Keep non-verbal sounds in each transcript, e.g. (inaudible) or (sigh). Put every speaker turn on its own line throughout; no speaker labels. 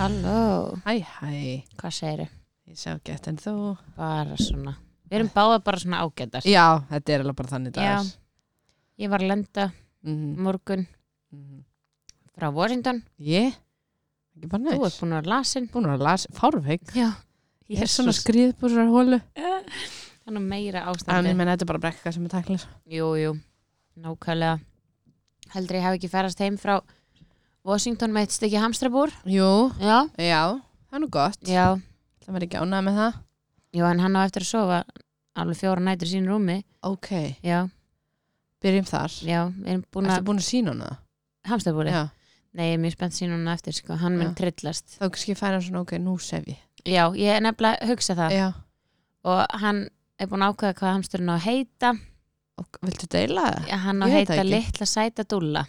Halló,
Hæ, hæ,
hvað segiru?
ég sé ágætt en þú
Bara svona, við erum báða bara svona ágætar
Já, þetta er alveg bara þannig
Já.
dagar
Ég var að lenda í
Mhm,
morgun
mhm.
frá Washington
Ég? Ekki bara
Þú
neitt
ert búin að vera lasin
Búin að lasa, fárveik
Já,
Ég er svona skrið på þessar hólu
Þannig meira
En ég
ástandi
menn þetta er bara brekka sem er tæklis
Jú, jú, nákvæmlega Heldur ég hafi ekki ferast heim frá Washington með eitt stykki hamstrabúr
Jú,
Já,
já, það er nú gott
já,
Það verður ekki ánægð með það
já, en hann á eftir að sofa alveg fjóra nætur í sínu rúmi
Ok,
Já,
byrjum þar
já, við erum búin
Ertu
að
búin að sína hana?
hamstrabúri
Já,
Nei, ég er mjög spennt sín hún eftir, sko, hann mun
Já.
trillast
þá kannski færa hann svona, ok, nú sef ég
Já, ég er nefnilega að hugsa það
Já,
og hann er búin að ákveða hvað hamsturinn á að heita
og viltu deila það?
Já, hann á að
Ah, Ég veit
heita
það ekki.
litla sæta dúlla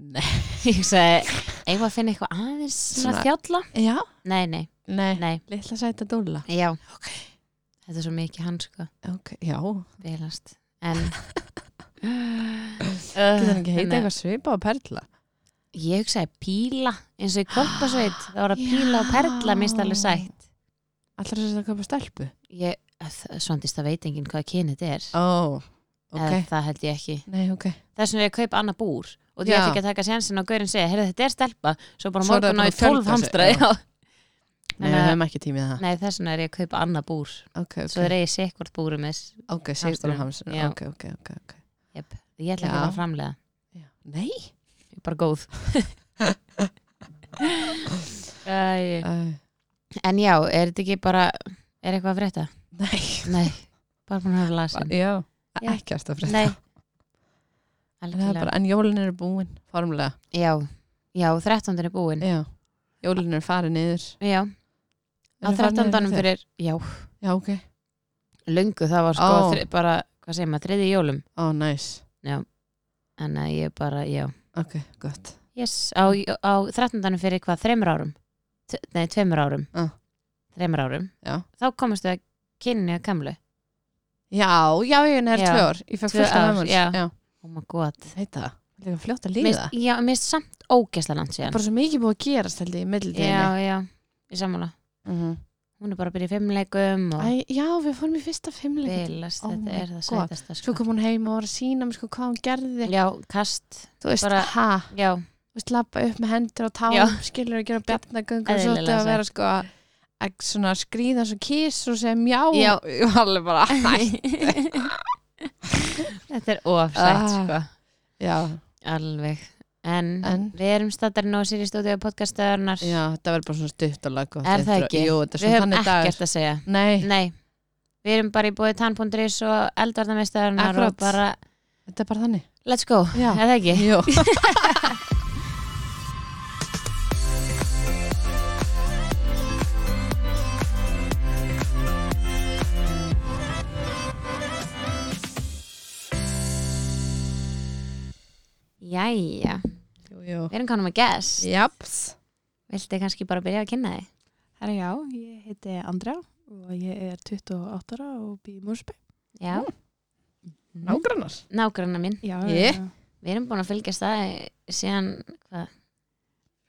Nei
(laughs) ég sagði, eigum við að finna eitthvað aðeins svona
Svona-
þjálla?
Já,
Nei, nei,
nei,
nei,
litla sæta dóla
já
Ok.
þetta er svo mikið hann sko,
Ok, já,
vilast en
(laughs) getur hann ekki
Þannig
heita
að
eitthvað svipa og perla
ég hugsaði píla eins og í
(gasps)
korpasveit, það voru að píla og perla mist alveg sætt
Allra þess að köpa stelpu?
ég, svandist það veit enginn hvað kynið þetta er
Ó, Ah, ok
eða það held ég ekki
Nei, ok
þess vegna er ég að kaupa annað búr og því ég
Já.
ætti ekki að taka sénsinn og gaurinn segja heyrðu þetta er stelpa, svo bara
Svo er það
morgun á
búin
ég 12
að fjölga sér,
hamstra
já.
já.
(laughs) Nei, við höfum ekki tímið það
nei þess vegna er ég að kaupa annað búr
Ok,
svo
ok,
er ég sikkvort búrum þess
ok, sigur
hamsturinn.
hamsturinn
Já.
Ok, ok, ok, ok
yep. ég ætla ekki
Já.
að fara að framlega
Já. Nei
ég er bara
(laughs)
góð Æ.
uh,
en já, er þetta ekki bara er eitthvað að frétta?
Nei
nei, bara búin að hafa lasin
Já,
Já.
ekkert að frétta
nei,
En það er
algjörlega
bara- En jólin eru búin, formlega
já, já, 13. er búin
Já, jólin eru farin niður
já, á
Eru farin
13.
niður
fyrir já,
Já, ok
löngu það var sko
Ó.
þri, bara, hvað segir maður, þriði í jólum
Ó, næs
en að ég bara, já
Ok, gott
yes, á, á 13. fyrir hvað, þreymur árum T nei, tveimur árum
Ah.
þreymur árum,
Já.
þá komast við að kynni að kamlu
Já, já, ég er
Já.
tvö ár Ég fekk
Tvö
fullt af
ár,
heimur
já.
já
oh my god
Þetta, þetta er fljótt að líða
Mér- já, mér er samt ógæsla langt síðan
Bara svo mikið búið að gerast held ég í millitíðinni
já, já, ég sammála
mm -hmm.
hún er bara að byrja í fimmleikum og
Æ, já, við fórum í fyrsta fimmleikum
bilast,
Oh
þetta
my
er það
God.
sætasta
Svo
sko.
kom hún heim og var að sína mér sko hvað hún gerði
já, kast,
Þú veist,
bara-
ha,
já,
þú veist, lappa upp með hendur og tám
Já.
Skilur að gera bjarnagöngu og svo
Eðlilega
þetta að
sagt.
vera sko að að svona skrýða svo kiss og segja mjá
Já.
Ég var alveg
(laughs)
bara
þetta er ofsætt
Ah.
sko.
Já,
alveg en,
En?
við erum stattarinn á Siri Studio podcastöðurnar
já, þetta verður bara svona stutt og laggótt
Er það ekki?
Jú, þetta er
við
svona
höfum
þannig dagur
ekkert að segja
Nei,
nei, við erum bara í bóði tann.is og eldvarnamestaðurnar
Akkurat.
og bara
þetta er bara þannig
let's go,
Já.
er það ekki? (laughs)
Jú
Jæja,
Jú, jú
við erum kannum að guess
Japs
Viltu kannski bara byrja að kynna þig?
Herra já, ég heiti Andrea og ég er 28 ára og býð í Múrsby.
Já,
Nágrannar
nágranna minn
Já,
Ég?
já.
Við erum búin að fylgjast það síðan, hvað?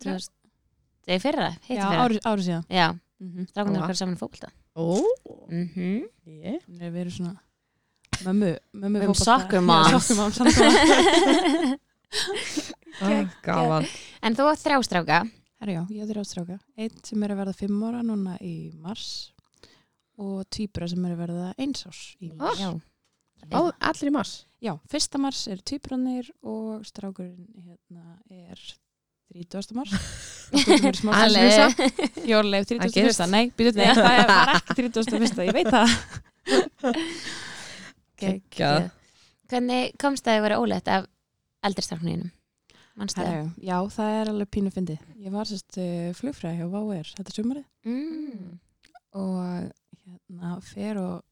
Þú veist, það er fyrra, heiti
já
fyrra
ári, ári síðan.
Já,
Mm -hmm.
strákunum
Vá. Mhm.
okkar saman í fókbalta
Ó,
mm -hmm.
ég
Við erum svona mömmu, mömmu
Við erum
fótbolta.
soccer
Já,
moms.
Soccer moms, soccer moms.
Gaman
En þú átt þrjá stráka
(laughs) Herra já, ég er þrjá stráka. Eitt sem er að verða 5 ára núna í mars og tvíbura sem er að verða eins árs í mars.
Ah.
Já,
Á, allir í mars
Já, fyrsta mars er tvíburarnir og strákurinn hérna er 30.
(laughs)
mars.
Alli.
Allir. Jóluleg
Það gerist.
31. Nei, býtum við, það er- var ekki 31. Ég veit það.
Geggjað.
Hvernig komst það að vera óleitt af eldri stráknuðinum? Manstu það?
Herra, já, það er alveg pínu fyndið. Ég var sérst uh, flugfræði hjá Váer þetta sumarið
Mm.
og hérna fer og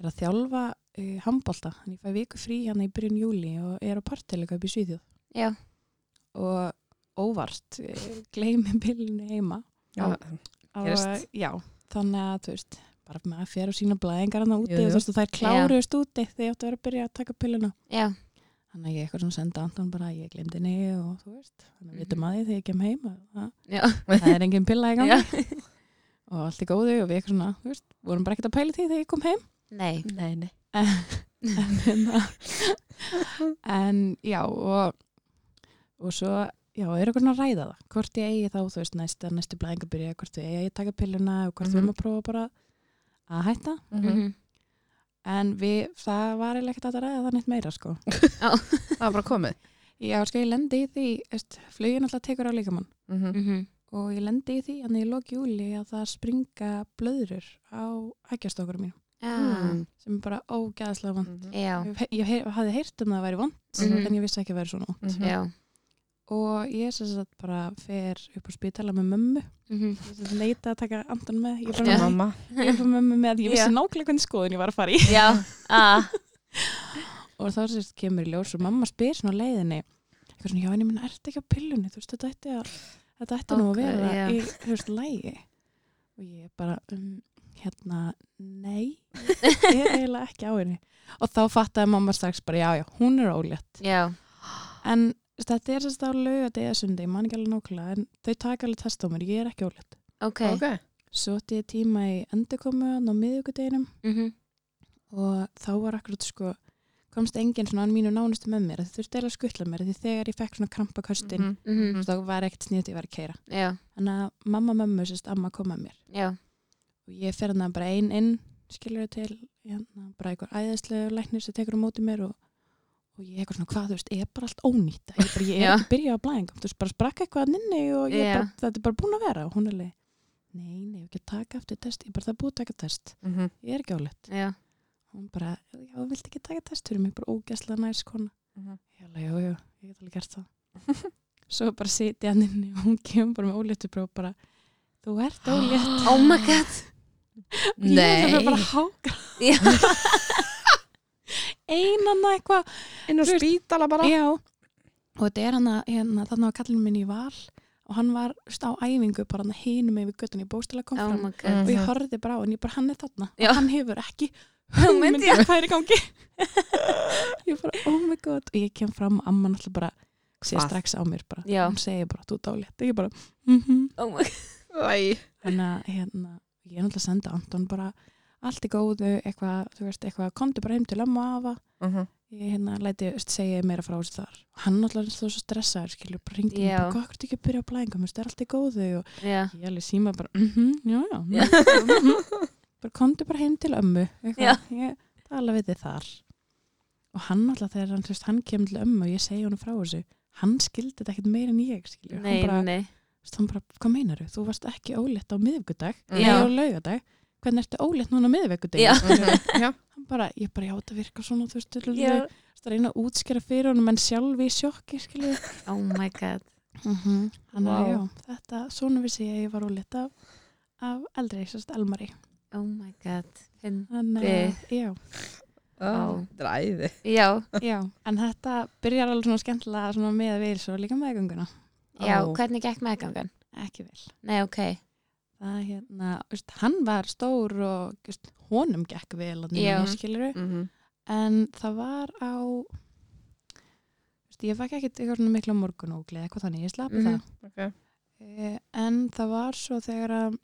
er að þjálfa uh, handbólta. Þannig ég fæ viku frí hérna í byrjun júli og er á partilega upp í Svíðjóð.
Já,
Og óvart uh, gleymi bílinni heima.
Já,
Á,
Gerist.
já, þannig að þú veist, bara maður fer og sína blæðingar hann úti
Jú, jú.
og þú veist, og þær kláruðust úti þegar ég átti að vera að byrja að taka pilluna.
já,
þannig að ég eitthvað svona senda Anton bara ég glemdi henni og þú veist þannig að vitum
Mhm.
að því þegar ég kem heim að það,
Já.
það er engin pilla í gangi
Já.
(laughs) og allt er góðu og við eitthvað svona, þú veist, vorum bara ekkert að pæla í því þegar ég kom heim
Nei,
Nei, nei.
en, hérna, en já og, og svo já, er eitthvað svona að ræða það hvort ég eigi þá, þú veist, næsta, næstu blæðingu byrja hvort ég eigi að taka pilluna og hvort
Mhm.
við erum að prófa bara að hætta
Mhm.
en við, það var eiginlega ekkert hægt að ræða það neitt meira sko
Það var bara komið.
já, sko, ég lendi í því, þú veist, flugin alltaf tekur á líkamann
Mhm.
Mhm.
og ég lendi í því, en ég lók júli að það springa blöðrur á hægjastokkurum mínum
Já.
sem er bara ógæðslega vond
Mhm.
Ah. Já.
ég, hef- ég hef- hafði heyrt um að það væri vond
Mhm.
en ég vissi ekki að það væri svona vond
Mhm.
Já.
og ég sem sagt bara fer upp á spítala með mömmu
Mhm.
Ég sem sagt leita að taka andan með ég
Já.
bara með,
Mamma.
ég bara með mömmu með að ég vissi
Já.
nákvæmlega hvernig skoðun ég var að fara í
(laughs) Já. Ah.
og þá sem sagt kemur í ljós og mamma spyr svona á leiðinni eitthvað svona, já en ég minna, ertu ekki á pillunni þú veist, þetta ætti að þetta ætti nú
Ok,
að vera
já.
í, þú veist, lægi og ég bara, um, hérna nei, ég er eiginlega ekki á henni og þá fattaði mamma strax bara, já, já, hún er ólétt
Já.
En þetta er sérst á laugati eða sundi, ég man ekki alveg nákvæmlega, en þau taka alveg test á mér, ég er ekki ólétt.
Ok.
Ok.
Svo átti ég tíma í endurkomu hann á miðugudeginum
Mhm.
og þá var akkurat sko, komst enginn svona hann mínu nánustu með mér, þau þurfti eiginlega að skuttla mér, af því þegar ég fekk svona krampaköstin, mm
Mhm.
Mhm.
þá var ekkert sniðt ég var að keira.
Já.
Þannig að mamma mömmu sérst amma kom að mér
Já.
og ég fer hann bara ein inn, skilur þau til, hérna, bara einhver æðislegu læknir sem tekur á móti mér og og ég eitthvað svona, hvað þú veist, ég er bara allt ónýtt ég, bara,
(laughs)
ég
Já.
er ekki byrjað að blæðingum, þú veist, bara sprakk eitthvað að nynni og ég
Já.
bara, þetta er bara búin að vera og hún er leið, nei, nei, ég hef ekki að taka aftur test, ég er bara það er búið að taka test
Mhm.
ég er ekki álegt,
Já.
hún bara já, viltu ekki taka test fyrir mig, bara ógæslega næs kona,
Mhm.
ég alveg, já, já ég get alveg gert það (laughs) svo bara sitja hann inni og hún kemur bara með óléttu próf bara,
(gasps)
þú ert ólétt
Oh my god.
ég
Nei.
er bara að háka (laughs)
Já.
einan eitthvað
Inn á
Þú veist-
spítala bara.
Já, og þetta er hann að hérna, þannig að kallin minn í val og hann var þú veist, á æfingu bara hann hinum yfir göttunni í bóstila kom
Oh
fram
my god.
og ég
Mhm.
horfði bara á hann, ég bara hann er þarna
Já.
og hann hefur ekki
(laughs) Hugmynd,
hugmynd
já.
um hvað er í gangi
(laughs)
ég bara oh my god og ég kem fram og amma náttúrulega bara sé
Hvað?
strax á mér bara
Já.
hún segir bara þú dálétt ég bara mhm
Oh my god.
Æ.
þannig að hérna, ég er náttúrulega að senda Anton bara allt í góðu eitthvað, þú veist, eitthvað komdu bara heim til ömmu og afa
Mhm.
ég hérna læti þú veist, segja meira frá þessu þar og hann náttúrulega er svo svo stressaður skilur bara
Já.
ringdi mig, bara, hvað akkur ekki að byrja á blæðingum þú veist, er allt í góðu og
Já.
ég alveg síma bara, mhm, já, já mhm, mhm. bara komdu bara heim til ömmu
Já.
eitthvað, ég tala við þið þar og hann náttúrulega þegar hann, þú veist, hann kemur til ömmu og ég segja honum frá þessu hann skildi þetta ekkert meira en ég skilur
Nei,
hann bara,
nei.
Þú veist, hann bara, hvað meinaru? Þú varst ekki ólétt á miðvikudag,
Já.
eða á laugadag hvernig ertu ólétt núna á miðvikudag?
Já.
mhm, Já.
Hann bara, ég bara, já, það virkar svona þú veist, þú
Já.
veist, það reyna að útskjara fyrir honum en sjálf í sjokki, skilju
Oh my god.
mm
Mhm.
-hmm. Þannig
Vá.
að já, þetta, svona vissi ég að ég var ólétt af, af eldri, sérst, Elmari
Oh my god. Finn-
Þannig að, já,
Vá.
Dræði.
Já.
já en þetta byrjar alveg svona skemmtilega svona með við svo líka meðgönguna
Já.
Ó.
Hvernig gekk meðgangan?
ekki vel
Nei, ok.
það hérna, þú veist, hann var stór og þú veist, honum gekk vel að
Já.
nýja skiluru
Mhm.
en það var á þú veist, ég fæk ekkert eitthvað svona mikla morgun og gleði eitthvað þannig, ég slapi
Mhm.
Ok.
það e, en það var svo þegar að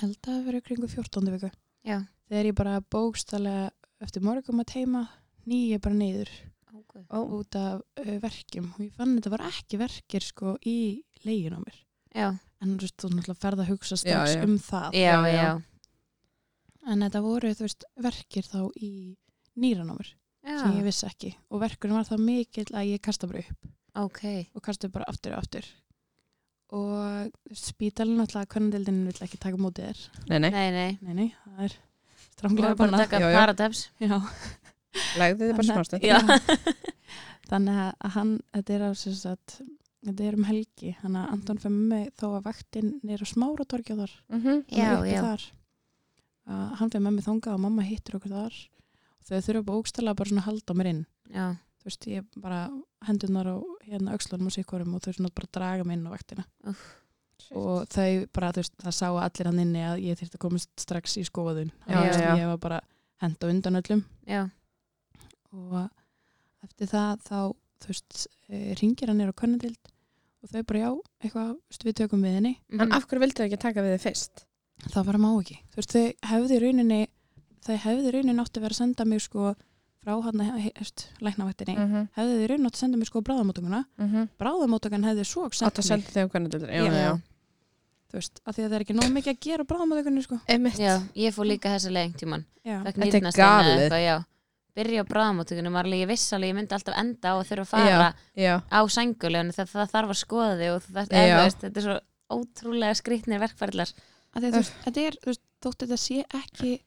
held að það verið kringu 14. viku
Já.
þegar ég bara bókstælega eftir morgum að teima nýja bara niður
Ok.
Ó.
út af uh, verkjum og ég fann að þetta var ekki verkir sko í legin á mér
Já.
en þú veist, þú náttúrulega ferð að hugsa strax
já.
um það
Já,
já.
já.
en þetta voru, þú veist, verkir þá í nýran á mér sem ég
Já.
vissi ekki og verkurinn var það mikill að ég kasta bara upp
Ok.
og kasta bara aftur og aftur og spítalinn alltaf kvöndeldin vill ekki taka á móti þér
Nei, nei.
Nei, nei.
nei, nei, það er
Þú
stránglega
er bara að
bannað.
taka
Já, já.
paradeps.
Já.
Legðu þið bara
Þannig-
smástu.
Já.
(laughs) þannig að- að hann, þetta er á sem sagt þetta er um helgi, þannig að Anton fyrir mig þó að vaktinn er á smára torgja þar
Mhm.
hann er
Já,
uppi
já.
þar uh, hann fyrir með mig þangað og mamma hittir okkur þar og þau þurfa bókstæla bara svona að halda mér inn
Já.
þú veist, ég bara hendunar á hérna aukslunum og sikkurum og þau svona bara draga mig inn á vaktina og þau bara, þú veist, það sá allir hann inni að ég þyrfti að komast strax í skoðun
Já,
Þannig að
já, já.
ég var bara henda undan öllum
Já.
og eftir það þá þú veist, eh, ringir hann er á könnadild og þau bara já, eitthvað, þú veist, við tökum við henni
Mhm.
En af hverju vildu þau ekki taka við þið fyrst?
það bara má ekki þú veist, þau hefði í rauninni þau hefði í rauninni átti að vera að senda mig sko frá hann læknavættinni, mm.
-hmm.
hefði í rauninni átti að senda mig sko bráðamótökuna,
Mm -hmm.
bráðamótökan hefði svo senda
Átt að
mig,
senda þau um hvernig dildar. Já,
Já.
já, já.
þú veist, af því að það er ekki nóg mikið að gera á bráðamótökunni sko
Einmitt.
Já, ég fór líka þessa leið einhvern tímann.
já,
Fekk
Þetta er
nýrnasteina eða
galið.
eitthvað, já. Byrja á bráðamóttökunum, var alveg, ég viss alveg, ég myndi alltaf enda á að þurfa að fara
Já. já.
á sængulegunni þegar það þarf að skoða þig og það,
Já.
veist, þetta er svo ótrúlega skrýtnir verkfærlar.
af því að þú veist, þetta er þú veist, þótt þetta sé ekki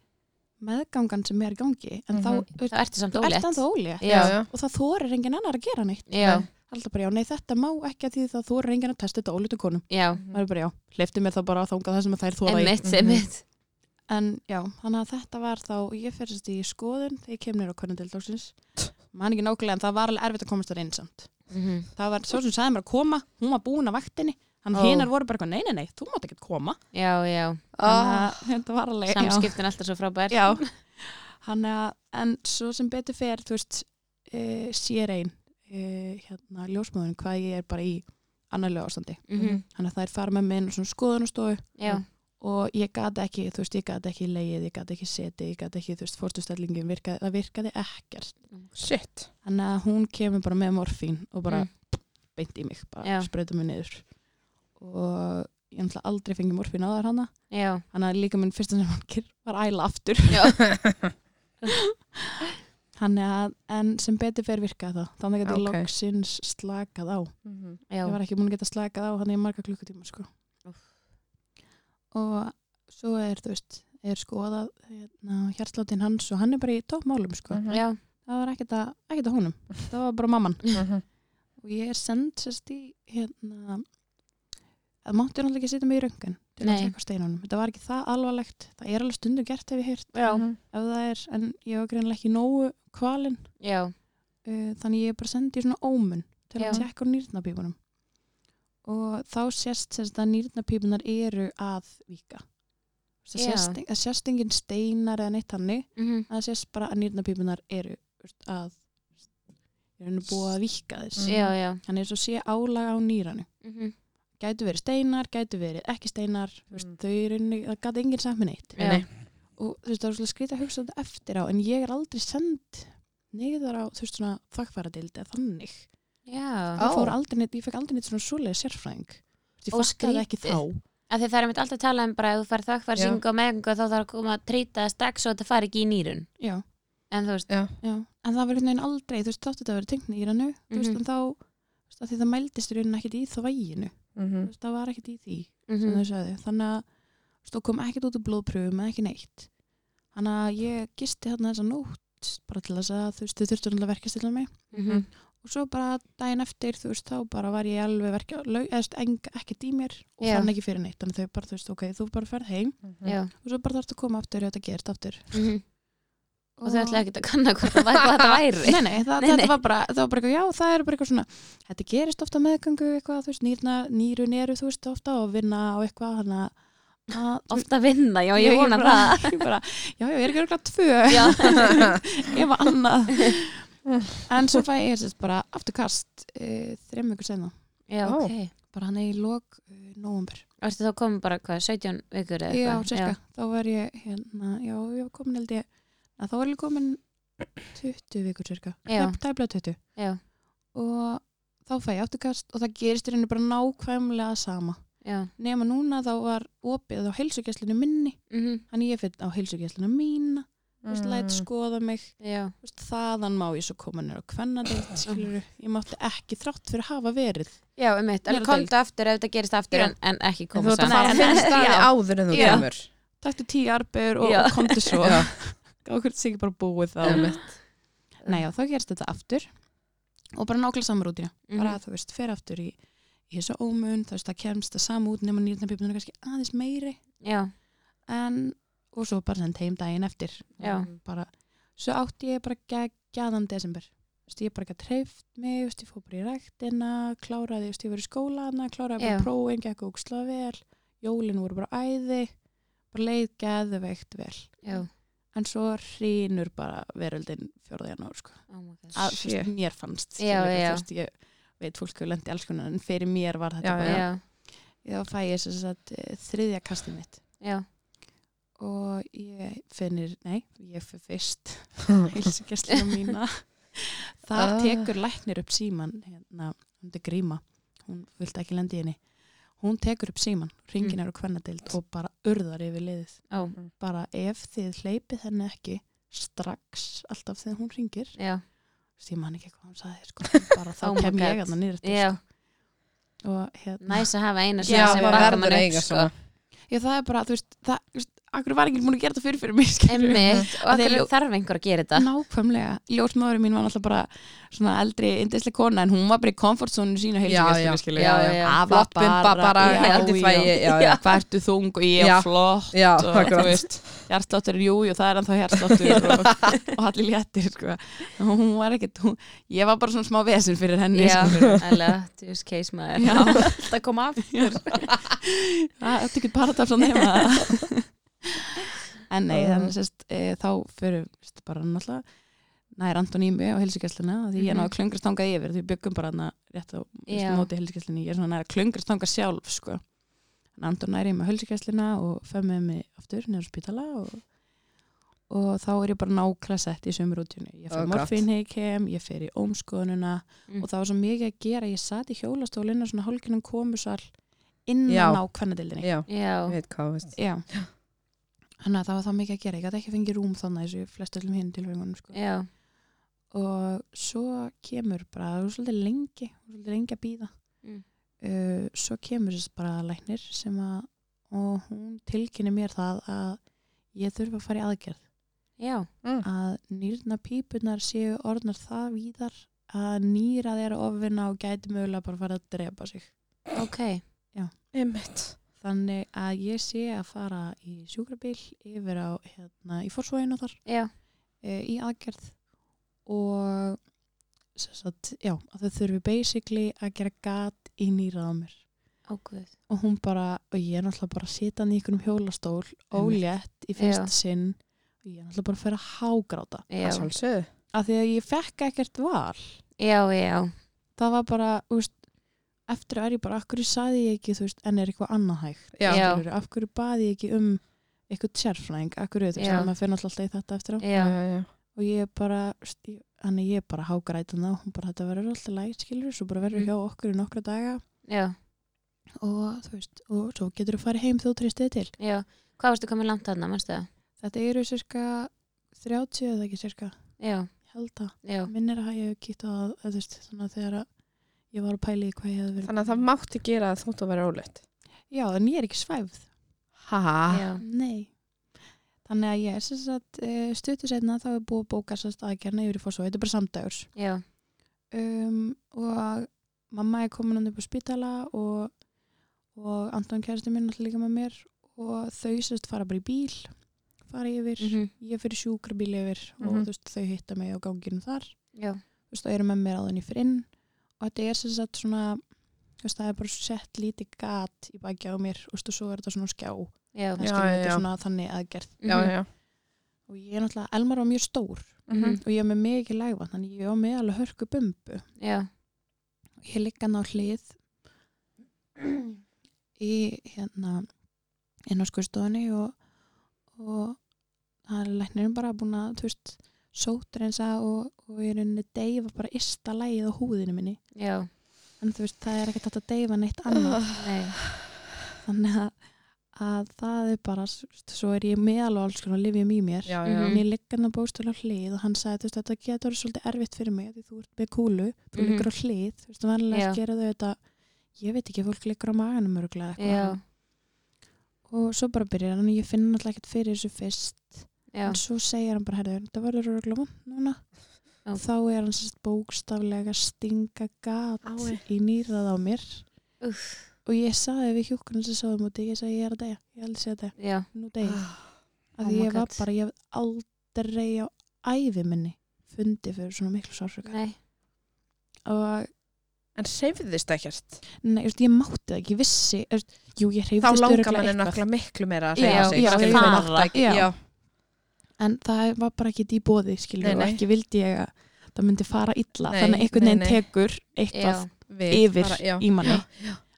meðgangan sem er í gangi, en
Mhm.
þá þú veist,
Það ertu samt
þú ert
ólétt.
ennþá ólétt
Já.
já.
og það þorir engin annar að gera neitt
Já,
alltaf bara já, nei þetta má ekki að því það þorir engin að testa þetta ólítu konum
já,
það er bara já, hleyftu mér þá bara að þanga það sem að þær þóra
Mm. einmitt,
Mhm.
einmitt.
en já, þannig að þetta var þá ég fyrst í skoðun þegar ég kemur á konundildóksins man ekki nákvæmlega en það var alveg erfitt að komast þar inn samt
Mhm.
það var svo sem sagði mér að koma, hún var búin að vaktinni hann
Ó.
oh. hinnar voru bara eitthvað, nei, nei, nei, þú mátt ekki koma
Já, já,
þannig að þetta var alveg já.
samskiptin alltaf svo frábær.
Já, hann er en svo sem betur fer, þú veist, uh, sér einn uh, hérna ljósmóðun hvað ég er bara í annarlega ástandi.
Mhm.
Hann er það er fara með minn og svona skoðunastofu
Já,
og ég gati ekki, þú veist, ég gati ekki leið, ég gati ekki seti, ég gati ekki, þú veist, fórstustellingin virkaði, það virkaði ekkert.
Shit.
Þannig að hún kemur bara með morfín og bara
Mm.
beint í mig, bara
Já.
sprauta mig niður. Og ég ætla aldrei fengið morfín á þar hana.
já,
Þannig að líka minn fyrsta sem hann gerði var æla aftur.
já,
(laughs) Þannig að, en sem betur fer virkaði það. Þannig að ég
Ok.
loksins slakað á.
já,
Ég var ekki múin að geta slakað á hann í marga klukkutíma, sko.
Úff.
Og svo er, þú veist, er skoðað hérna, hjartláttinn hans og hann er bara í toppmálum, sko.
já,
Það var ekkert að, ekkert að honum. Það var bara
(laughs)
mamman.
Mhm.
Og ég er send, sérst, í, hérna, það mátti náttúrulega ekki setja mig í röngan til
Nei.
að taka steinunum. Þetta var ekki það alvarlegt. Það er alveg stundum gert ef ég heyrt.
já,
Mhm.
Ef það er, en ég var greinlega ekki nógu kvalinn
já,
uh, þannig ég er bara sendið svona ómun til
Já.
að tjekka á nýrnapípunum og þá sést sérst að nýrnapípunar eru að vika Þú veist,
Já.
það sést, það sést engin steinar eða neitt hannig
Mhm.
það sést bara að nýrnapípunar eru þú veist, að er henni búið að vika þess
Mm.
já, já,
þannig er svo sé álaga á nýranu
Mhm.
gætu verið steinar, gætu verið ekki steinar þú veist,
Mm.
þau eru henni, það gæti enginn sagt mér neitt
Já.
Nei.
og þú veist, það er svolítið skrítið að hugsa þetta eftir á en ég er aldrei send neyðar á, þú veist, svona þakkfæradildi eða þannig
já.
ég,
Ó.
fór aldrei neitt, ég fekk aldrei neitt svona svolega sérfræðing Þú veist, ég
Og
fattaði það ekki
skrítið.
þá
Af því Það er mitt alltaf að tala um bara ef þú fær þakkfæri
Já.
syngu og meðgöngu þá þarf að koma að trýta strax og þetta fari ekki í nýrun.
já,
En þú veist,
já. en það var einhvern veginn aldrei þú veist, þáttu þetta að vera tengt nýranu þú veist,
Mhm.
en þá, þú veist, af því það mældist í rauninni ekkit í þvæginu þú
Mhm.
veist, það var ekkit í því sem
mhm.
þau sagði, þannig að þú veist, þú kom ekkit út úr blóðpröfum eða ekki neitt þannig að ég gisti þarna þessa nótt bara til þess að þú veist, þau þurftu náttúrulega verkast til mig
Mhm.
og svo bara daginn eftir þú veist, þá bara var ég alveg verkja lög, eða, þú veist, eng, ekkert í mér og
Já.
fann ekki fyrir neitt, þannig að þau bara, þú veist, ok, þú bara ferð heim
Mhm.
Já.
og svo bara þarfst að koma aftur og þetta gerst aftur
Mhm. Og þau ætlaði ekki að kanna hvort það (laughs) væri hvað þetta væri.
Nei, nei, það,
Nei, nei.
þetta var bara, það var bara eitthvað, já, það er bara eitthvað svona, þetta gerist ofta meðgöngu eitthvað, þú veist, nýrna, nýrun eru, þú veist, ofta og vinna og eitthvað, þannig að- að... þú (laughs) veist,
Ofta vinna, já, ég vona
bara,
það.
Ég bara, já, já, ég er ekki örgulega tvö,
Já,
(laughs) ég var annað. en svo fæ ég sérst bara afturkast e, þreim vikur senna,
já,
Ó.
ok.
bara hann er í lok e, nóvumber.
Ertu þá komin bara hvað, 17 vikur eða
Já,
eitthvað?
sérska, þá var ég, hérna, já, ég var komin held ég, að þá var ég komin 20 vikur sérska,
Já.
tæplega 20.
Já,
og þá fæ ég afturkast og það gerist í rauninu bara nákvæmlega sama
já, já.
nema núna þá var opið á heilsugjæslinu minni
Mhm.
þannig ég fyrir á heilsugjæslinu
Mhm.
mína þú veist,
Mm.
læt skoða mig
Já,
þú veist, þaðan má ég svo koma nér á kvennadeild skilurðu. ég mátti ekki þrátt fyrir að hafa verið
já, um mitt, alveg
Meira
komdu aftur ef þetta gerist aftur
Já.
en, en ekki
En
koma
Þú ert að
saman.
fara fyrst staði
Já.
áður en þú
Já.
kemur.
taktu tíu arbeigur og,
Já.
og komdu svo (laughs)
Já.
ákveður sig ekki bara búið þá
Einmitt.
Nei, já, þá gerist þetta aftur og bara nákvæmlega samar út í
Mhm.
bara þú veist, fer aftur í, í þessu ómun, þú veist, það kemst það sama út nema nýrnapipunar kannski aðeins meiri
Já,
en, og svo bara senda heim daginn eftir
Já.
bara, svo átti ég bara geggjaðan desember Þú veist, ég bara ekki að treyft mig, þú veist, ég fór bara í ræktina kláraði, þú veist, ég var í skólana kláraði
Já.
bara prófin, gekk óksla vel jólin voru bara æði bara leið geðveikt vel
já,
en svo hrýnur bara veröldin 4. janúar sko.
Oh my god.
að þú
Shit.
veist, mér fannst
Já,
skilurðu,
já.
þú veist, ég veit fólk hefur lendið alls konar en fyrir mér var þetta
Já,
bara
Já,
þá fæ ég þess að þriðja kastið mitt
já.
og ég finnir, nei, ég fyrir
(laughs)
fyrst heilsugjastlina mína þar
Ah.
tekur læknir upp síman hérna, hún er gríma hún vildi ekki lendi henni hún tekur upp síman, ringin
Mm.
er á kvennadild og bara urðar yfir liðið
Ó,
bara ef þið hleypið henni ekki strax alltaf þegar hún ringir
já,
ég man ekki hvað hann sagði sko. (laughs) en bara þá
Oh my
kem
God.
ég hann nýr eftir
já.
sko. og hérna,
Næs að hafa eina
Já,
svona sem
maður
bakar
verður
mann
að
upp,
eiga
sko.
svona.
já, það er bara, þú veist, það, þú veist akkur var ekki múin að gera þetta fyrir fyrir mig skilurðu?
Einmitt, og
Af því að
akkur
ljó-
þarf einhver að
(laughs)
gera þetta.
nákvæmlega, ljósmaðurinn mín var alltaf bara svona eldri, indislega kona en hún var bara í komfortzónu sína
Já, já.
heilsugjastlinu
Já, já, já.
Flott bumba bara, held í þvagi, já, já.
(laughs) hvað ertu þung og ég
Já.
er flott
Já,
og þú
akkurat.
veist, hjartsláttur er júi og það er ennþá
(laughs)
hjartsláttur og, og allir léttir sko. Og hún var ekkert, hún, ég var bara svona smá vesinn fyrir henni
Já,
sko.
alveg, djús case maður.
Já.
(laughs)
(laughs)
það kom af.
Það er ekkert paradafs að nefna En nei, þannig sérst e, þá fyrir veist, bara náttúrulega nær Antoními á helsugjæsluna því ég
Mhm.
náðu klöngrast þangað yfir því við byggum bara hana rétt á veist,
Já.
móti helsugjæslunni ég er svona nær að klöngrast þangað sjálf sko. en Anton nær ég með helsugjæsluna og fer með mig aftur nefnir spítala og, og þá er ég bara nákvæmlega sett í sömur útjunni ég fer
Oh,
oh,
gott. Mm.
morfinheikem, ég fer í ómskoðununa og það var svo mikið að gera ég satt í hjólastólinu svona hálginum komusal innan
Já.
á kvennadildinni
Já, ég
Já,
veit hvað, þú veist.
Já. Þannig að það var það mikið að gera. Ég gæti ekki fengið rúm þannig þessu flest öllum hinn tilfengunum. Sko.
já,
Og svo kemur bara, það var svolítið lengi, svolítið lengi að býða.
Mm.
Uh, svo kemur þess bara læknir sem að, og hún tilkynni mér það að ég þurfa að fara í aðgerð.
já.
Að nýrna pípunar séu orðnar það víðar að nýrað er ofvinna og gæti mögulega bara fara að drepa sig.
Ok,
Einmitt.
Þannig að ég sé að fara í sjúkrabíl yfir á, hérna, í fórsvæðinu þar.
já,
e, í aðgerð og sem sagt, já, að þau þurfi basically að gera gat í nýrað á mér
ákveð.
og hún bara, og ég er náttúrulega bara að sita í einhverjum hjólastól, ólétt í fyrsta sinn og ég er náttúrulega bara að fyrir að hágráta
Já,
Svolsöðu.
af því að ég fekk ekkert val
já, já,
það var bara, úst, eftir að er ég bara, af hverju saði ég ekki, þú veist, en er eitthvað annað hægt
Já.
Já.
Skilurðu? af hverju baði ég ekki um eitthvað sérfræðing, af hverju, þú veist,
Já.
að maður fyrir náttúrulega alltaf í þetta eftir á
já,
já.
og ég bara st- ég- þannig ég bara hágrætana og hún bara þetta verður alltaf lægt skilur svo bara verður
Mm.
hjá okkur í nokkra daga
já,
og þú veist, og svo getur þú farið heim þú tristið til.
já. Hvað varstu komin langt þarna, mannstu það?
Þetta eru cirka 30 eða ekki cirka,
Já,
ég held að
já,
minnir að ég hef kýtt á það, eða þú veist, þannig að þegar að ég var að pæli í hvað ég hefði verið
Þannig að það mátti gera það þótt að vera ólétt.
Já, en ég er ekki svæfð Ah.
Haha.
já,
Nei Þannig að ég er sem sagt stutu setna þá er búið að bóka sérst aðgerna yfir í fórsvöð, þetta er bara samdagur
já,
um, og mamma er komin hann upp á spítala og, og Anton kæristi minn alltaf líka með mér og þau sérst fara bara í bíl fara yfir,
mhm,
ég fyrir sjúkrabíl yfir og
Mhm.
þú veist þau hitta mig á ganginu þar
já,
þú veist þau eru með mér áður en ég fyrir inn og þetta er sem sagt svona þú veist það er bara sett lítið gat í baki á mér og þú veist og svo er þetta svona á skjá
já.
það
Já,
skilur þetta
já.
er svona þannig aðgerð
Já,
mhm,
já, já.
og ég er náttúrulega, Elmar var mjög stór
mhm,
og ég er með mikið lægvann þannig ég var með alveg hörku bumbu
Já,
ég ligg hann á hlið í hérna inn á skurstofunni og, og það er læknirinn bara búin að þú veist, sótrensa og, og ég er unni deyfa bara ysta lægið á húðinu minni
já,
en þú veist, það er ekkert hægt að deyfa neitt
(laughs)
annað
nei,
þannig að, að það er bara þú veist, svo er ég meðal og alls konar lifjum í mér
Já, já.
Mhm.
en ég ligg hann á bóstölu á hlið og hann sagði, þú veist, þetta getur verið svolítið erfitt fyrir mig því þú ert með kúlu, þú
Mhm.
liggur á hlið þú veist, vanlega
Já.
gera þau þetta ég veit ekki, fólk liggur á maganum örgulega
já,
eitthvað og svo bara byrjar hann og ég finn náttúrulega ekkert fyrir þessu fyrst
já,
en svo segir hann bara, herðu, þetta verður örgulega vond núna
Já.
þá er hann sérst bókstaflega að stinga gat
Ái.
í nýrað á mér
uff,
og ég sagði við hjúkkunum sem sáðum úti, ég sagði ég er að deyja, ég held að segja þetta,
já,
nú deyja
Oh
að því
my
ég var
God.
bara, ég hef aldrei á ævi minni fundið fyrir svona miklu sársöka
nei,
og
En seyfðist ekkert.
nei, þú veist, ég mátti það ekki, ég vissi þú veist, jú, ég
Þá
hreyfðist
langar
örugglega
manni
eitthvað.
náttúrulega miklu meira að
Já,
reyna sig.
já,
skilur
ég
við.
fara.
Já.
Já. en það var bara ekki í bóði skilur
Nei,
og
nei.
ekki vildi ég að það myndi fara illa
Nei,
þannig að einhvern
nei,
veginn
nei.
tekur eitthvað
Við,
yfir
bara, já.
í manni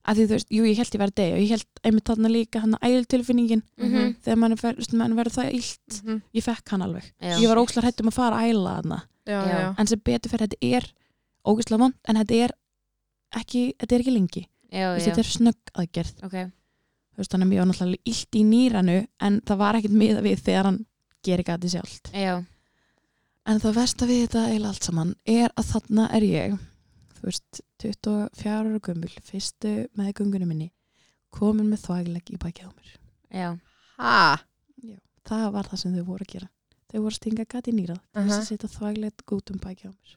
að því þú veist, jú ég held ég verið deg og ég held einmitt þarna líka hann að ægil tilfinningin
Mhm.
þegar mann, fer, þú veist, mann verið það illt
Mhm.
ég fekk hann alveg,
Já.
ég var ókslega hættum að fara að æla hana
já,
Já.
já, já.
en sem betur fyrir þetta er ógæslega vond en þetta er ekki, þetta er ekki lengi
já,
Þú veist,
já.
þetta er snögg aðgerð
ok,
Þú veist, þannig að mér var náttúrulega illt í nýranu en það var ekkert miða við þegar hann gerir gatið sjálft
já,
en það versta við þetta eða allt saman er að þarna er ég þú veist, 24 ára gömul fyrstu meðgöngunum minni komin með þvægleg í bækið á mér
já
Ha?
það var það sem þau voru að gera þau voru að stinga gatið nýrað til þess
Aha.
að setja þvægleg gútum bækið á mér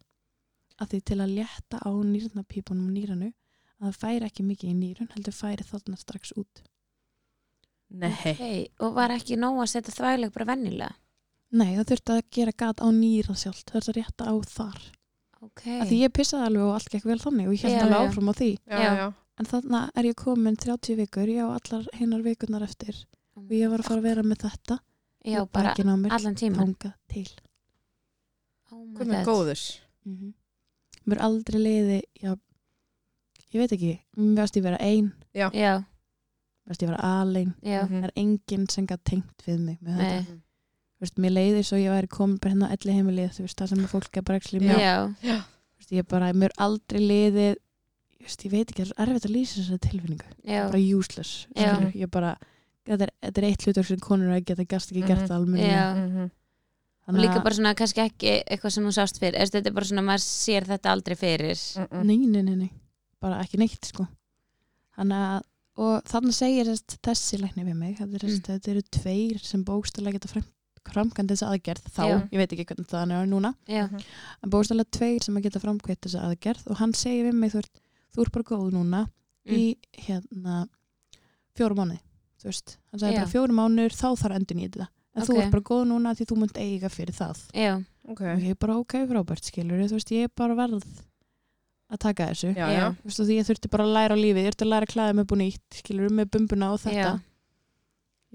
að því til að létta á nýrnapípunum og nýranu að það færi ekki mikið í nýrun heldur færi þarna strax út
Nei.
okay. og var ekki nóg að setja þvægleg bara vennilega
nei, það þurfti að gera gat á nýrað sjálft það þurfti að rétta á þar
ok,
að því ég pissaði alveg og allt gekk vel þannig og ég held
Já,
alveg
já.
áfram á því
Já,
Já.
já.
en þannig er ég komin 30 vikur ég á allar hinnar vikurnar eftir
Um.
og ég var að fara að vera með þetta
já,
og
bara
bakinu á mér
allan tíman
tanga til
oh my
Hvað með
god.
góðus?
mm mér aldrei leiði já, ég veit ekki mér varst ég vera ein, mér
já,
varst ég vera alein
já,
Mhm.
það er enginn sem gætt tengt við mig með þetta.
nei
Þú veist, mér leiði svo ég væri komin bara hérna á elli heimilið þú veist það sem að fólk er bara ekki
Já.
mér
já,
Já.
Þú veist, ég bara, mér aldrei leiði ég veist, ég veit ekki, það er svo erfitt að lýsa þessari tilfinningu
já,
bara useless
Já.
skilur. ég bara, þetta er, þetta er eitt hlutur sem konur að geta, gast ekki gert
Mhm.
það almenni
Já.
Mhm.
og líka bara svona kannski ekki eitthvað sem þú sást fyrir Eftir, þetta er bara svona maður sér þetta aldrei fyrir
Mhm.
nei, nei, nei, nei, bara ekki neitt sko þannig að og þannig segir þess, þessi lækni við mig þetta, er,
Mm.
þetta eru tveir sem bókstælega geta fram, framkvæmt þessa aðgerð þá,
Já.
ég veit ekki hvernig það er núna
já,
en bókstælega tveir sem að geta framkvæmt þessa aðgerð og hann segir við mig þú, ert, þú er bara góð núna
Mm.
í hérna fjórum mánuði, þú veist hann sagði
Já.
bara fjórum mánuður, þá þarf endun í þetta en þú
Ok.
ert bara góð núna því þú munt eiga fyrir það
já,
(laughs)
Ok.
og ég er bara ok frábært skilur þú veist, ég er bara verð að taka þessu
Já,
Já.
já.
Þú veist, og því ég þurfti bara að læra á lífið, ég þurfti að læra að klæða mig búin ítt skilur með bumbuna og þetta
já,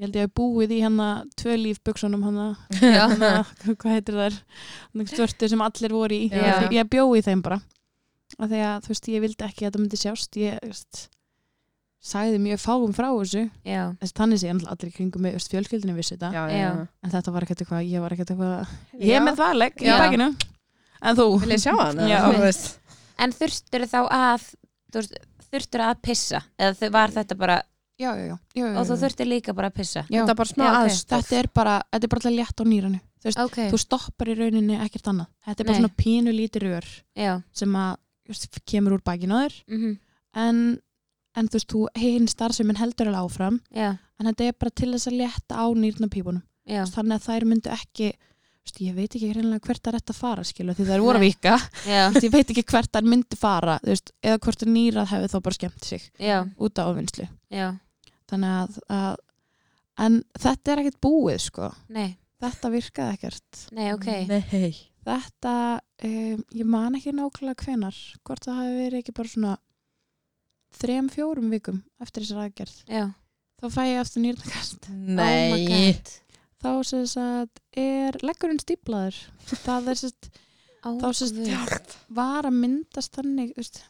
ég held ég að búið í hana tvö líf buksunum hana,
já.
hana
(laughs)
hvað heitir þær, hana störtu sem allir voru í,
Já.
ég bjói í þeim bara af því að þú veist, ég vildi ekki að þetta myndi sjást ég þú veist, sagði mjög fáum frá þessu
já,
Þessi, þannig sé ég náttúrulega allir í kringum með fjölskyldinu vissi þetta,
Já,
Já.
já.
en þetta var ekkert eitthvað, ég var ekkert eitthvað ég
Já.
er með þvaleg í
Já.
bakinu en þú,
Vil ég sjá hann? eða?
Já.
Þú veist.
en þurftur þá að þurftur að pissa eða þau- var þetta bara
já, já, já, já, já.
og þú
já.
þurftir líka bara að pissa
Mm. Já.
Þetta er bara smá
Já, ok.
aðstof.
þetta er bara, þetta er bara alltaf létt á nýranu þú veist,
ok,
þú stoppar í rauninni ekkert annað þetta er bara
Nei.
svona pínu lítið rör
já
sem að þú veist, kemur úr bakinu á þér
mhm,
en, en þú veist, þú hinn starfseminn heldur alveg áfram
já,
en þetta er bara til þess að létta á nýrnapípunum
já,
þannig að þær myndu ekki þú veist, ég veit ekki hreinlega hvert það er rétt að fara skilu, því þær voru að vika,
já,
Þú veist, (laughs) ég veit ekki hvert þær myndu fara þú veist, eða hvort nýrað hefði þá bara skemmt sig
já,
út á ofinnslu
já
þannig að, að en þetta er ekkert búið sko
nei,
þetta virkaði ekkert
nei, ok
Nei.
þetta, um, ég man ekki nákvæmlega hvenar, hvort það hafi verið ekki bara svona þrem, fjórum vikum eftir þessar aðgerð
já,
þá fæ ég aftur nýrnakast
oh my
Nei.
god
þá sem sagt er leggurinn stíplaður það er sérst,
Ó,
þá sérst
guð.
var að myndast þannig þú veist,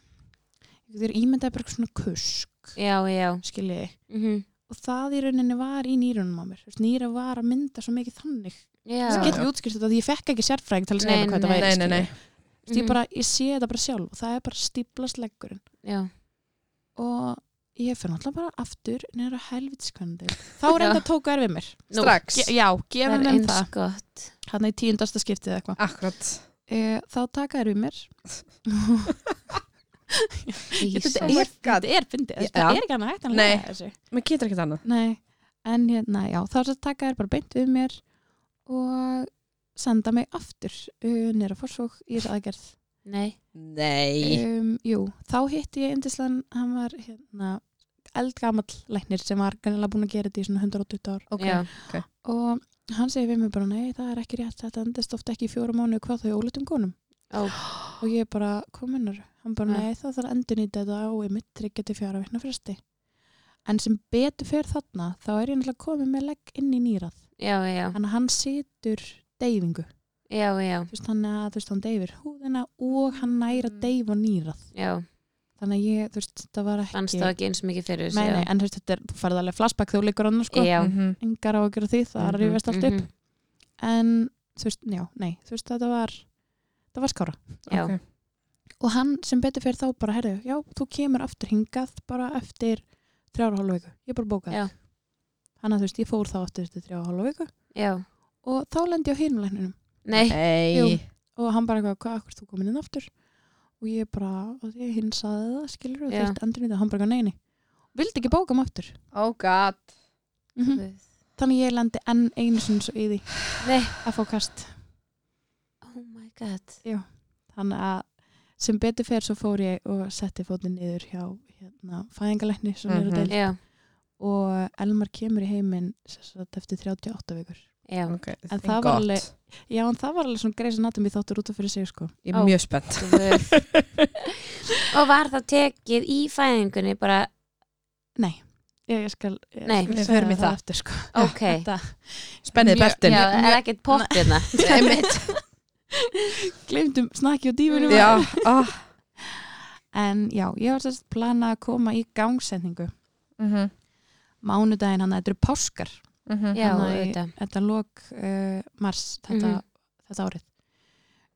ég er ímyndaði bara eitthvað svona kusk
já, já
skiljiði,
mhm,
og það í rauninni var í nýrunum á mér, Þú veist, nýra var að mynda svo mikið þannig,
já,
þess
Skil-
að getum við útskýrt þetta því ég fekk ekki sérfræðing til að segja
Nei,
mér hvað
nei. Mhm.
þetta væri
Nei, nei, nei.
skiljiði. Þú veist, ég, bara, ég sé þetta bara sjálf og það er bara stíplast leggurinn
já,
og ég fyrir náttúrulega bara aftur nýra helvitskvöndi þá reynda tóka er við mér
Nú,
Strax.
Ge já,
það
gefa
er
mér
eins
það
gott
hann er í tíundasta skiptið eða eitthvað
Akkurat.
e, þá taka er við mér þetta
Jesus.
er, þetta er fyndið
Já.
þetta er ekki hann að hægt að
Nei.
laga þessu
Mér getur ekkert annað.
Nei, en hérna, já, þá sem taka er bara beint við mér og senda mig aftur uh, nýra fórsvók í þessu aðgerð
nei,
Nei.
um, Jú, þá hitti ég Indislan, hann var hérna eldgamall læknir sem var gannilega búin að gera þetta í svona 120 ár
Ok.
já,
og hann segir við mig bara, nei, það er ekki rétt þetta endist ofta ekki í fjóra mánu hvað þau ólutum konum
Ó.
og ég bara, hvað mennur? Hann bara,
Nei.
nei, það þarf að endurnýta þetta á einmitt tryggja til fjóra vikna fresti en sem betur fer þarna þá er ég náttúrulega komið með legg inn í nýrað
já, já,
Þannig að hann situr deyfingu.
já, já,
Þú veist, hann, þú veist, hann deyfir húðina og hann næra
Mm.
deyfa nýrað.
já,
Þannig að ég, þú veist, það var ekki...
fannst það ekki eins mikið fyrir
Nei, nei,
þessu,
en þú veist, þetta er, þú færði alveg flashback þú liggur annars, sko.
já, já,
Mhm.
Engar á að gera því, það
Mhm,
er rifjast allt
mhm.
upp. En, þú veist, já, nei, þú veist, þetta var, það var skára.
já,
Ok.
Og hann sem betur fyrir þá bara, herðu, já, þú kemur aftur hingað bara eftir þrjára hálfa viku. Ég bara bókaði.
Já.
Þannig að þú veist, ég fór þá aftur eftir þrjára hálfa viku
já,
og þá lendi ég á hinulegninum
nei,
Jú.
Nei.
og hann bara eitthvað, hvað, akkur þú komin inn aftur og ég bara, og ég hinsaði það skilur og
Já.
þurfti endur nýtt og hann bara eitthvað neini vildi ekki bóka mig aftur
Oh god.
-hmm. þannig ég lendi enn einu sinns í því
nei,
að fá kast
oh my god,
þannig að sem betur fer svo fór ég og setti fótinn niður hjá hérna, fæðingalækni sem mm
Mhm.
-hmm.
já,
og Elmar kemur í heiminn sem sagt, eftir 38 vikur
já,
Okay,
En
thank
það var
God.
alveg- já, en það var alveg svona greis anatomy þáttur út af fyrir sig sko.
Ég
Ó.
er mjög spennt.
Guð. og var það tekið í fæðingunni bara,
nei, ég, ég skal ég
Nei,
skal
við
segja
förum í það.
eftir sko.
ok,
þetta
Spennið
Mjög-
beltin.
já, er ekkert hérna.
(laughs)
poppina,
Einmitt.
glemdum snakki og dífunum
(laughs) já, ah.
en já, ég var sérst plana að koma í gangsetningu
Mhm,
mánudaginn hann, þetta eru páskar
mhm.
(laughs) já,
Þannig að ég-
auðvitað,
þetta lók uh, mars þetta,
Mhm.
þetta árið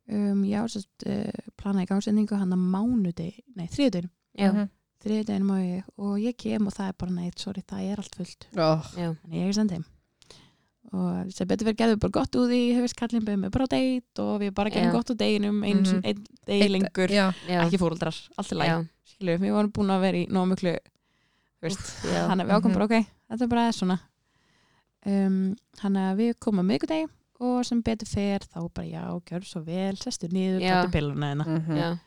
um, ég var sérst uh, plana í gangsetningu hann að mánudaginn, nei, þriðudaginn
já,
Mhm.
þriðudaginn má ég og ég kem og það er bara neitt, sorry, það er allt fullt
Ó,
já,
þannig ég er send heim og sem betur verið geðum við bara gott úr því hefist kallin beðið mig bara á deit og við bara gerum
Já.
gott úr deginum einu mm
Mhm.
-hmm. degi lengur,
Já,
já,
ekki fóruldrar allt í lagi
já,
skilur, við vorum búin að vera í nóg miklu þú veist,
Úff, já. Mhm.
þannig að við ákomum bara, ok, þetta er bara aðeins svona um, þannig að við komum miðgudegi og sem betur fer þá bara, já, gjör svo vel sestu niður,
Já.
taktu pilluna þeina
mhm.
já,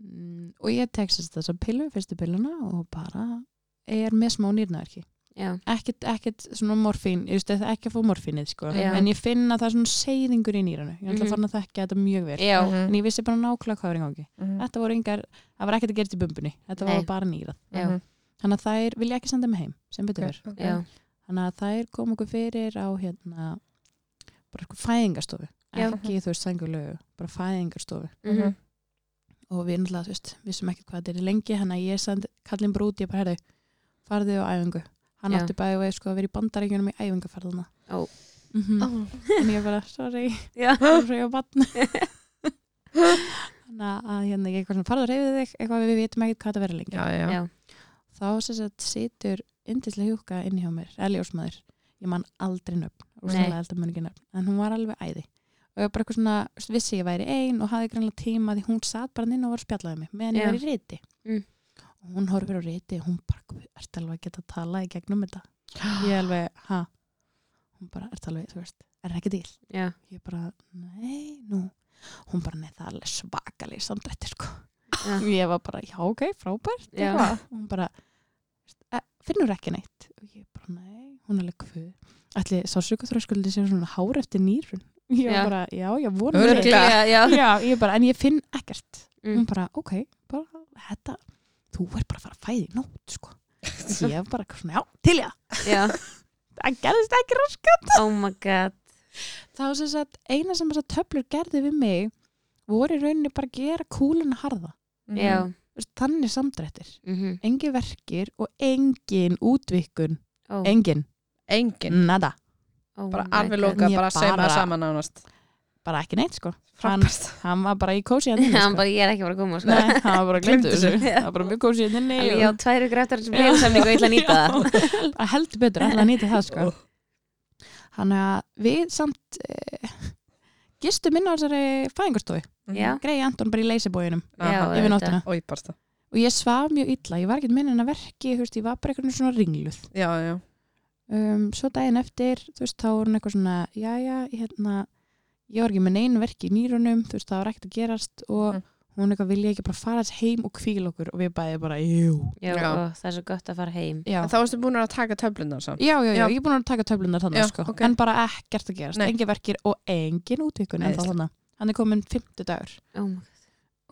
mm, og ég tek sérst þessa pillu, fyrstu pilluna og bara er með smá nýrnaverki
já,
ekkert, ekkert svona morfín ég veist, ekki að fá morfínið, sko
Já.
en ég finn að það er svona seyðingur í nýranu ég ætla
Mhm.
að fara að þekka þetta mjög vel
já,
en ég vissi bara nákvæmlega hvað var í gangi
Mhm,
þetta voru yngar, það var ekkert að gera í bumbunni þetta
Nei.
var bara nýrað
já.
mhm.
þannig að þær vilja ekki senda mig heim sem betur verð,
Ok.
já,
þannig að þær kom okkur fyrir á hérna bara eitthvað fæðingarstofu
Já.
ekki þú veist sængulegu, bara fæðingarstofu
mhm,
og við náttúrulega, þú veist, vissum ekkert hvað þetta er lengi þannig að ég sendi kallin brúti, ég bara herðu farðu á æfingu, hann
Já.
átti bæði og sko að vera í bandaríkjunum í æfingaferðuna
Ó.
mm en ég bara, sorry
já,
svo ég
(laughs)
á batn þannig að hérna, ég eitthvað svona farðu að reyfið þig, eitthvað við vitum ekkert hvað þetta verður lengi
Já, já.
já,
þá sem sagt situr yndislega hjúka inn hjá mér, eða ljósmaður ég man aldrei nöfn, rosalega elda mun ekki nöfn en hún var alveg æði og ég bara eitthvað svona, þú veist, vissi ég væri ein og hafði grannlega tíma því hún satt bara inn og var að spjallaði mig meðan
Já.
ég var í riti
Mm.
og hún horfir á riti og hún bara, "Guð, ertu alveg að geta að tala í gegnum þetta ég alveg, ha hún bara, ertu alveg, þú veist, er það ekki til
já,
ég bara, nei, nú hún bara, nei, það er alveg svakalig samdrætti, sko
Já.
ég var bara, já, ok, frábært
Já.
eitthvað. og hún bara, "E, finnur ekki neitt og ég bara, nei, hún er alveg hvað ætli, sársöku þröskuldi sem svona hár eftir nýrun ég
Já.
var bara, já, já, vonum
Örugglega.
Örugglega, já,
já, ég bara, en ég finn ekkert
Mm.
hún bara, ok, bara, þetta þú er bara að fara að fæði í nótt,
(laughs)
sko ég var bara, eitthvað svona, já, til ég
já,
það gerðist ekki rask
(laughs) oh my god,
þá sem sagt eina sem þessar töflur gerði við mig voru í rauninni bara að gera kúluna harða
Mhm.
já,
Þú veist, þannig samdrættir,
mhm,
engin verkir og engin útvikkun
ó,
engin,
Engin.
nada
oh
Bara
my
alveg
God.
loka,
Ég
bara að sauma
bara-
saman ánast.
bara ekki neitt sko Hann-
Frábært.
hann var bara í
(laughs)
kósi hann
hann
sko.
bara, ég er ekki bara að koma, sko
(laughs) Nei, hann var bara glemt
Gleymdi
þessu
þessu.
hann var bara mjög kósi hérna hann
Alveg, ég á tværu grættar sem beinsamning og ég ætla
(laughs)
að nýta það
það heldur betur, hann nýtti það sko hann að við samt eh, gistum inn á þessari fæðingarstofi
Já,
greiði Anton bara í leysibóinum
já,
Mhm. Aha.
auðvitað.
yfir nóttina
Og ég bara stað.
og ég svaf mjög illa, ég var ekkert minn en að verki þú veist, ég var bara eitthvað svona ringluð
Já, já.
um, svo daginn eftir, þú veist, þá var hún eitthvað svona jæja, hérna ég var ekki með neinu verki í nýrunum þú veist, það var ekkert að gerast og
Mm.
hún eitthvað vilja ekki bara fara þess heim og kvíl okkur og við bæði bara, jú
Já,
Já.
og það er svo gott að fara heim
já,
En þá varstu búin að taka töflunar samt.
já, já,
Já.
ég er búin að taka töflunar þannig,
Já,
sko
ok.
en bara ekkert að gerast,
Nei.
engin verkir og engin útvikun en þá
Æðislegt.
þannig hann er komin fimmtudagur
oh my God.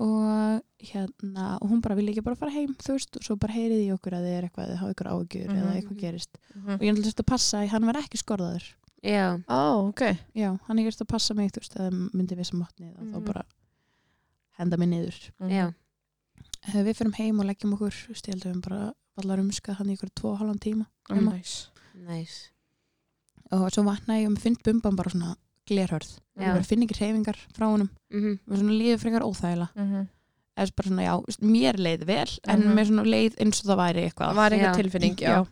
og hérna, og hún bara vilja ekki bara fara heim þú veist, og svo bara heyrið í okkur að þið er eitthvað að þið hafa ykkur ágjur
Mhm.
eða eitthvað gerist
Mhm.
og ég ætla þurfti að passa að hann var ekki skorðaður
já,
Ó, ok.
já, hann er gert að passa mig þú veist, að myndi við sem matnið mm
Mhm.
þá bara henda mig niður
Mhm.
já,
Eh, Við fyrum heim og leggjum okkur þú veist, ég held að við höfum bara vallar umskað hann í ykkur tvo og halvan tíma
Mm.
Heima.
Næs.
næs
og svo vaknaði ég og mér finnst bumban bara svona glerhörð,
Já.
ég bara finn ekki hreyfingar frá honum
Mhm,
og svona líður frekar óþægilega
Mm -hmm.
eða svo bara svona já, þú veist, mér leið vel en
Mhm.
mér svona leið eins og það væri eitthvað
Það var eitthvað
Já.
tilfinning, já.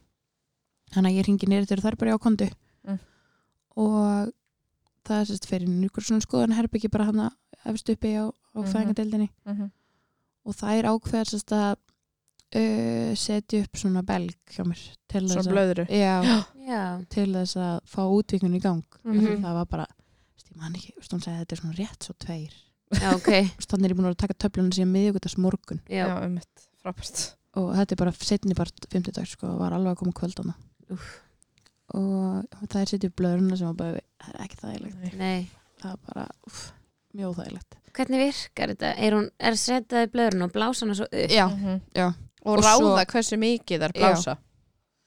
Þannig að ég ringi neyri til þær bara já, kondu
Mm.
og það er sérst fyrir einhver svona skoðan herbyggi bara hann efst uppi á, á
Mhm.
fæðingadeildinni
Mhm.
og það er ákveðar sérst að uh, setja upp svona belg hjá mér til þess
Svona
að
blöðuru.
já,
(gasps) já,
til þess að fá útvikun í gang mm
Mhm.
það var bara, þú veist, ég man ekki þú veist, hún sagði þetta er svona rétt svo tveir
já, ok
(laughs) Þú veist, þannig er ég búin að vera að taka töflunum síðan miðvíkutas morgun
já,
Já, um mitt. Frábært.
og þetta er bara setni part 50 dag sko, og var alveg að koma kvöldana
Úff.
og það er setjum blöðurna sem var bara, það er ekki þægilegt
nei
það er bara, uff, mjög þægilegt
Hvernig virkar þetta? Er hún, er setaði blöðrun og blása hana svo upp?
já,
Mhm.
já.
Og,
Og
ráða hversu mikið þær blása.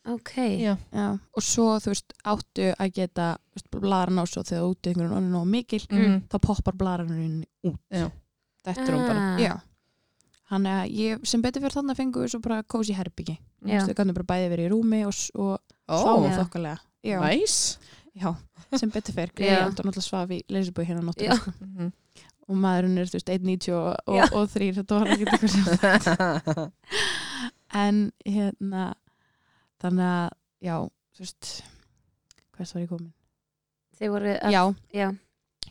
Ok,
Já.
já og svo þú veist, áttu að geta þú veist, blaran á svo þegar úti einhvern veginn og mikil,
Mhm.
þá poppar blaranurinn út
Þetta er hún bara.
Ah,
já, hann er að ég sem betur fyrir þannig að fengu svo bara kósi herbyggi
Já.
þau kannum bara bæði verið í rúmi og, s- og
Ó,
sváum
Já.
þokkalega já,
næs.
já, sem betur fyrir
(laughs) Já.
greiði og náttúrulega svaf í leysibúi hérna
Já.
náttúrulega sko.
Mhm.
og maðurinn er þú veist 1.90 og,
Já.
og, og 3 þetta var ekki eitthvað sem en hérna þannig að já, þú veist hvers var ég komin?
Þið voru að,
Já,
já.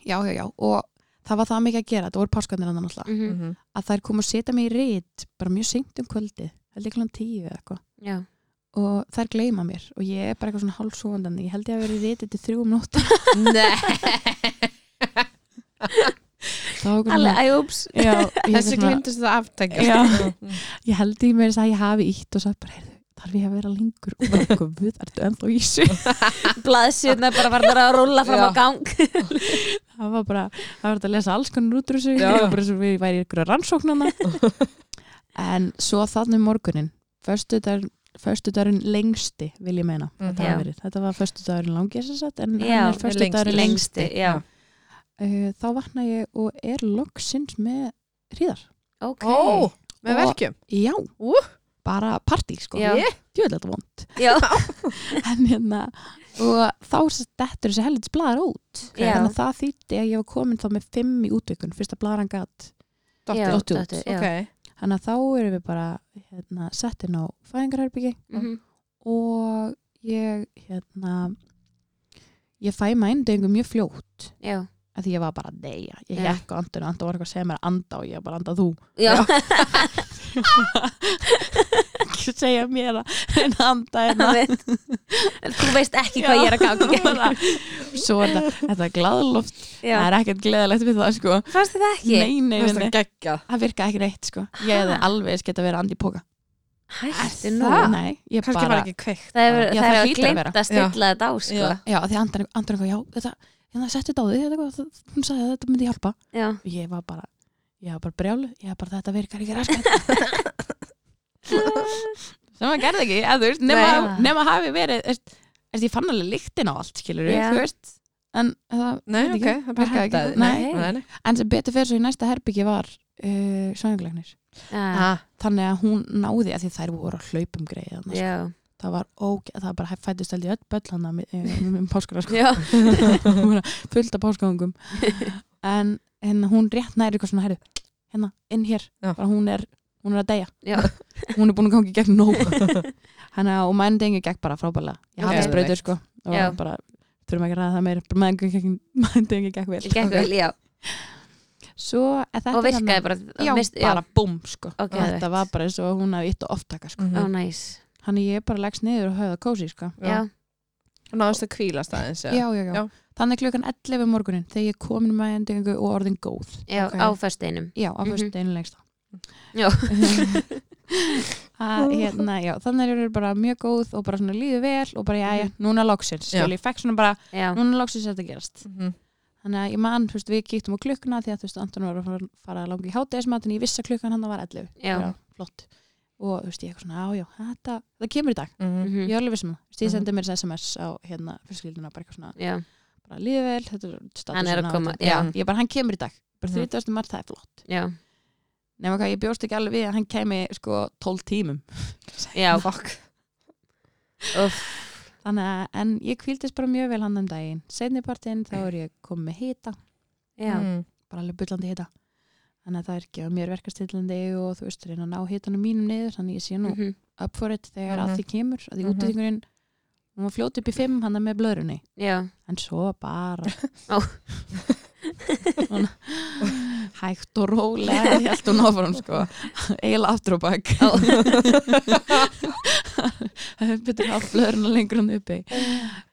já, já, já og það var það mikið að gera, þetta voru páskarnir annan alltaf
mhm,
Mhm.
að þær komu að setja mig í rít bara mjög seint um kvöldi, held ég klann tíu eða eitthvað
já,
og þær gleyma mér og ég er bara eitthvað svona hálfsóðan ég held ég að vera í rítið til þrjú um nótt (laughs)
Alveg, æ, úps
Þessu
þessu
glimtist það aftækja.
Hérna- Já. ég held ég með þess að ég hafi ítt og sagt bara, heyrðu, þarf ég að vera lengur og bara, guð, ertu ennþá í þessu
Blaðsýðna bara var bara að rúlla fram á
Já.
gang (laughs)
það var bara, það var hægt að lesa alls konar út úr þessu,
Já.
ég var bara svo við væri ykkur að rannsóknana
(laughs)
en svo þannig morgunin föstudagurinn lengsti vil ég meina, þetta
Já.
hafa verið þetta var föstudagurinn langi þess að sagt en
Já,
hann er föstudagurinn lengsti,
Lengsti, já,
Uh, þá vakna ég og er loksins með hríðar,
ok
Ó, með
Og-
verkjum.
já
Ú.
bara partí sko,
Já.
djöðlega þetta vond
Já,
(laughs) en hérna og þá sem sagt dettur þessi helvits bladar út
Já.
þannig að það þýtti að ég var komin þá með fimm í útvikun, fyrsta blaran gatt
já,
Dóttir.
dottir út.
(laughs) dottir, já.
Ok.
þannig að þá erum við bara hérna, settin á fæðingarherbyggi
Mhm,
og ég hérna ég fæ mændöngu mjög fljótt
Já,
af því ég var bara að deyja, ég
Já.
hekk á andun og andun var eitthvað að segja mér að anda og ég var bara anda þú (laughs)
já, (laughs)
ekki segja mér að reyna að anda
(laughs)
hérna
veit Þú veist ekki hvað
Já.
ég er að
(laughs)
ganga
svo er þetta, þetta glaðloft það
Já,
er ekkert gleðalegt við það sko
fannst þið það ekki?
nei, nei, nei,
Mér finnst
nei.
það geggjað.
það virka ekki neitt sko ég hefði alveg eins geta verið andi í póka
Hættu nú
það?
nei, ég
Kannski
bara
var ekki kveikt.
Það hefur,
Já,
það
það
hefur
hlýtur að vera.
glemt að stilla þetta á, sko
Já.
já, því andan andan eitthvað, já, þetta hérna setti þetta á því, þetta, eitthvað, hún sagði að þetta myndi hjálpa
Já,
(laughs)
(laughs)
og ég var bara, ég var bara brjálu ég var bara, þetta virkar ekki raskat (laughs) sem það gerði ekki, eða þú veist, nema,
Nei.
nema hafi verið veist, veist, ég fann alveg lyktin á allt, skilur
Já.
þú veist en, það,
Nei,
Veit
ok,
ekki.
það bara
Virkaði ekki.
hættaði.
Nei.
nei, nei.
en sem betur fyrir svo í næsta herbyggi var uh, svæðinglegnir
já,
Ah,
þannig að hún náði að því þær voru að hlaupum greið annars,
já,
það var ógeð, það var bara fættist held í öll böll hann um páskara (laughs) sko,
já
Hún var fullt af (laughs) páskagangum en hérna, hún rétt næri eitthvað svona herri, hérna, inn hér
Já.
bara hún er, hún er að deyja
(laughs) Já.
hún er búin að ganga í gegn (laughs) nóg Hanna, og mændingi gegn bara frábælega ég
Ok.
hafði sprautur sko og
Já.
bara, þurfum ekki að ræða það meira mændingi gegn vel
Gekk vel, já
Svo, er þetta
Og virkaði
þarna-
bara
já,
mist-
bara búm sko
Ok,
þetta var bara eins og hún hafði ytt og oftaka sko
Ó,
mhm.
næs
hann ég bara leggst niður og höfða kósi sko
Já,
Og náðust að kvílast aðeins. eða?
já, já, já.
Já.
Þannig klukkan 11 um morgunin þegar ég komin með endingu og orðin góð.
já,
Ok.
á fösteinum
Já, á
Mhm.
fyrstu einu lengst þá.
Já.
(laughs) að, hérna, já, þannig er ég bara mjög góð og bara svona líðu vel og bara, já, já, núna loksins.
Já.
Skil, ég fekk svona bara,
Mhm. Já,
núna loksins er þetta að gerast.
Mhm.
Þannig að ég man, þú veist, við kíktum á klukkuna því að, þú veist, Anton var að fara- fara að langa í hátæðismatin, ég vissi að klukkan hann var 11.
já,
flott. og þú veist, ég eitthvað svona, á já, þetta það kemur í dag,
Mhm.
Mhm.
ég er alveg vissum það Þú veist, ég
Mhm.
sendi mér þess SMS á hérna fjölskylduna, bara eitthvað svona,
Já,
bara lífið vel þetta er statusinn
Hann er að
á
koma,
þetta.
já.
ég bara, hann kemur í dag, bara
Mhm.
30. mars, það er flott
já,
nema hvað, ég bjóst ekki alveg við að hann kemi sko 12 tímum
já,
Fuck.
uff,
Þannig að, en ég kvíldist bara mjög vel hann um daginn. Seinnipartinn þá er ég komið með hita,
já,
Mhm.
bara alveg bullandi hita. Þannig að það er ekki að mér verkastillandi og þú veist, reyna að ná hitanum mínum niður, þannig ég sé nú
mhm,
up for it þegar
Mhm.
að því kemur, að því
Mhm.
mm hún var fljót upp í fimm, hann er með blöðrunni.
já,
En svo bara,
Ó.
Svona hægt og rólega, held hún áfram sko, eiginlega aftur og bak.
ó,
Það er betur að hafa blöðruna lengur hann uppi.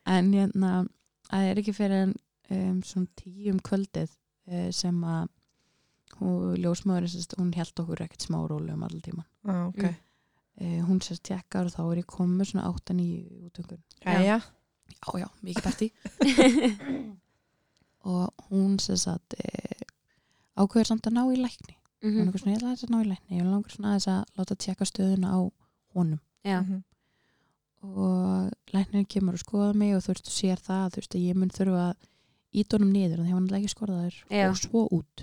en hérna það er ekki fyrir en um, svona tíum kvöldið uh, sem að hún ljósmaður sérst, hún held okkur ekkert smá rólu um allan tíman
Já, ok.
Mm.
uh, hún sérst tekkar og þá er ég komið svona 8-9 útöngur
Jæja.
já já, mikið
(laughs)
partí og hún sérst að uh, ákveður samt að ná í lækni hún er
mhm,
eitthvað svona, ég ætla aðeins að ná í lækni ég langar svona aðeins að láta tekka stöðuna á honum
já,
Mhm.
og læknirinn kemur og skoða mig og þú veist, þú sér það, þú veist, að ég mun þurfa að ít honum niður, þannig að hann er ekki skorðaður
Já.
og svo út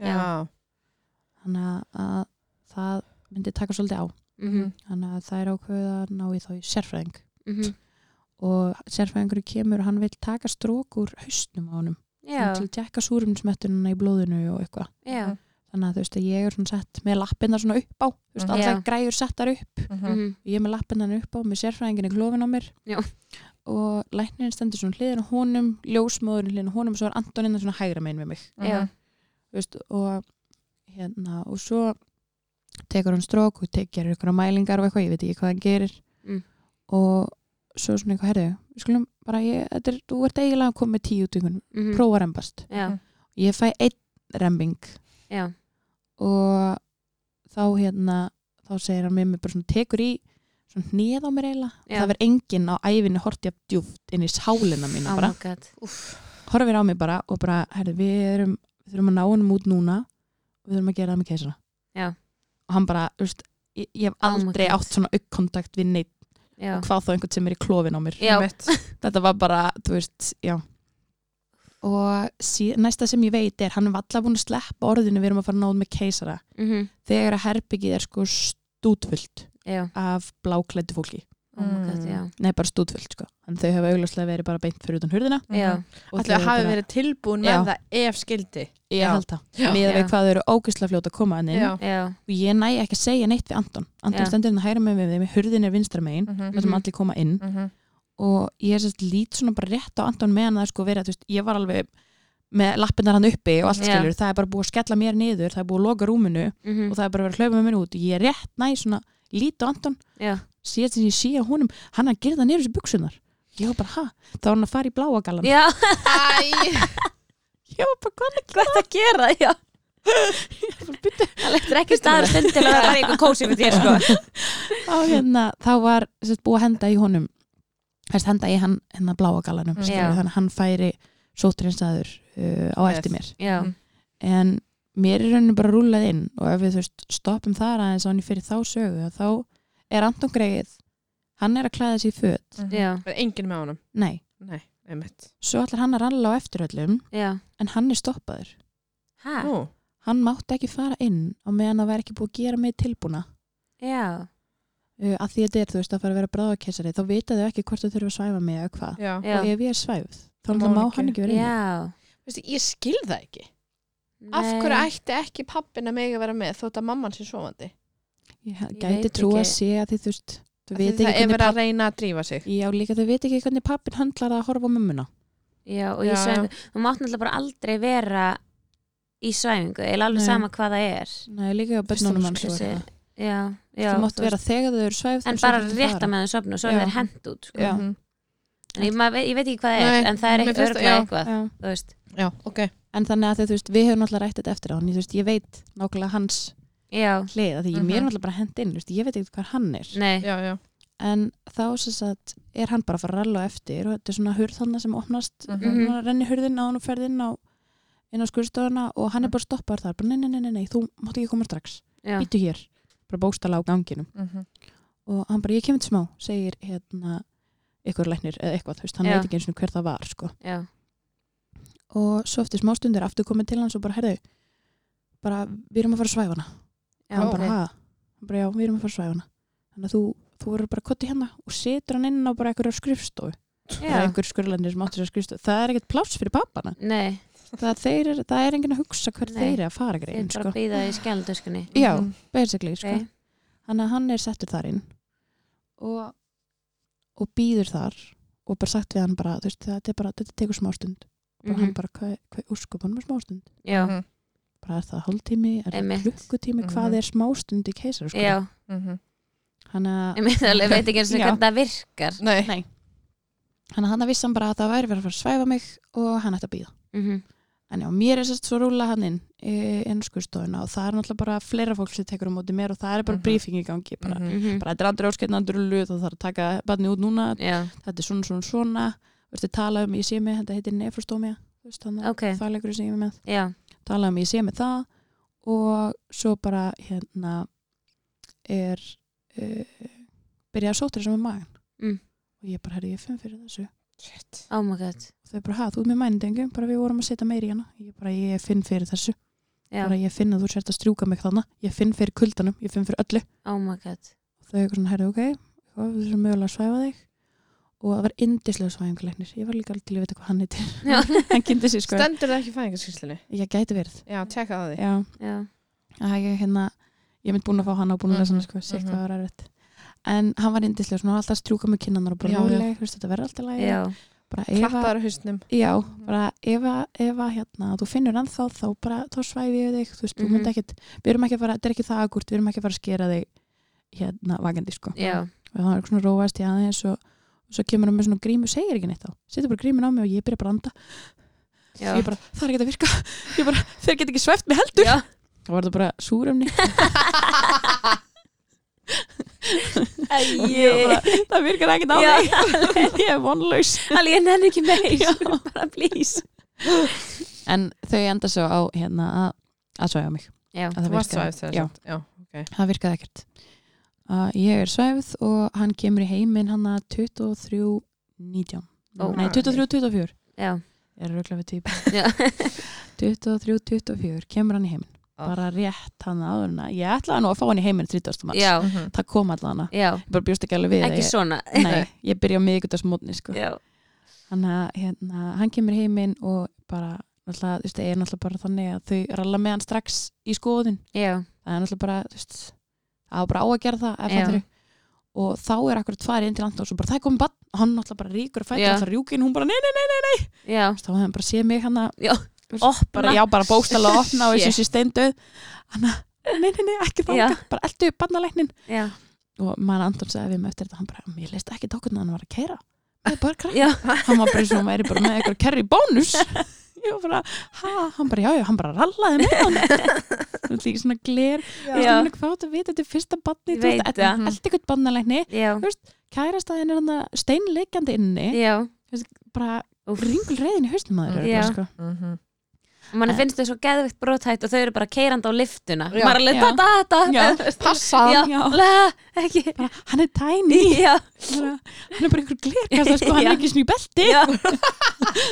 Já.
þannig að- að það myndi taka svolítið á
mhm,
þannig að það er ákveðið að ná í þá í sérfræðing
mhm,
og sérfræðingur kemur og hann vil taka strók úr hausnum á honum
já,
til að tjekka súrumsmettununa í blóðinu og eitthvað
já,
þannig að þú veist að ég er svona sett með lappinnar svona upp á þú veist
Mhm.
alltaf
Já.
græjur settar upp
Mhm.
mhm,
ég er með lappinnan upp á með sérfræðingin í klófin á mér
Já.
og læknirinn stendur svona hliðin á honum ljósmóðurinn hliðin á honum og svo er Antonina svona hægra megin við mig
Mhm.
Já.
þú veist, og hérna og svo tekur hann strók og tek- gerir ykkur mælingar og eitthvað, ég veit ekki hvað hann gerir
Mm.
og svo svona eitthvað herðu, við skulum bara ég, þetta er, þú ert eiginlega að koma með tíu tungun
mhm,
prófa að rembast,
já,
ég fæ einn rembing
já,
og þá hérna þá segir hann með mig bara svona tekur í svona hnið á mér eiginlega og
Já.
það verð enginn á ævinni hortið djúft inn í sálina mína
oh
bara
my god,
horfir á mig bara og bara, herri, við erum við þurfum að ná honum út núna og við þurfum að gera það með keisara
Já.
og hann bara, þú veist, ég, ég hef
Oh my
aldrei
God.
átt svona aukkontakt við neitt
já,
og hvað þá einhvern sem er í klófin á mér
Já.
Mitt.
þetta var bara, þú veist, já og sí, næsta sem ég veit er hann er valla búin að sleppa orðinu við erum að fara að náð með keisara
mhm,
þegar að herbyggið er sko stútfullt
já,
af bláklættu fólki
oh my
Mm.
god, já,
nei, bara stútfullt sko en þau hafa augljóslega verið bara beint fyrir utan hurðina
já,
(laughs)
og
Ætli
þau
að hafi
bara-
verið tilbúin
Já.
með það ef skildi.
ég
Já.
held það,
Já.
miðað
Já.
við hvað þau eru ógislega fljóta að koma hann inn
Já.
já,
og ég næ ekki að segja neitt við Anton Anton
Já.
stendur hérna hægra með þeim, hurðin er vinstra megin
Mm.
þar sem
Mhm.
allir koma inn
Mhm.
og ég er sérst lít svona bara rétt á Anton meðan það er sko verið að þú veist, ég var alveg með lappinnar hann uppi og allt
Já.
skilur það er bara búið að skella mér niður, það er búið að loka rúminu
mhm,
og það er bara verið að hlaupa með mér út og ég er rétt næ svona lít á Anton
já,
sé sem ég sé á honum, hann er að gera það niður þessi buksunar ég var bara, ha, þá var hann að fara í bláa gallan
já, (laughs)
ég var bara, hvað er
hvað er það að gera, já,
að byrja
það leittur ekki staðar stund til að vera bara í eitthvað kósi með þér,
(laughs)
sko,
á hérna, þá var sérst, búið að henda í honum Þess, henda í hann, hérna bláa gallanum
Mm.
skilur,
Já.
þannig að hann færi sótrinsaður uh, á
Yes.
eftir mér
já,
en mér er raunin bara rúlað inn og ef við þú veist, stoppum þar aðeins á hann fyrir þá sögu að þá er Anton greið hann er að klæða sig í föt
Mhm.
já,
En enginn með honum.
nei,
Nei, einmitt.
svo allar hann að ralla á eftiröllum
já,
en hann er stoppaður
hæ,
Nú.
hann mátti ekki fara inn á meðan það væri ekki búið að gera mig tilbúna
já,
uh, að því þetta er, þú veist, að fara að vera bráðakessari þá vita þau ekki hvort þau þurfa að svæfa mig eða hvað
Já.
já,
og ef ég er svæfð þá
Þá má
náttúrulega má
hann
hann ekki vera inni
já,
Veistu, ég skil það ekki. Af hverju
Nei.
ætti ekki pappin að mega vera með þótt að mamman sé sofandi?
ég
Ég
gæti
veit
trú að
ekki.
sé að þið þú veist þau
Af því
veit
Það
ekki
er verið
hvernig
að reyna að drífa sig.
pappi já líka þau veit ekki hvernig pappin höndlar að horfa á mömmuna
Já, og ég
Já.
svæfingu, þú mátt náttúrulega bara aldrei vera í svæfingu, eða alveg
Nei.
sama hvað það er.
nei líka á börnunum hans og
Þessi-
eitthvað.
Já, já.
þú mátt
þú
vera þegar þau eru svæfð
En
og svo
bara
þarftu að
rétta
fara.
með þeim sofna og svo
Já.
er þeir hent út, sko.
Já.
Mhm.
En ég, maður, veit- ég veit ekki hvað það er,
Nei,
en það er
mér
eitthvað
finnst-
örglega
já.
eitthvað,
Já.
þú veist.
Já, ok.
en þannig að þau, þú veist við höfum alltaf rætt þetta eftir á hann ég, þú veist, ég veit nákvæmlega hans
Já,
hlið að því
Mhm.
mér er alltaf bara hend inn þú veist, ég veit ekki hvað hann er
nei,
Já, já.
en þá sem sagt er hann bara að fara að ralla á eftir og þetta er svona hurð þarna sem opnast mm
Mhm.
-hmm. renni hurðin á hann og ferð inn á inn á skurðstofuna og hann er bara stoppaður þar bara nei, nei, nei, nei, nei, þú mátt ekki koma strax
já,
býtu hér, bara bóstala á ganginum
Mhm.
og hann bara, ég kemur til smá, segir hérna ykkur læknir eða eitthvað, þú veist, hann
Já.
veit ekki eins og hver það var sko.
já,
og svo eftir smástundir aftur komið til hans og bara, herðu bara, við erum að fara að svæfa hana
já,
hann
ok.
bara, hæ, hann bara, já, við erum að fara að svæfa hana þannig að þú, þú verður bara kotti hérna og setur hann inn á bara einhverja skrifstofu eða
já.
einhver skurlandir sem átti sér skrifstofu það er ekkert pláss fyrir
(laughs)
pappana
Nei,
það, þeir, er- það er enginn að hugsa hver
Nei.
þeir eru að fara
þeir
grein
bara
sko.
að býða í skjaldöskunni
já,
Mhm.
basically sko.
okay.
Þannig að hann er settur þar inn og, og býður þar og bara sagt við hann bara, þú veist, þetta er bara, þetta tekur smástund. Bara
Mhm.
hann bara, hvað, hvað úrskupan með smástund?
Já,
Mhm.
Bara er það hálftími, er
Einmitt.
það klukkutími,
Mhm.
hvað er smástund í keisar, sko?
já,
Mhm.
Þannig
ég meina alveg, veit ekki eins og
Já.
hvernig það virkar
Nei.
Nei. að hann vissi hann bara að það væri verið að fara að svæfa mig og hann ætti að býða.
Mhm.
En já, mér er sérst svo rúla hann inn í innskustofuna og það er náttúrulega bara fleira fólk sem tekur á móti mér og það er bara
Mhm.
briefing í gangi, bara,
Mhm.
Mhm.
Mm. bara þetta er andri áskeitna, andri luð og það er að taka barni út núna,
Já,
þetta er svona svona svona verður tala um ég sé mig, þetta heitir nefrostómia þannig að
ok,
okay. það leikur sem ég er með
já,
tala um ég sé mig það og svo bara hérna er uh, byrjaði að sóttir sem er magan
Mm.
og ég bara, herri, ég finn fyrir þessu
Shit.
oh my god
og þau bara, ha, þú ert með mænindengu, bara við vorum að setja meiri í hana ég bara, ég finn fyrir þessu
Já,
bara ég finn að þú sért að strjúka mig þannig ég finn fyrir kuldanum, ég finn fyrir öllu
oh my god
og þau eitthvað svona, herri, ok, þá við þurfum mögulega að svæfa þig og það var indislega svæfingulegnir ég var líka alveg til að vita hvað hann heitir
Já,
(laughs) hann kynnti sér sko,
Stendur það ekki í fæðingarskýrslunni?
ég gæti verið
Já, tjekka það á því.
já,
já,
að ég hérna ég mynd búin að fá hann og búin að lesa hann
Mhm,
sko, sér
mhm.
hvað var erfitt en hann var indislega, svona hann var alltaf að strjúka með kinnanar og
Já, já.
bara róleg, þú veist, þetta verður alltaf lægi
já, Mhm.
bara ef að,
Klappaður á hausnum.
já, bara ef að, ef að hérna, þú finnur hann þá þá bara, þá svæfi ég þig, þú veist, þú
Mhm.
mynd ekkit við erum ekki að fara, þetta er ekki það agurt, við erum ekki að fara að skera þig hérna, vakandi, sko
já,
og það er svona róast í aðeins og, og svo kemur hann með svona grímu, segir ekki neitt á setur bara grímin á mig og ég byrja bara að anda
já
ég bara, það er ekki að virka (laughs) ég bara, þeir get ekki svæft mig heldur
Já, (laughs)
þá var það bara súrumni
æjé
(laughs) það virkar ekkert á
Já.
mig
(laughs)
ég er vonlaus
Alveg, ég nenni ekki meir
Já.
(laughs) Bara please
en þau enda svo á hérna að, að svæfa mig
Já,
að
Þú
það
varst
virkaði-
svæðið þegar
já,
samt. Já, ok.
það virkaði ekkert að ég er svæfð og hann kemur í heiminn hann að 23 19
Ó.
nei 23 24
já,
ég er röglega við (laughs) típa
já
23 24 kemur hann í heiminn
Ah.
bara rétt hann áður en að ég ætlaði nú að fá hann í heiminn 30. mars
Já,
Mhm.
það kom allan hana
já,
ég bara bjóst ekki alveg við að
ekki
ég,
svona
nei, ég byrja á miðgutasmótni sko.
Já,
hann, hérna, hann kemur heiminn og bara náttúrulega, þú veist, það er náttúrulega bara þannig að þau ralla með hann strax í skoðun
já,
það er náttúrulega bara, þú veist það á bara á að gera það, ef
Já.
fattarðu. og þá er akkurat farið inn til Antons og bara það er komið bann, hann náttúrulega bara ríkur að fæta
Já.
yeah. alltaf rjúkin, hún bara nei, nei, nei, nei, nei.
já
þá hefði hann bara séð mig hann
Já.
bara, já, bara bóstala að
(laughs)
opna og
Shit.
þessi sé steinduð hann að, nei, nei, nei, ekki þá
Já.
bara eldu bannalæknin
Já,
og maður Anton sagði við mig eftir þetta hann bara, ég leist ekki dákurna að hann var að kæra það er bara krakk,
já,
hann var bara eins og hann væri bara með eitthvað kæri
(laughs)
bónus ég var bara, ha, hann bara, já, já, hann bara rallaði með
(laughs)
hann þú veist, í svona gler þú veist,
Já.
hann er hvað áttu að vita, þetta er fyrsta badni þú
Veit
veist,
það.
eld eitthvað badnalækni
já,
kærastaðin er hann að steinleikjandi inni
já
bara
Úff.
ringul reyðin í haustum
Já.
maður örugglega, sko.
Mhm.
mann
En-
finnst þau svo geðvikt brotætt og þau eru bara keirandi á liftuna
Já.
maður er alveg
Eh.
da
Já.
da da
Já.
þú veist.
passa
já,
hann, já,
la, ekki
Bara, hann er tiny
(laughs) já,
bara, hann er bara einhver glerkasta sko, hann
Já.
er ekki svona í belti
já,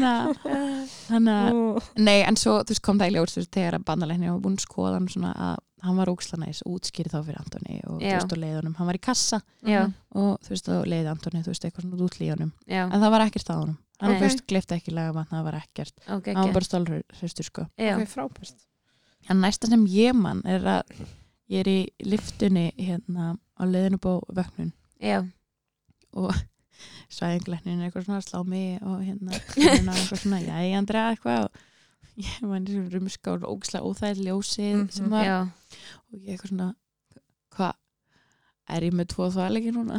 þannig að Nei, en svo, þú veist, kom það í ljós, þú veist, þegar að bandalegni var búin skoðan svona að hann var ógslanæs og útskýrði þá fyrir Antoni og, þú
Já.
veist, og leið honum, hann var í kassa
já,
og, þú veist, og leiði Antoni, þú veist, eitthvað svona útlíð honum,
já,
en það var ekkert að honum hann,
Nei.
þú veist, glifti ekki laga vatn, það var ekkert
ok,
hann var
ok
bara stálhraustur, sko
já,
Ok,
(laughs)
frábært.
en næsta sem ég mann er að ég er í liftunni, hérna á leiðinu bó vöknun
já,
svæðinglegnin er eitthvað svona að slá mig og hérna, hérna eitthvað svona, jæja, Andrea, eitthvað og ég var eins og rumska og ógislega óþægð ljósið
Mhm.
sem var (laughs)
já
og ég eitthvað svona hvað, er ég með tvo þvæleiki núna?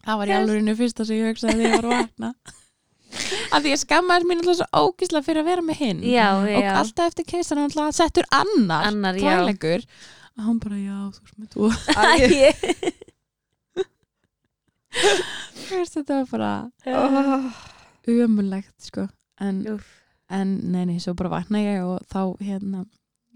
það var í alveginu fyrsta sem ég hugsaði þegar ég var að vakna af því ég skammaðist mín alltaf svo ógislega fyrir að vera með hinn
já,
og
já,
alltaf eftir keisar hann alltaf settur annar
annar, já
þvæleikur að hann bara, já, þú veist með tvo
Æ,
Æi.
Þú veist, þetta var bara
oh.
umulegt sko en
Úff.
en neini, svo bara vakna ég og þá hérna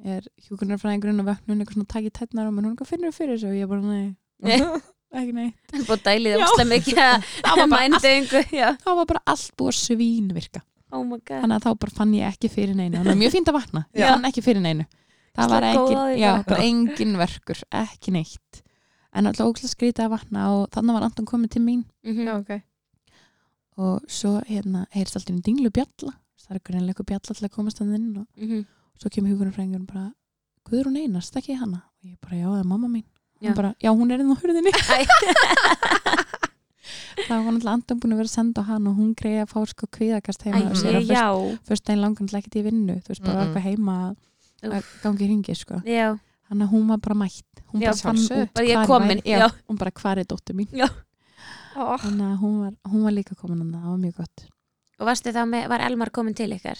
er hjúkunarfræðingurinn og vöknun eitthvað svona takk í tætnar og hún eitthvað finnur fyrir þessu og ég bara nei, (laughs) ekki nei
Það er búið að dæli
Já.
það óslega mikið að
(laughs) það var, bara allt,
mændingu. Já,
það var bara allt búið að svínvirka
oh my god.
þannig að þá bara fann ég ekki fyrir neinu þannig að mjög fínt að vakna,
Já.
ég fann ekki fyrir neinu það var
Ógeðslega góð á
engin,
því
já,
bara.
bara engin verkur ekki neitt en alltaf ógæslega skrítið að vakna og þannig var Anton komið til mín
Mhm.
ok.
og svo hérna heyrist alltaf einu dinglu bjalla það er greinlega eitthvað bjalla til að komast að inn og
Mhm.
svo kemur hugurumfræðingur bara Guðrún Einars, þekki ég hana og ég bara, já, það er mamma mín já.
Já.
bara, já, hún er inn á hurðinni
(laughs) Æ.
(laughs) það var náttúrulega andan búin að vera að senda á hann og hún greiði að fá sko kvíðakast
Æ,
heima á sér
ég-
að fyrst,
já.
fyrst daginn langan til ekkert í vinnu þú veist, bara var
Mm-mm.
eitthvað heima að- að gangi hringi sko.
Já.
þannig að hún var bara mætt hún
Já,
bara fann
sjálfsögðu.
út
Bara ég er
hvar
komin,
væri- já,
já.
hún bara hvar er dóttir mín
Ó.
þannig að hún var, hún var líka komin hann það var mjög gott
Og varstu þá með, var Elmar komin til ykkar?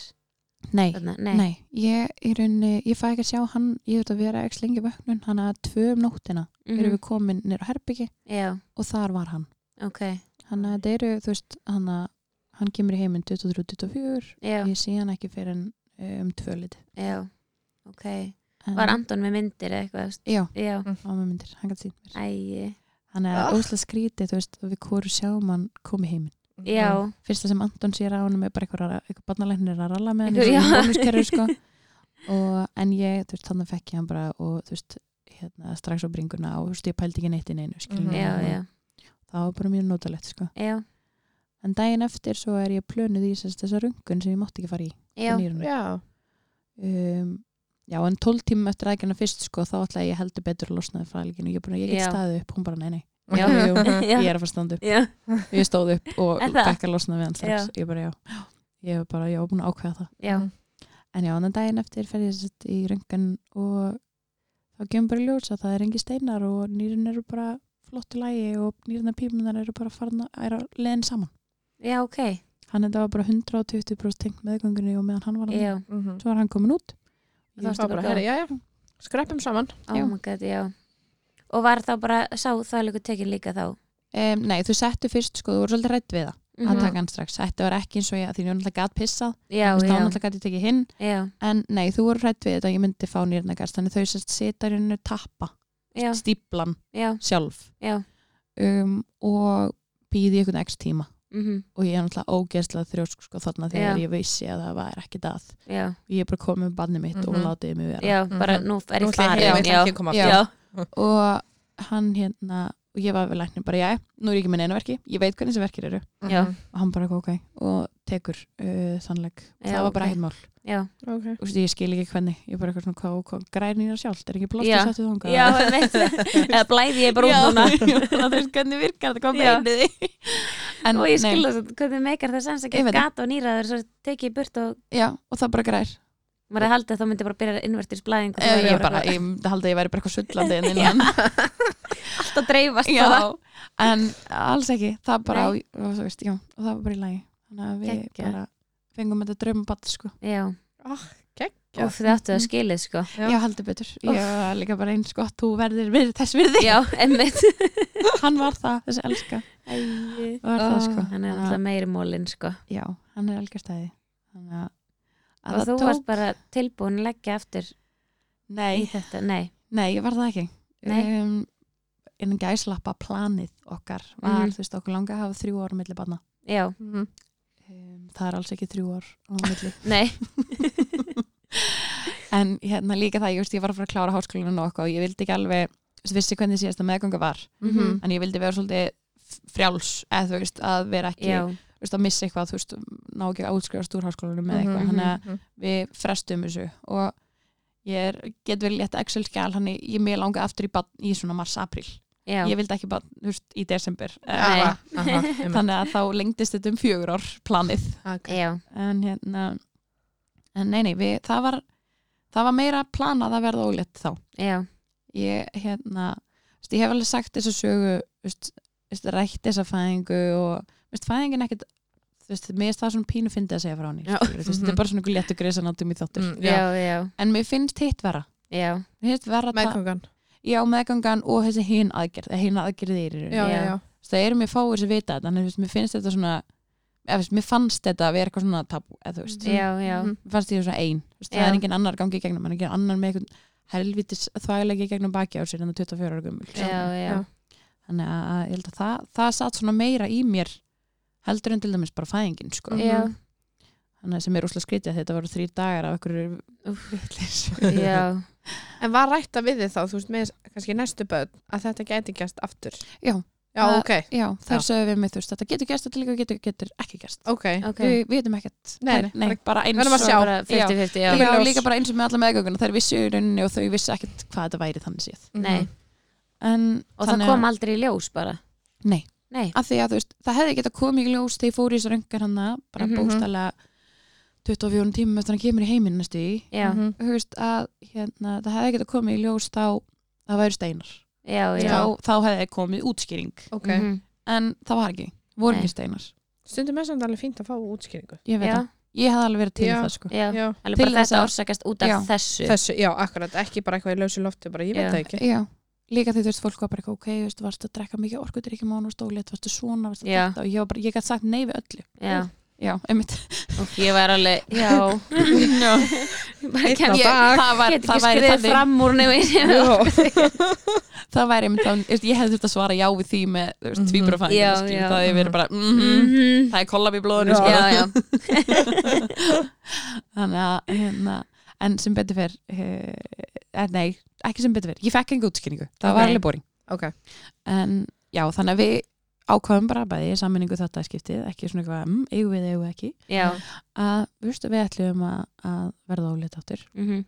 nei,
Þarna?
Nei. ég í rauninni, ég fæ ekki að sjá hann, ég þurft að vera ekki slengi vöknun, hann að tvö um nóttina erum
Mhm.
við komin nýra herbyggi
Já,
og þar var hann.
ok.
Hann að þetta eru, þú veist, hann að hann kemur í heiminn 23-24
Já,
ég sé hann ekki fyrir en um tvölið.
já. Ok.
En,
Var Anton með myndir eða eitthvað?
Já,
Já.
hann var myndir, hann gæti sínt mér.
Æi.
Hann er
Ah.
óslega skrítið, þú veist, að við hvoru sjáum hann komið heiminn.
Já.
Fyrsta sem Anton sér á hann er bara eitthvað, rara- eitthvað barnalæknir að ralla með hann
Einhver-
eins og
já.
bónuskerfi, sko.
(laughs)
og, en ég, þú veist, þannig fekk ég hann bara og þú veist, hérna, strax á bringuna og þú veist, ég pældi ekki neitt í neinu, skilur
Mhm.
við.
Já, já.
það var bara mjög notalegt, sko
Já,
en daginn eftir svo er ég plönuð í sérst, þessa rungun sem ég mátti ekki fara í
já.
í nýrunum.
Já.
um, já, en 12 tímum eftir aðgjörna fyrst sko, þá ætla ég heldur betur að losnaði frá alginu, ég, er búin að- ég get
Já.
staðið upp hún bara, nei, nei,
Já. (laughs)
Jú,
Já.
ég er að fara að standa upp
Já,
ég stóð upp og
Er það?
fekk að losna við hann strax ég bara, já, ég var bara, já, búin að ákveða það
já.
en já, en daginn eftir fer ég sérst, í rungun og þá kemur bara í ljós að það er engi steinar og nýrun eru bara flott í lægi og nýruna pímunar eru bara farin að, er að leðin saman
Já, ok.
hann þetta var bara 120% tengt meðgöngunni og meðan hann var hann
Já.
Mhm.
svo var hann komin út
Þá varstu
Það bara,
bara-
herri, já, já. Skreppum saman.
Oh
Já.
my god, já. Og var þá bara, sá það líka tekin líka þá?
um, nei, þú settu fyrst sko, þú voru svolítið rætt við það
Mhm.
að taka hann strax, þetta var ekki eins og ég því ég var náttúrulega gæt pissað,
Já,
þú veist, þá
já,
náttúrulega gæt ég tekið hinn
já,
en nei, þú voru rætt við þetta að ég myndi fá nýrna gæst þannig þau sérst sita í rauninu tappa
já,
stíplan
já,
sjálf
já,
um, og býði ykkur x tíma
mhm,
og ég er náttúrulega ógeðslega þrjósk sko þarna þegar ég vissi að það var ekki það
já,
ég er bara komið með bannið mitt
Mhm.
og látiði mig vera
já, bara
Mhm.
nú er ég
Nú ætla ég heim,
farin,
ég ætla
já,
ekki að koma
já,
aftur.
já,
og hann hérna og ég var við læknir bara, já, nú er ég ekki með neina verki ég veit hvernig þessi verkir eru
Mhm.
Já.
og hann bara, ok, og tekur uh, sannleik,
Já,
það var bara
ok.
ekkert mál
já,
Ok.
og ég skil ekki hvernig, ég bara eitthvað svona hvað, hvað grænir sjálf, er ekki plástur
Já.
sattu þangað
já, einmitt. eða blæði ég bara
Já,
út
(laughs)
núna,
þú veist hvernig virkar þetta, hvað
Já.
beinið þið en,
og ég
nei,
skilða þess að hvernig meikar það sens að
Ég
geta
veit það.
gata og nýraður svo tekið í burt og
já, og það bara grær
maður er haldið að þá myndi bara byrja innvertis blæðing og
Eh,
það
ég
væri
bara,
bara
ég haldi að ég væri bara eitthvað (laughs) sullandi en innan
allt að dreifast
já,
bara.
(laughs) en alls ekki það bara, og, þú veist, já, og það var bara í lagi þannig að við
Geggjað.
bara fengum þetta draumabatt sko.
já,
Gekkja.
og þið
Mhm.
áttu að skilið
(laughs)
sko,
Já.
já, heldur betur, ég var líka bara eins gott þú verðir við þess virði,
já, emmitt,
(laughs) hann var það þessi elska, var það sko
hann er alltaf meiri mólin sko,
já, hann er elgastæði þannig að, að
og
Ah, það
þú
tók
varst bara tilbúin að leggja aftur í
nei,
þetta, nei,
nei, ég var það ekki
Nei.
um, innan gæslappa planið okkar var,
Mhm.
þú veist, okkur langa að hafa þrjú ára milli barna
já,
Mhm.
um, það er alls ekki þrjú ár á
(laughs)
milli
nei,
en hérna líka það, ég veist, ég var að fara að klára háskólinu og eitthvað og ég vildi ekki alveg þú veist, vissi hvernig síðasta meðgöngu var
Mhm.
en ég vildi vera svolítið frjáls eða þú veist, að vera ekki,
já,
þú veist, að missa eitthvað þú veist, ná ekki að útskrifast úr háskólinu
Mhm,
með eitthvað,
mhm.
þannig að við frestum þessu og ég er, get vel létt Excel-skjál, hann ég mér langa aftur í, barn í svona mars-april,
já,
ég vildi ekki bara, þú veist, í desember
Nei.
eða eitthvað. þannig að þá lengdist þetta um fjögur ár planið
Okay.
já,
en hérna en nei, nei, við, það var það var meira planað að verða ólétt þá
já,
ég, hérna þú veist, ég hef alveg sagt þessa sögu þú veist, þú veist, rætt þessa fæðingu og þú veist, fæðingin ekkert þú veist, mér finnst það svona pínu fyndið að segja frá hann
Já. Mhm.
þetta er bara svona einhver léttu greiðsanátum í þáttur
Mm, já.
já, já,
en mér finnst hitt vera
já,
mér finnst vera það,
Meðgangan.
já, meðgangan og þessi hinn aðgerð, hinn aðgerðir í rauninni.
Já, já, já.
Þú veist, það eru mér fáir sem vita þetta en þú veist, mér finnst þetta svona eða, þú veist, mér fannst þetta að vera eitthvað svona tabú eða þú veist, Mm-hmm.
já, já,
Mhm.
mér fannst ég svona ein þú veist, það
Já.
er engin annar gangi í gegnum, hann er engin annar með eitthvað helvitis þvægilegi í gegnum baki á sér en það 24 ára gömul
já, já.
Já.
þannig að að ég held að það, það satt svona meira í mér heldur en til dæmis bara fæðingin sko.
Já,
þannig að sem er úslega skrítið að þetta voru þrý dagar af okkur vitlis
(laughs) já,
(laughs)
En var rætta við þið þá, þú veist, með kannski næstu börn að þetta gæti gæst aftur?
Já.
Já,
Það-
ok,
já,
Já.
þar sögum við mig þú veist, þetta getur gerst þetta líka getur, getur ekki gerst
ok.
ok
við við vitum ekkert
Nei, nei,
nei, bara eins
verðum að
og-
sjá.
bara 50-50, já.
Já,
Ljós.
líka bara eins og með alla meðgönguna þær vissu í rauninni og þau vissu ekkert hvað þetta væri þannig séð
Nei.
en,
og það
þannig að-
kom aldrei í ljós bara
Nei. Ah.
Nei.
af því að þú veist, það hefði getað komið í ljós þegar ég fór í þessu röngar hann bara
Mhm.
bóstalega 24 tímum eftir að hann kemur í heiminn næstu í
já,
Mhm.
Þú veist að hérna, það hefði getað komið í ljós þá það væri steinar
já, já,
þá, þá hefði komið útskýring
Ok.
Mhm.
en það var ekki, voru
Nei.
ekki steinar
Stundum er samt alveg fínt að fá útskýringu.
ég veit
já,
það, ég hefði alveg verið til í
Já.
það sko.
já.
Já.
alveg
Til
bara
þess
þetta
að-
orsakast út af
Já.
þessu
Þessu, já, akkurat, ekki bara eitthvað í lausu lofti, bara ég
Já.
veit það ekki.
Já, líka því þú veist fólk var bara eitthvað, ok, þú veist, varstu að drekka mikið orkudrykkjum án og stólið, varstu svona, varstu
Já.
þetta og ég var bara, ég gæti sagt nei við öllu.
já,
Já, (laughs) einmitt.
og ég var alveg (laughs) já,
Já.
bara kem
Ég-
ég
það var,
get
það
ekki
væri
skriðið
þannig,
fram úr nefnir
Já.
það væri einmitt, þannig, þú veist, ég hefði þurft að svara já við því með, þú veist,
Mhm.
tvíburafæðingar,
Já,
mm
já.
það hefði verið bara, mhm, það er kollab í blóðinu,
Já.
sko.
já, já,
Þannig að, hérna, en sem betur fyrr, eh, nei, ekki sem betur fyrr, ég fekk engu útskynningu, það var
Nei.
alveg boring.
ok,
En já, þannig að við ákvaðum bara bæði í sammenningu þetta skiptið, ekki svona eitthvað, mm, eigum við, eigum við ekki.
já
að viðstu, við ætlum að, að verða ólétt áttur
mhm.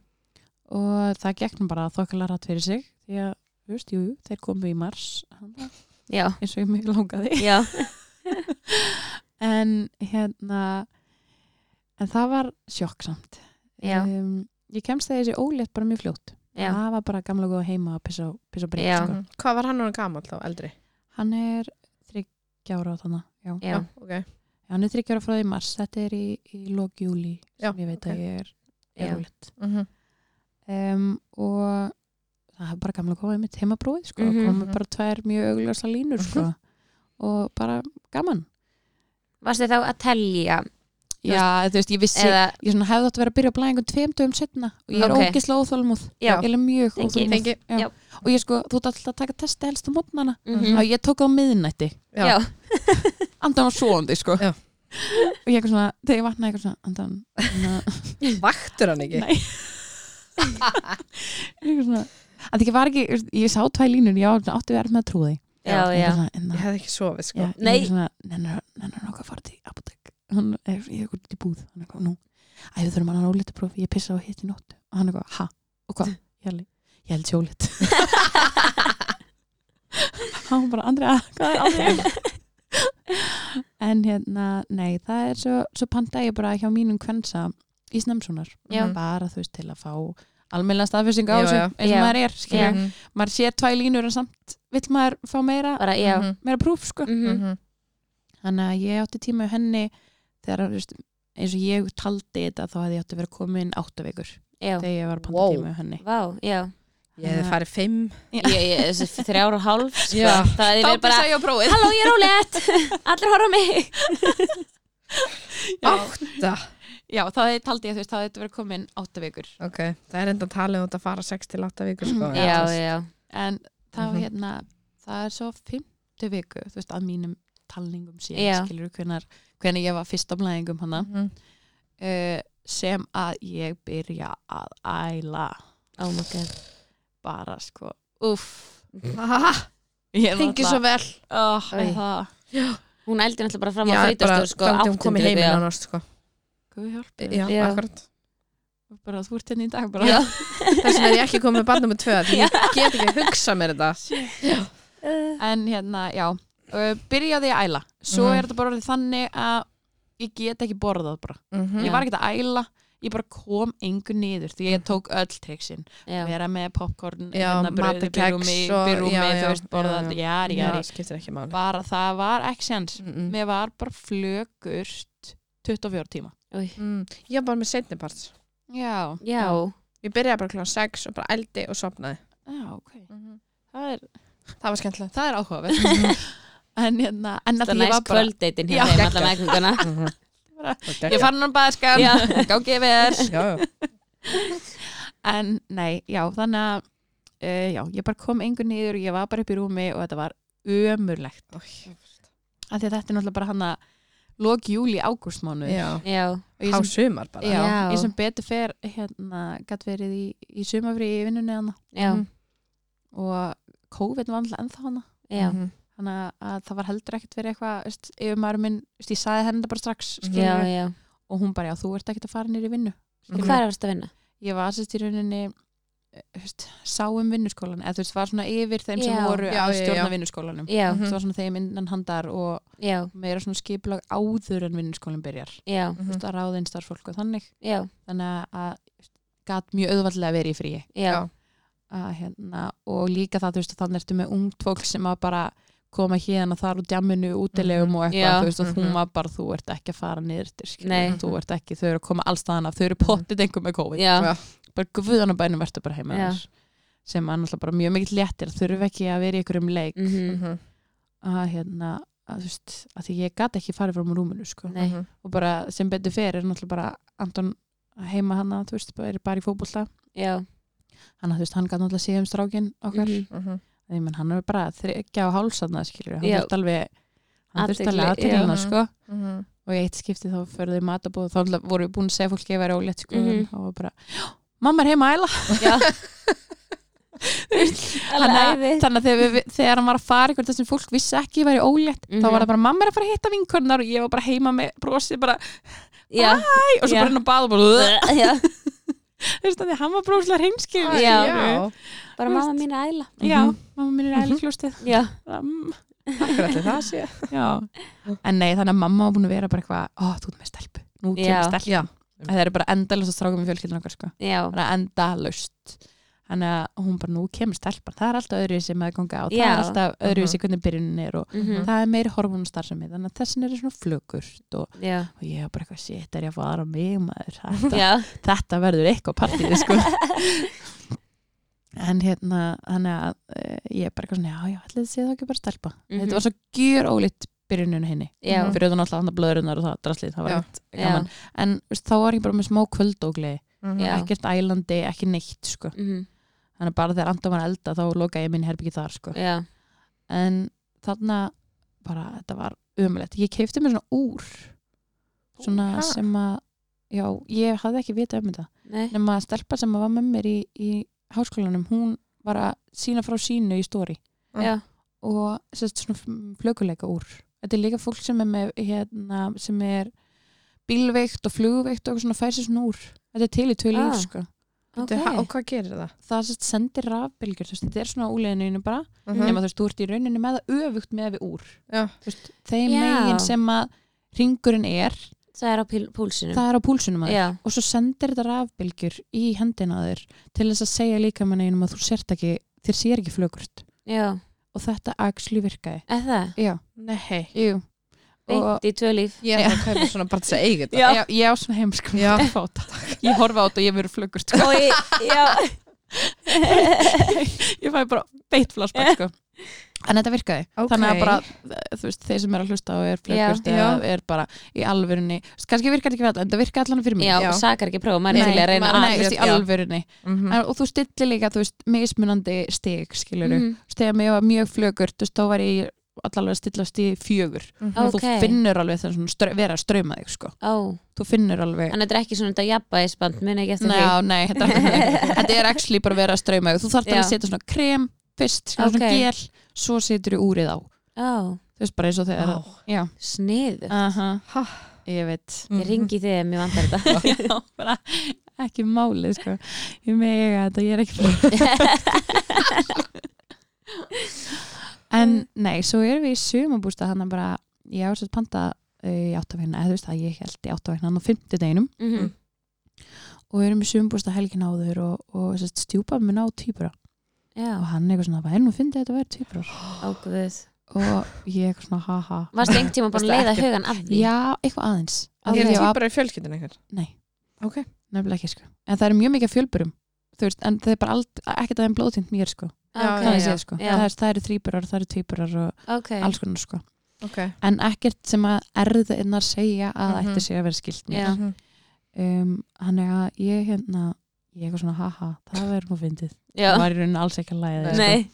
og það gegnum bara þokkala rætt fyrir sig því að, þú veist, jú, jú, þeir komu í mars hana,
já,
eins og ég mig langaði
já,
en hérna en það var sjokk samt
Já.
um, ég kemst þegar þessi ólétt bara mjög fljótt
já
það var bara gamla góða heima að pissa, á- pissa breyt
Já.
sko.
hvað var hann núna gamall þá, eldri?
hann er þryggjára á þannig já.
já,
ok.
hann er þryggjára frá því í mars þetta er í, í lók júli sem
Já,
ég veit
ok.
að ég er,
Já.
er ólétt
Mhm.
um, og það er bara gamla góða mitt heimabróið sko, mm
Mhm.
komu bara tvær mjög augljósa línur sko, og bara gaman
varstu þá að telja
já, þú veist, ég vissi
eða,
ég svona hefði átt að vera að byrja að blæða einhvern tveim dögum setna og ég er
Ok.
okay. ógislega óþólmúð
Já.
ég er mjög
Thank you.
óþólmúð
Tengi,
Já.
Já.
og ég sko, þú ert alltaf að taka testi helst á mótnana
mhm.
og ég tók á miðnætti
Já.
já,
andan var svoandi sko
Já.
og ég eitthvað svona, þegar ég vatnaði eitthvað svona andan, na,
vaktur hann ekki?
Nei. eitthvað svona að því ég var ekki, ég sá tvær línur ég var- átti verið með að trúa því
já,
Ég
já
eitthvað svona,
Ég
en það-
hefði ekki sofið, sko.
Já,
Nei.
ég er svona, nennar, nennar nokkað að fara til apotek hann er, ég er út í búð hann er eitthvað, nú, æ, við þurfum hann ólítið prófi ég pissa á hitt í nótt og hann er eitthvað, ha, og hvað, ég held, ég held sjólit
(laughs)
hann bara, Andrea, hvað er aldrei en hérna, nei, það er svo, svo panta ég bara hjá mínum kvensa í snemsunar,
Já.
bara þú veist til að fá almennlega staðfestinga á
Já,
þessu
já.
eins og
Já.
maður er, skilja,
Mhm.
maður sér tvæ línur en samt vill maður fá meira,
bara, já
Mhm.
meira prúf, sko
mhm.
Mhm.
þannig að ég átti tíma hjá henni þegar þú veist, eins og ég taldi þetta þá hefði ég átti að vera komin átta vikur
já,
þegar ég var að panta
Wow.
tíma hjá henni
vá, já
Ég hefði farið fimm.
ég, ég, þessi þrjár og hálf sko.
Já.
það er verið bara,
ég á
(laughs)
prófið
halló ég er ólegt allir horfa á mig
Átta.
já, þá hefði taldi ég þú veist, þá hefði þetta verið komin átta vikur
Ok, það er enda talið um þetta að fara 6 til 8 vikur, sko.
Mhm.
já,
þú veist.
já,
en þá
Mhm.
hérna, það er svo fymtu viku, þú veist, að mínum talningum sé,
Já.
skilur hvernar hvernig ég var fyrst á blæðingum hana
Mhm.
uh, sem að ég byrja að æla
oh my god
bara sko, uff
Aha, Þingi svo vel.
oh,
Æ.
það,
Hún eldi náttúrulega bara fram á
Já, bara
þrítastur sko,
þangað hún kom í
800,
heiminn
já.
annars, sko.
guð hjálpi
Já,
Já.
akkurat.
bara þú ert hérna í dag bara
Já.
Þess vegna er ég ekki komið með barnum með tvö því ég get ekki að hugsa mér þetta
en hérna, já uh, byrjaði ég að æla, svo
Mhm.
er þetta bara orðið þannig að ég get ekki borðað bara,
Já.
Mhm. Mm,
ég var ekkert að æla ég bara kom engu niður því ég tók öll triksin,
Já,
vera með popcorn hérna,
Já,
brauð,
mata kex og-
byrjumi,
já,
þú
já,
veist, borðað
já,
jari,
Já,
jari,
skiptir ekki máli
bara það var ekki séns,
mm
mér var bara flögurt 24 tíma
Új.
mm. Ég var bara með setni part
já,
já,
Ég byrjaði bara klá 6 og bara eldi og sopnaði Mhm.
já ok það er,
Það var skemmtilegt (laughs)
það er áhugavert en, hérna, en
Það
að því ég var
næst
bara
kvöldeitin hjá
Já.
þeim alla meðgönguna
ég fann hann bara skam,
Já.
(laughs) gangi
Já,
yfir
já.
en nei, já, þannig að uh, já, ég bara kom engur niður og ég var bara upp í rúmi og þetta var ömurlegt af því að þetta er náttúrulega bara hann að lok júli ágústmánu
já.
(laughs) Já,
og ég
Há
sem,
sumar bara.
já,
Já.
ég sem betur fer hérna, gætt verið í, í sumafri í vinnunni hana
já,
Mhm.
og COVID var alltaf ennþá hana
já
Mhm.
þannig að- að það var heldur ekkert verið eitthvað þú veist, yfir maður minn, þú veist, ég saði henni þetta bara strax
Já,
skilurðu.
já
og hún bara, já, þú ert ekkert að fara nýri vinnu
Og Hvað er það að vinna?
ég var sérst í rauninni eh, þú veist, sáum vinnuskólan eða þú veist, var svona yfir þeim sem
Já.
voru
Já,
að
já, já.
stjórna vinnuskólanum
Já,
Mhm.
það var svona þeim innan handar og
já,
meira svona skipulag áður en vinnuskólan byrjar
já,
þú
Mhm.
veist, að ráðinn starffólk og þannig
já,
þannig að gat mjög auðvallega verið í fríi
já
Já.
að, hérna, og líka það, þú veist, þannig ertu með ungt fólk sem að bara koma hérna þar úr djamminu, útilegum og eitthvað
Já.
þú veist, og
Mhm.
þú var bara, þú ert ekki að fara niður til,
Nei.
þú ert ekki, þau eru að koma allstaðan af, þau
Mhm.
eru pottið einhver með COVID
Já,
bara guðanabænum verður bara heima
Já.
þér sem er náttúrulega bara mjög mikill léttir þurfi ekki að vera í einhverjum leik
mhm,
að hérna að, þú veist, að því ég gat ekki farið frá mér rúminu sko.
nei,
Mhm.
og bara sem betur fer er náttúrulega bara Anton heima hana, þú veist, bara er bara í fótbolta
já
hann, þú veist, hann gat náttúrulega séð um strákin okkar mm
mhm.
-hmm. menn, hann er bara þryggja og hálsanna skilur, hann
Já.
þurft alveg hann þurft alveg
Athygli,
aðtekla
já.
hana sko.
Mhm.
og í eitt skipti þá fyrir þau matabóð þá náttúrulega voru við búin að segja fólki að ég væri ólétt sko,
Mhm.
en þá var bara, mamma er heima að æla
(laughs) Já
þannig,
Alveg
að-
æði
þannig að þegar, við, þegar hann var að fara eitthvað sem fólk vissi ekki ég væri ólétt
Mhm.
þá var það bara mamma er að fara að hitta vinkurnar og ég var bara heima með brosið bara (laughs)
Já,
æ, og svo
Já.
bara hann að baða og bara
já, (laughs)
þú veist að því að hann var broslega heimskil
Æ, Já. bara mamma mín að æla
já, mamma mín
Mhm.
er aðeins kljóstið
Já,
Akkur allir það sé.
já, en nei þannig að mamma var búin að vera bara eitthvað, ó þú ert með stelpu nú
Já.
kemur stelpu, En það er bara endalust að stráka með fjölskyldan okkar sko,
já,
bara endalust þannig að hún bara nú kemur stelpan það er alltaf öðruvísi sem að ganga á, það
Já.
er alltaf öðruvísi hvernig byrjunin er og
mhm,
það er meiri hormonastarfsemi þannig að þessin eru svona flögurt og,
já
og ég er bara eitthvað shit er ég að fara á mig maður (laughs) þetta,
Já,
þetta verður eitthvað partíð sko.
(laughs)
en hérna þannig að eh, ég er bara eitthvað svona já já ætli þið séð þá ekki bara stelpa
Mhm.
þetta var svo gjör ólitt byrjuninu henni
já,
Mhm.
fyrir þannig alltaf hann að blöðrunar og það draslið það var
Já.
ekkert gaman en veist, þá var ég bara með smá kvöldógli
Mhm.
Já.
ekkert ælandi, ekki neitt sko.
mhm,
þannig að bara þegar andan var að elda þá loka ég minn herbyggi þar sko
já
en þarna bara þetta var umlegt ég keipti mér svona úr svona
ha?
sem að já, ég hafði ekki vitað um þetta
Nei,
nema að stelpa sem að var með mér í, í háskólanum, hún var að sína frá sínu í stóri
já,
og sérst svona flökuleika úr þetta er líka fólk sem er með hérna, sem er bílveikt og flugveikt og eitthvað svona fær sér svona úr þetta er til í tvö líf
Ah.
sko
ok
Þetta- ha- Og hvað gerir það?
það sérst sendir rafbylgjur þú veist, þetta er svona úlegininu bara
Mhm.
nema þú veist, þú ert í rauninni með það öfugt með við úr
Já.
Þú veist, þeim
Já.
megin sem að ringurinn er,
Það er á píl- púlsinum
það er á púlsunum að þér
Já,
og svo sendir þetta rafbylgjur í hendina á þér til þess að segja líka manni einum að þú sért ekki, þér sér ekki flögurt
já,
og þetta axli virkaði
eða það
já,
Nei.
jú og
Beint í tvö líf
Ég er að kaupa svona bara til að eiga þetta.
Já.
Já, ég á svona heimskum
Já.
ég horfa á þetta (laughs) og ég verið flögurt sko.
Og ég, já
(laughs) ég fæ bara beitt flashback sko. (laughs) en þetta virkaði
Ok.
þannig að bara, þú veist, þeir sem eru að hlusta og er flökkust
Já.
eða
Já.
er bara í alvörunni, þú veist, kannski virkar þetta ekki fyrir alla en það virkar allan fyrir mig
Já,
Já.
og sakar ekki prófa, maður er
Nei,
til að reyna
maður-
Nei,
að
þú veist, í
Já.
alvörunni
Mhm.
en, og þú stillir líka, þú veist, mismunandi stig skiluru, mm.
Mhm,
þegar mér var mjög flögurt þú veist, þá var ég allavega að stillast í fjögur
Mhm.
Ó.
og þú
Ókei.
finnur alveg þess að strö, vera að ströma þig sko.
Ó,
þú finnur alveg
en þetta er ekki svona þetta jafnbæðisband, minn ekki eftir
Nei,
því
já, nei, þetta, er alveg- þetta er actually bara að vera að ströyma þú þarf alveg
Já.
að setja svona krem fyrst, skilur, svona
Ok.
gel, svo setur þú úrið á
Ó,
þú veist bara eins og þegar
Vá.
já,
sniðu
uh
Ha.
ég veit
mhm.
Ég ringi þig ef mér vantar þetta
(laughs) mhm. já, bara ekki málið sko. ég mega þetta, ég er ekki fyrir en nei, svo erum við í sumabústa þannig að bara, ég ásett panta uh, í áttafegna, eða þú veist að ég held í áttafegna á fimmtudeginum
(laughs) Mhm,
og við erum í sumabústa helgin áður og, og sest, stjúpa minn á týpura
Já,
og hann eitthvað svona, hvað er nú fyndið að þetta væri týpur
ágöð
og ég eitthvað svona, ha ha
Varst einhvern tíma búin að
Varstu
leiða
ekki-
hugan að því?
já, eitthvað aðeins
Ok.
að
Er
ég
það
var,
bara í fjölskyldinu einhver?
nei,
Ok.
nefnilega ekki sko en það eru mjög mikið af fjölburum þú veist, en það er bara allt, ekkert að þeim blóðtínt mér sko
Já,
ok,
já,
þannig
já.
séð sko.
Já.
það, er, það eru þrýburar, það eru tvíburar og
ok,
alls konar sko
Ok.
en ekkert sem að erðinnar segja að
Mhm.
ætti sig að vera skilt mér
Já.
Mhm.
um, hann er að ég hérna ég eitthvað svona haha, það verður nú fyndið
já,
það var í rauninni alls ekki að læða sko.
nei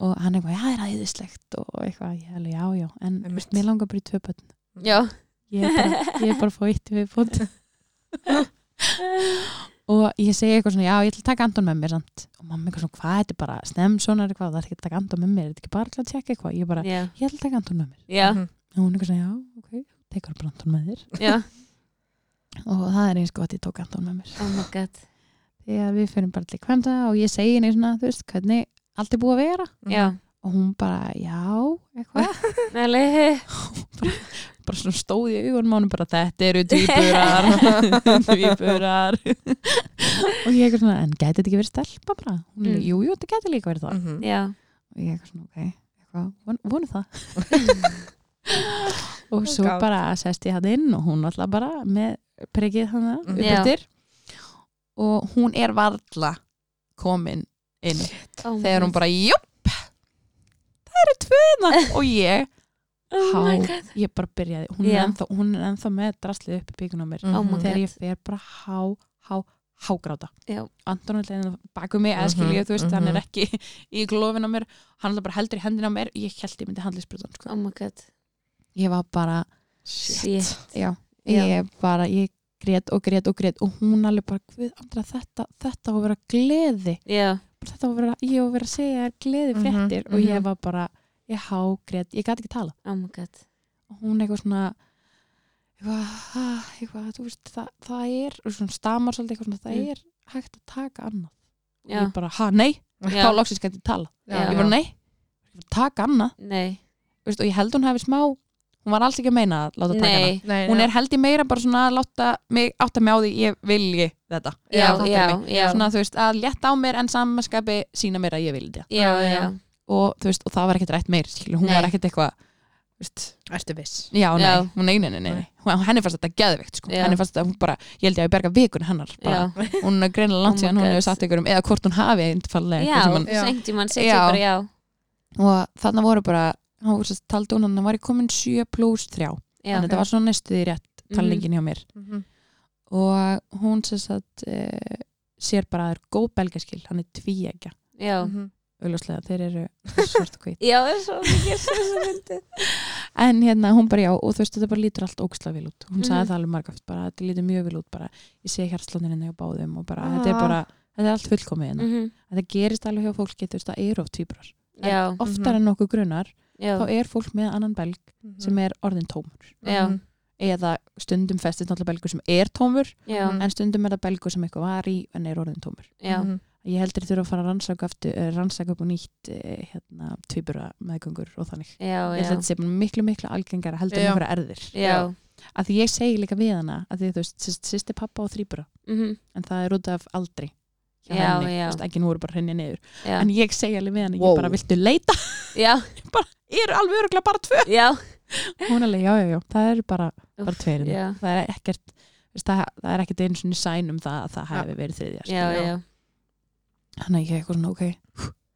og hann eitthvað, já, það er æðislegt og eitthvað, ég hefði, já, já, en
Einmitt.
veist, mér langar bara í tvö börn
já,
ég er bara, ég er bara að fá eitt við bótt og ég segi eitthvað svona, já, ég ætla að taka Anton með mér samt og mamma eitthvað svona, hvað, þetta er bara snem svona eitthvað, það er ekki að taka Anton með mér, þetta er ekki bara til að tjekka eitthvað, ég bara,
já,
ég ætla að taka Anton með mér
já,
og hún eitthvað svona, já, ok, tekur bara Anton með þér (laughs)
já
og það er eins gott ég tók Anton með mér
oh my god,
þegar við fyrir bara til kvenda og ég segi henni svona, þú veist, hvernig allt er búið að vera
já
og hún bara, já, eitthvað
Nei,
bara svona stóð í augunum á hann bara þetta eru (laughs) tvíburar tvíburar og ég eitthvað svona, en gæti þetta ekki verið stelpa bara hún er,
Mm.
jú, jú, þetta gæti líka verið það
Mhm.
já,
og ég eitthvað svona, ok, eitthvað, von, vonu (laughs) það og svo
God.
bara sest ég hann inn og hún alltaf bara með prekið hann
Mhm.
uppeftir og hún er varla komin inn
oh my
þegar hún
god.
bara, júp það eru tvöna (laughs) og ég,
oh my
há-
god
ég bara byrjaði hún,
Já.
er, ennþá, hún er ennþá með draslið upp í byggun á mér
Oh my
Mhm.
þegar ég fer bara há, há, hágráta
Já.
Anton er leiðin baku mig eða
Mhm,
skilja, þú veist, hann
mhm.
er ekki í glófin á mér, hann er bara heldur í hendina á mér ég held ég myndi handlisbrutan, sko
oh my god,
ég var bara,
shit Já.
já, ég bara ég grét og grét og grét og hún alveg bara, við andra þetta þetta á að vera gleði,
já,
Bara þetta á að vera ég á að vera að segja þér gleði
Mhm,
fréttir og ég
mhm.
var bara, ég hágrét ég gat ekki tala
oh my god
og hún eitthvað svona eitthvað, ah, eitthvað þú veist, það, það er og svona stamar svolítið eitthvað svona, það
Mm.
er hægt að taka annað og
já,
ég bara, ha, nei, (laughs)
Já.
þá loksins gæti ég tala
Já.
ég bara, nei, ég bara, taka annað
nei
Þú veist, og ég held hún hafi smá hún var alls ekki að meina að láta taka
nei,
Nei,
hana hún
já.
er held ég meira bara svona að láta mig átta mig á því ég vilji þetta
já,
Fattar
já,
mig?
já
svona þú veist, að létta á mér en samanskapi sína mér að ég vilja þetta
já, já,
og þú veist, og það var ekkert rætt meir skilur, hún
Nei.
var ekkert eitthvað þú veist,
Ertu viss?
Já,
Já.
nei, hún nei, nei, nei, nei.
Nei.
Hún- henni fannst þetta geðveikt sko.
Já.
henni fannst þetta, hún bara, ég held ég að ég berga vikun hennar bara.
já
hún er greinilega
Oh
langt
my
síðan hún
God.
hefur sagt ykkur um eða hvort hún hafi einfallega
já,
einhvern tímann.
Já.
sengt í mann, segi
Já.
bara já
og þarna voru bara hún sérst, taldi hún hann var ég komin 7 pluss 3
já,
þannig þetta var svona næstuði rétt talningin hjá mér
Mhm.
og hún sem sagt e, sér bara að það er góð belgaskil hann er tvíegja,
já,
Mhm.
augljóslega þeir eru svart og hvít
já, það er svo mikið sem þessu myndi
en hérna hún bara já og þú veist þetta bara lítur allt ógislega vel út hún
Mhm.
sagði það alveg margaft bara þetta lítur mjög vel út bara ég sé hjartslóninni á báðum og bara
Ah.
þetta er bara þetta er allt fullkomið hérna
Mhm.
þetta gerist alveg hjá fólki þú veist það eru oft týprar
já,
oftar en nokkuð grunar
Mhm. já, Mhm.
þá er fólk með annan belg
Mhm.
sem er orðin tómur
já,
Mhm.
eða stundum festist náttúrulega belgur sem er tómur
já,
Mhm.
en stundum er það belgur sem eitthvað var í en er orðin tómur
já
Mhm.
ég heldur þurfa að fara að rannsaka, aftur, eh, rannsaka upp og nýtt eh, hérna, týpura meðgöngur og þannig
já,
ég held að
já,
þetta sé bara miklu miklu algengara
Já.
heldur en einhverja erðir
já
að því ég segi líka við hana að því þú veist, sýsti pappa og þrýbura
Mhm.
en það er út af aldri hjá
Já,
henni,
já.
þú veist, ekki nú eru bara henni niður
já,
en ég segi alveg við hana,
Wow.
ég bara viltu leita (laughs)
já,
eru alveg öruglega bara tvö
já
hún alveg, já, já, já, það eru bara, bara
Úff,
tveir hérna.
já,
það er ekkert þú veist, það, það er ekkert einu svona sæn um það að það hefði verið þriðja
já,
skilur.
já
þannig að ég eitthvað svona, ok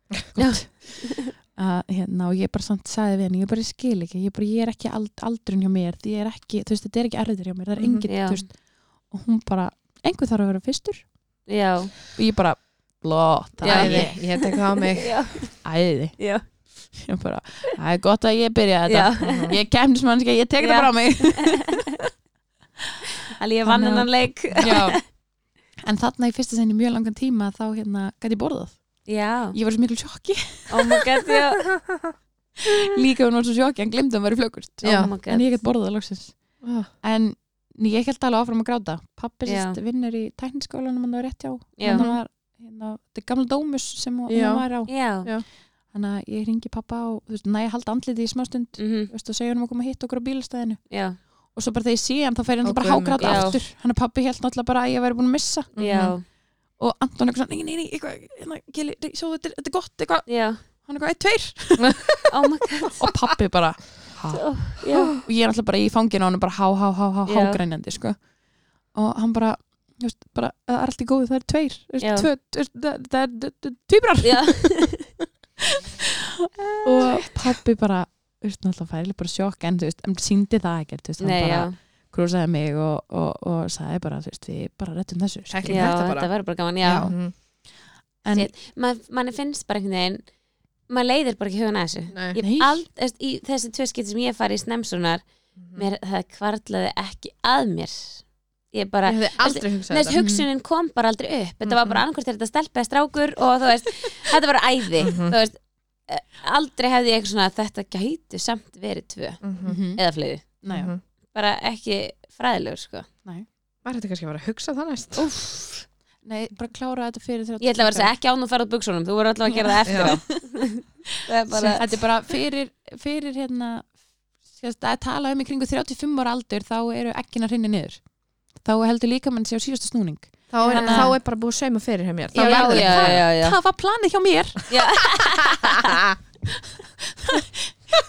(laughs)
gott (laughs) að, hérna, og ég bara samt sagði við henni, ég bara ég skil ekki ég, bara, ég er ekki ald, aldrun hjá mér því ég er ekki, þú veist, þetta er ekki erður hjá mér það er
Mhm.
engin,
Já.
þú veist, og hún bara einhver þarf að vera fyrstur
já,
og ég bara bló, það
Já,
er
Æði,
ég
ég tek það á
(laughs)
mig
já,
æði,
já,
ég bara það er gott að ég byrja þetta,
Mhm.
ég kemnis mannska ég tek
Já.
það bara á mig
alveg ég vann
Þannig að-
hennan leik
Já. en þarna í fyrsta sinni í mjög langan tíma þá hérna gæti ég borðað
já,
ég var svo
(laughs)
miklu sjokki,
oh my god, já
líka hún var svo sjokki en glemdi að hún var í flökust
Já.
oh my god,
en ég gæti borðað loksins
Ah.
en ég held alveg áfram að gráta pappi
Já.
sérst vinnur í tækniskólanum hann var rétt hjá,
Já.
hann var hérna, þetta er gamla dómus sem hún
Já.
hún var á
já,
þannig að ég ringi pappa og þú veist, næ að halda andliti í smástund
Mhm.
Þú veist, og segja hann um að koma að hitta okkur á bílastæðinu
já,
og svo bara þegar ég sé hann þá fær ég
Ó,
náttúrulega bara
guð minn.
hágráta
Já.
aftur hann er pappi helt náttúrulega bara að ég væri búin að missa
Mhm.
já,
og Anton eitthvað svona, nei, nei, nei, eitthvað, hérna, Gili, nei, svo þetta, er- þetta er gott, eitthvað
já
hann eitthvað, eitt, tveir,
oh my
(gasps)
god
og pappi bara ha.
Ó, já,
og ég er náttúrulega bara í fanginu á hann bara há, há, há, há,
Já.
hágrænjandi, sko og hann bara, þú veist, bara það er allt í góðu, það er tveir,
Já.
þú veist, tvö, þú veist, það- það er tvíbrar
já
(laughs) og pappi bara þú veist, náttúrulega færilega bara sjokk en þú veist, en síndi það ekkert þú veist, hann
Nei,
bara
já,
krúsaði mig og, og, og sagði bara, þú veist, við bara rettum þessu
já,
sko.
Tæklum þetta bara.
þetta verður bara gaman, já,
Já. Mhm.
en
Shit. Man, manni finnst bara einhvern veginn maður leiðir bara ekki hugan að þessu
Nei. Mm.
Ég
Nei.
ald, eðst, í þessi tvö skipti sem ég fari í snemsunar mér, það kvarlaði ekki að mér ég bara,
Ég hefði aldrei hugsað
Nei,
þetta. Mm.
hugsunin kom bara aldrei upp þetta var
Mhm.
bara annarkvært þetta stelpa eða strákur og þú veist, þetta var æði
Mhm.
þú veist, eh, aldrei hefði ég eitthvað svona þetta gætu samt verið tvö
Mhm.
Mhm.
eða fleiri,
Nei, já.
Mhm.
bara ekki fræðilegur sko.
Var þetta kannski að vera að hugsa það næst?
Úff. Nei, bara klára þetta fyrir þér
ég ætla að vera að segja ekki án og ferð á buksunum þú voru allavega að gera það eftir á (laughs) það er bara,
þetta er bara fyrir, fyrir hérna sérst, að tala um í kringu 35 ára aldur þá eru ekkin að hrinni niður þá heldur líka mann sér á síðustu snúning
þá, er,
Já.
þá er bara búið að sauma fyrir hjá mér. Þá
já, já,
verður
já, já, já.
það var planið hjá mér
Já.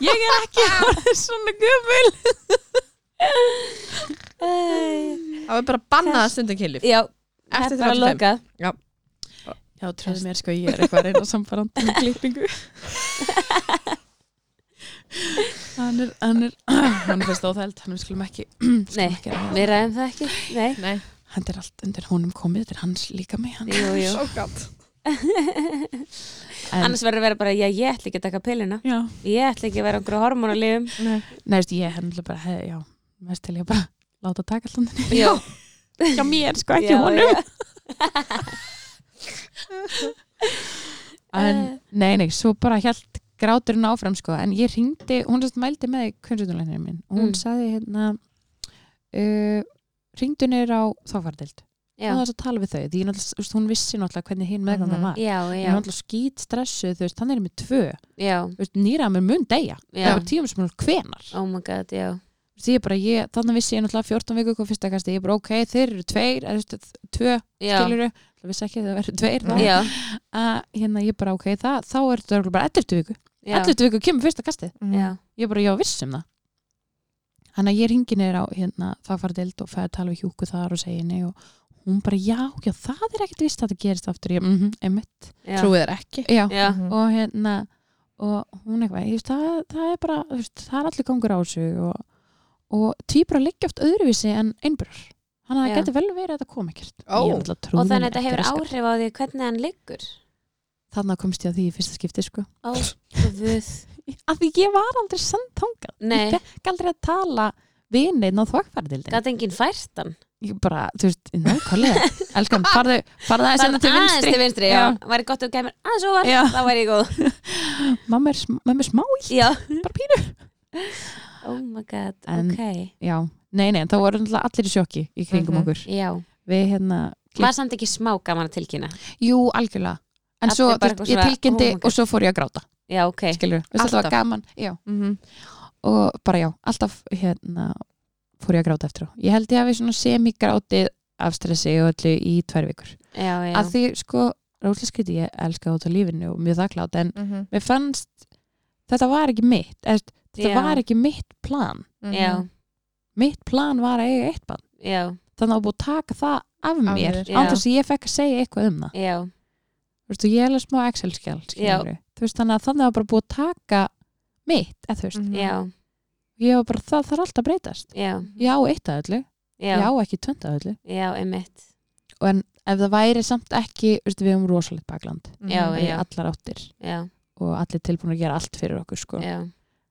(laughs) ég er ekki orðin svona gömul
þá er bara bannað að stundum kynlíf.
já,
Eftir
það er bara
35.
lokað
já, tröðu mér sko, ég er eitthvað að reyna samfarandi með klippingu hann er hann er, hann er fyrst óþæld hann við skulum ekki
Nei.
skulum ekki ræða.
við ræðum það ekki, nei
Nei,
þetta er allt undir honum komið, þetta er hans líka mig hann.
jú, (laughs) jú.
svo gott.
en,
annars verður að vera bara, já, ég ætla ekki að taka pilluna
já,
ég ætla ekki að vera á einhverju hormonalífum
neðist ég hendla bara hef, já, neðist til ég bara láta taka allan þenni
já, (laughs)
hjá mér sko, ekki
Já,
honum
já.
en, nei, nei, svo bara hjælt gráturinn áfram sko, en ég ringdi hún sérst mældi með kunnstunleginir minn og hún
Mm.
sagði hérna uh, ringdu niður á þáfardild
Já.
og það er að tala við þau, því ég náttúrulega, þú veist, hún vissi náttúrulega hvernig hinn meðgangan
Mhm.
var
já,
Ég
já,
var náttúrulega skýt stressuð, þú veist, hann er með tvö
já,
Þú veist, nýraða mér mun deyja,
já.
það var tíum sem hún hvenar
oh my god, já
því ég bara, ég, þannig vissi ég náttúrulega 14 viku hvað fyrsta kasti, ég bara ok, þeir eru tveir eða þú veist, tvö,
já,
skilur það vissi ekki að það verður tveir þá
já,
að hérna ég bara ok, það, þá er þetta örugglega bara 11 viku,
já,
11 viku kemur fyrsta kasti
Mm.
já.
ég bara, já, viss um það þannig að ég ringi neyra á hérna það fara deild og fæði að tala við hjúku þar og segja henni og hún bara, já, já, það er ekkert vist að þetta gerist aftur, ég, mhm, einmitt
já.
Trúið er ekki.
já,
já,
Mhm.
og hérna og hún eitthvað, ég veist, það, það er bara þú veist, það er allir gangur á þessu og, og týpur að liggja oft öðruvísi en einbjörn, þannig að
Já.
það getur vel verið að þetta kom ekkert
Ó.
Ég náttúrulega trúði
og þannig að
mér
þetta
ekki
hefur
raskar.
áhrif á því hvernig hann liggur
þannig að komst ég að því í fyrsta skipti sko.
ó, guð
af því ég var aldrei sann tangað
nei,
ég fekk aldrei að tala vinnin á þvagfærdildin
gæti enginn fært hann
ég bara, þú veist, (laughs) nákvæmlega elskan, farðu, farðu aðeins
Bara
hérna til
aðeins
vinstri
til vinstri, já,
Já.
væri gott að þú kemur aðeins óvart,
Já.
þá væri ég góð
mamma er, sm- mamma er smá í
já,
bara pínu
oh my god,
En-
ok
já, nei, nei, en þá voru náttúrulega allir í sjokki í kringum
Mhm.
okkur
já,
við hérna,
var samt ekki smá gaman að tilkynna
Jú, algjörlega En
Allir
svo, þú
bara
veist,
eitthvað
ég
svona,
tilkynnti
oh my God.
og svo fór ég að gráta
já, ok,
skilur, veist, þetta var
Alltaf.
gaman já.
Mhm.
og bara já, alltaf hérna fór ég að gráta eftir á Ég held ég hafi svona semigrátið af stressi og öllu í tvær vikur
já, já
að því, sko, rótliskriti ég elska út á lífinu og mjög þakklátt en
Mhm.
mér fannst, þetta var ekki mitt eða,
Já.
þetta var ekki mitt plan
Mhm.
já,
mitt plan var að eiga eitt barn
já,
þannig að búið að taka það af mér
þér.
án
Já.
þess að ég fekk að segja eitthvað um það
já,
þú veist, og ég er alveg smá Excel-skjál, skilur þú veist, þannig að þannig var bara búið að taka mitt, eða þú veist,
Mhm.
já,
ég var bara, það þarf alltaf að breytast
já
já, eitt að
Mm.
öllu,
já,
já,
já,
ekki tvönd að öllu
já, einmitt
og en ef það væri samt ekki, þú veist, við erum rosalegt bakland,
já,
Mhm.
í
já,
allar áttir
já,
og allir tilbúin að gera allt fyrir okkur, sko
já,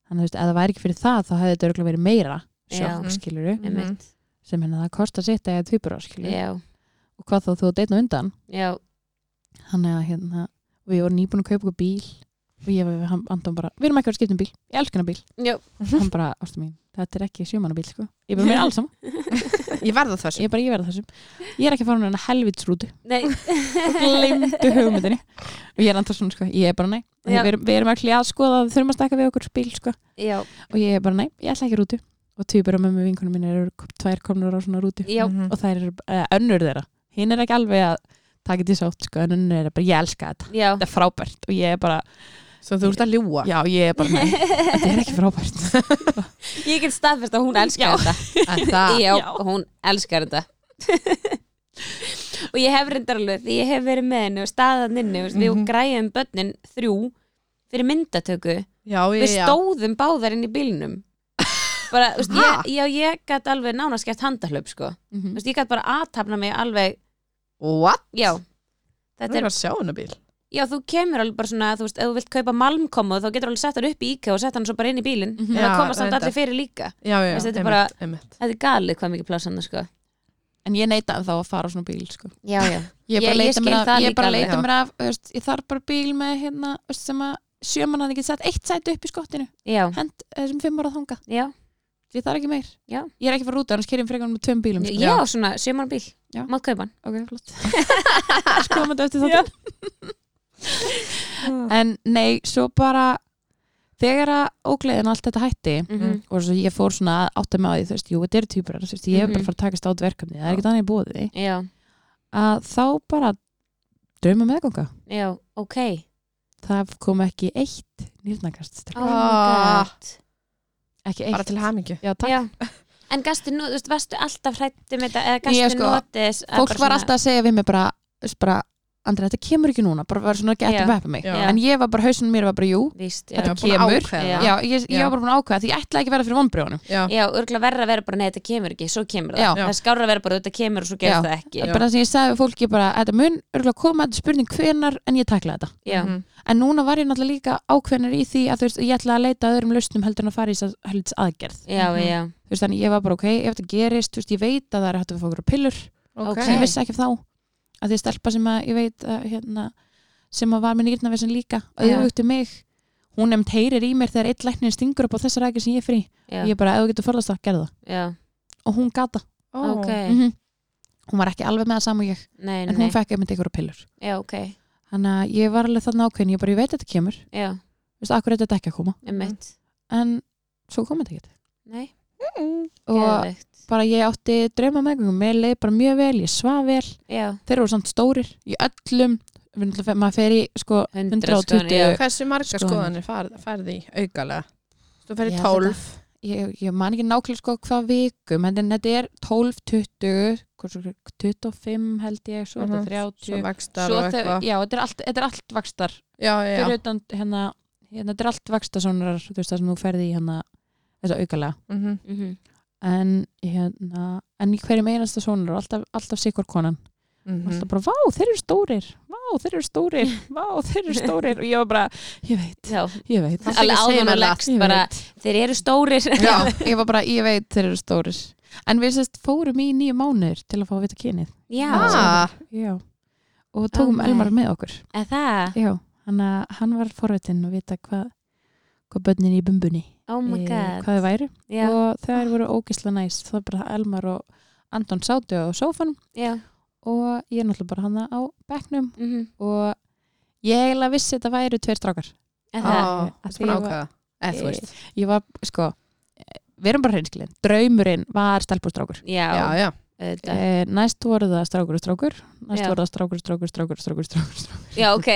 þannig að þú veist, ef það væri ekki fyrir það, þá hefði þetta örgulega verið meira sjokk,
Já.
skilur
Mhm.
einmitt
sem hérna það kostar sitt að ég tvíbura, skilur
já,
og hvað þá þú deitna undan,
já,
þannig að hérna, við vorum nýbúin að kaupa okkur bíl og ég var við hann- Anton bara, við erum ekki að fara að skipta um bíl, ég elskana bíl
já,
hann bara, ástu mín, þetta er ekki sjómannabíl sko. ég bara, mér er
(laughs)
alls saman,
Ég verða þessu.
ég bara, ég verða þessum ég er ekki að fara hún en að helvitsrútu
nei
glemdu hugmyndinni og ég er andur svona, sko. ég er bara, nei Af því
Já.
við erum, við erum allir að skoða, við þurfum að stakka við okkur bíl sko.
(laughs) já,
og ég er bara, nei, ég ætla ekki rútu og tvíbur og mömmu vinkunum mín eru kom- tvær komnur á svona rútu
já,
Mhm.
og það eru uh, önnur þeirra hinn er ekki alveg að taka þetta í sátt sko, en önnur er bara, ég elska þetta
já
þetta er frábært og ég er bara,
Svo þú ert að ljúa.
já, ég er bara, nei
(laughs)
þetta er ekki frábært (laughs)
Ég get staðfest að hún elskar
Já.
þetta
En það,
Ah. Já,
Já.
hún elskar þetta (laughs) Og ég hef reyndar alveg Því ég hef verið með henni og staðan inni mm -hmm. Við
Mhm.
græjum börnin þrjú fyrir myndatöku
Já,
við
ég, já.
stóðum báðar inn í bílnum bara, þú veist,
Ha?
ég, já, ég gætt alveg nánast gett handahlaup, sko þú
Mhm.
veist, ég gætt bara aðtapna mig alveg
What?
já,
Þetta
þetta
er
er,
að sjá hennar bíl.
já, þú kemur alveg bara svona, þú veist, ef þú vilt kaupa malmkomu þá getur alveg sett hann upp í IKEA og sett hann svo bara inn í bílinn
Mhm.
en það
Já,
koma samt
reyndar.
allir fyrir líka
Já, já,
Veist, þetta er
einmitt,
bara-
einmitt.
þetta er galið hvað mikið pláss hann, sko
En ég neita þá að fara á svona bíl, sko.
já, já,
Ég
Ég-
bara
ég
leita mér
skil
af,
það
ég
líka
bara
alveg,
leita
já.
mér af, þú veist, ég þarf bara bíl með hérna, þú veist, sem að sjöman hann ekki sett eitt sæti upp í skottinu,
já,
hend þessum fimm ára þangað.
já,
Ég þarf ekki meir.
Já.
Ég er ekki að fara út, annars kerjum frekarinn með tveim bílum.
já, svona, sjöman bíl
Já.
mátt kaupa hann
Ok,
(laughs)
flott. Skoðum þetta eftir þáttum. en nei, svo bara, þegar að ógleðin allt þetta hætti,
Mhm.
og svo ég fór svona að átta mig á því, þú veist, jú, þetta eru týpurar, þú veist, ég er bara
Mhm.
að fara að takast át verkefni, það er ekkert annað í bóði,
já,
að þá bara drauma meðganga.
já, ok
Það kom ekki eitt nýrnakast,
oh my
Ah.
god
ekki eitt.
Bara til hamingju.
Já, takk.
Já. En gastu nú, þú veist, varstu alltaf hrættum þetta eða gastu Ég,
Ég, sko,
notis að bara
Fólk var
svona-
alltaf að segja við mig bara, þú veist, bara Andri, þetta kemur ekki núna, bara var svona ekki
Já.
eftir með mig.
Já.
En ég var bara, hausinn mér var bara, jú,
Víst, já,
þetta
búin að
kemur.
ákveða.
Já, ég, ég
Já.
var bara búin að ákveða, því ég ætlaði ekki að vera fyrir vonbrjónum.
Já.
já örgulega verra að vera bara, nei þetta kemur ekki, svo kemur það
Já.
Það er skárra að vera bara, þetta kemur og svo
Já.
gerst það ekki
Bara það sem ég sagði við fólki, bara, þetta mun örgulega koma, þetta er spurning hvenar, en ég takla þetta.
Já,
Mhm.
En núna var ég náttúrulega líka ákveðnar í því að þú veist, ég ætla að leita að öðrum lausnum heldur en að fara í þess helds aðgerð.
já, já,
Þú veist, þannig ég var bara, ok, ef þetta gerist, þú veist, ég veit að það er hægt að fá okkur pillur
Ok.
Ok.
sem ég vissi ekki af þá. Að því að stelpa sem að ég veit að, hérna, sem að var með nýrnavesin líka, auðvögt um mig, hún nefnd heyrir í mér þegar eitt læknir stingur upp á þessar aðgerð sem ég er frí.
já,
Ég bara, ef þú getur forðast það, gerð það.
já,
Og hún gata.
Ó.
ok,
-hmm. Hún var ekki alveg með það saman ég,
Mhm. nei,
en
nei,
hún fekk einmitt einhverja pillur.
já, ok,
Þannig að ég var alveg þarna ákveðin, ég bara, ég veit að þetta kemur,
já,
þú veist, akkur er þetta ekki að koma,
emmitt,
en svo kom þetta ekki.
nei,
Mhm. Og
geðveikt,
bara ég átti drauma meðgöngum, mér leið bara mjög vel, ég svaf vel,
já,
þeir voru samt stórir, í öllum, við náttúrulega fe- maður fer í sko
hundra
120,
skoðan, já,
Hversu marga
Skoðanir.
skoðanir færði færð í aukalega? Þú
Ég
færði
held
12.
ég, ég man ekki nákvæmlega sko hvað vikum, en þetta er 12, 20, hversu, 25 held ég, svo er
Mhm.
þetta 30,
Svo vakstar
svo
og
þau,
eitthvað.
já, þetta er allt, þetta er allt vakstar,
Já, já, já.
fyrir utan hérna, hérna, þetta er allt vakstasónar, þú veist það sem þú ferði í hérna, þessa aukalega.
Mhm.
mhm,
en hérna, en í hverjum einasta sónur og alltaf, alltaf sikur konan alltaf
Mhm.
bara, vá, þeir eru stórir vá, þeir eru (laughs) stórir, vá, þeir eru stórir og ég var bara, ég veit,
já,
ég veit
alveg
Það þykir segja
áðan
mér
og
það.
leggst
Ég
bara, þeir eru stórir,
já, (laughs) ég var bara, ég veit, þeir eru stórir en við sérst fórum í nýju mánuður til að fá að vita kynið
(laughs) já,
Ah,
já. og
Ó,
tókum
nei.
Elmar með okkur
eða það,
já, hann, að- hann var forvitinn og vita hvað hvað börnin í bumbunni
oh my
eh,
god,
hvað þau væru
já,
og þær voru ógisla næst það var bara að Elmar og Anton sátu á sófanum
já,
og ég er náttúrulega bara hana á bekknum
mhm,
og ég eiginlega vissi þetta væri tveir strákar
eða
á,
það,
Að
það er
því
bara
ég var-
ákveða. Eða þú veist.
ég var sko, eh, við erum bara hreinskilin draumurinn var stelpustrákur
Já,
já,
já.
auðvitað.
e, næst voru það strákur og strákur næst
Já.
voru það strákur og strákur, strákur, strákur, strákur, strákur.
Já, ok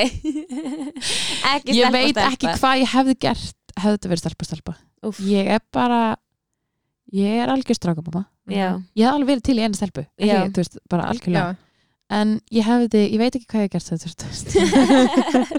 Ekki
ég
stelpa,
veit
stelpa.
ekki hvað ég hefði gert hefði þetta verið stelpa, stelpa
Úff.
ég er bara ég er algjör strákamama
(laughs)
Já,
ég hef alveg verið til í einu stelpu ekki,
Já.
þú veist, bara
Mhm. Já.
algjörlega en ég hefði, ég veit ekki hvað ég hef gert þetta þú veist
(laughs)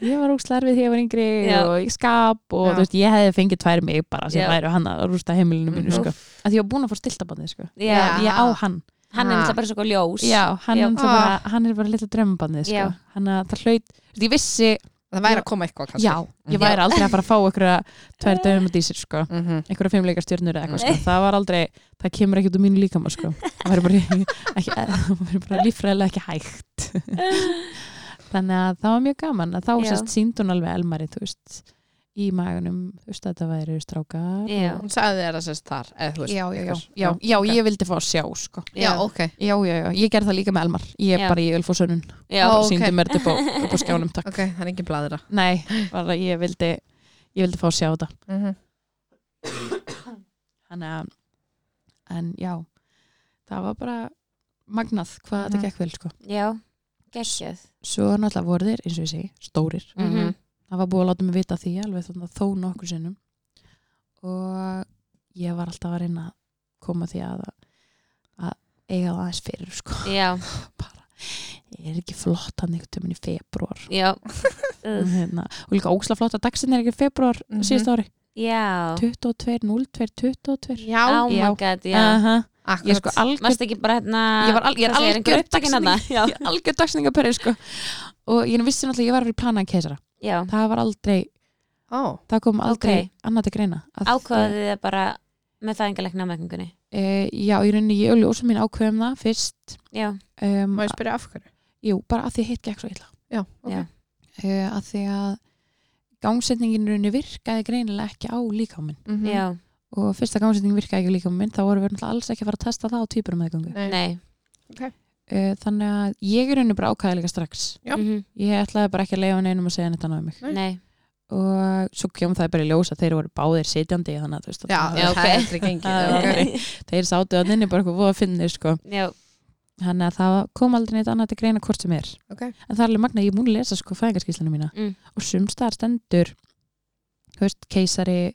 ég var óslar við því að ég var yngri
Já.
og ég skap og
Já.
þú veist, ég hefði fengið tvær mig bara sem
Já.
væru hann að rústa heimilinu mínu
Mhm.
sko. að því ég var búin að fá stiltabannið sko.
já,
ég á hann
hann er náttúrulega bara svo ljós
já, hann,
Ah. Já.
er náttúrulega bara, hann er bara litla drömmabannið sko.
Já.
hann að það hlaut, þú veist, ég vissi
Það væri að koma eitthvað kannski.
já, ég væri aldrei að fara að fá einhverja tvær döfum og dísir sko
Mhm.
einhverja fimmleika stjörnur eða eitthvað sko. það var aldrei, það kemur ekki út úr mínu líkama sko. það verður (laughs) bara, ekki- eh, það væri bara líffræðilega ekki (laughs) hægt þannig að það var mjög gaman að þá
Já.
sérst sínd hún alveg elmari þú veist, í maganum þú veist að þetta væri strákar
Já,
Hún sagði þér að sérst þar. Eða þú veist.
já, já, já,
eitthvað.
já, já, ég vildi fá að sjá sko.
Já, ok.
já, já, já, ég gerði það líka með Elmar ég
Já.
bara, ég vil fá sönnun
já,
Ó.
okay.
ok.
síndi mér þetta upp, á- upp á (laughs) skjánum takk
Ok, það er engin bladra.
nei, bara ég vildi ég vildi fá að sjá þetta
Mhm.
þannig að, en já það var bara magnað hvað þetta
Mhm.
gekk vel sko.
já Gekkjöð
svo náttúrulega voru þeir, eins og ég segi, stórir
Mhm.
það var búið að láta mig vita því alveg þannig að þó nokkur sinnum og ég var alltaf að reyna að koma því að að eiga það aðeins fyrir sko.
Já,
bara, er ekki flott hann einhvern tíminn í februar
já,
og, hérna, og líka ógslag flott að dagsinni er ekki í februar
Mhm.
síðust ári
já
22, 02, 22
Já,
oh my
já.
god, já
Aha. ég
Akkurat.
er sko algjör
Mast ekki bara hérna
Ég var al- ég er
hvað segir,
algjör
einhver upptökin
dagsending.
hana Já,
ég er algjör dagsningaperri sko. og ég vissi náttúrulega að ég var að vera í plana að keisara
já.
það var aldrei,
Ó,
það kom aldrei
Ókei.
annað til greina Að-
ákvaðið þið bara með fæðingalegna ámerkingunni
Eh, já, ég rauninni, ég og ljósa mín ákveðum það fyrst
Já,
um,
má ég spyrja af hverju?
jú, bara að því hitt gekk svo illa
Já, ok.
Já.
uh, að því að gangsetningin í rauninni virkaði greinilega ekki á líkáminn
Mhm.
já,
og fyrst að gangsetningin virkaði ekki á líkáminn þá vorum við náttúrulega alls ekki að fara að testa það á týpurum meðgöngu
Nei.
nei
uh, þannig að ég í rauninni bara ákæði líka strax
Já.
Mhm,
ég ætlaði bara ekki að leifa neinum að segja neitt annað um mig
Nei.
Nei,
og svo kemur það bara í ljós að þeir voru báðir sitjandi þannig að þú veist að
Já,
það-
Já,
það
ok.
er aldrei gengið.
Það
ok.
er- þeir sátu að nynni bara eitthvað voða finnir sko
(laughs) já,
þannig að það kom aldrei neitt annað til greina hvort sem er
Ok.
en það er alveg magna, ég er múin að lesa sko fæðingarskíslanu mína
Mm.
og sumstaðar stendur þú veist, keisari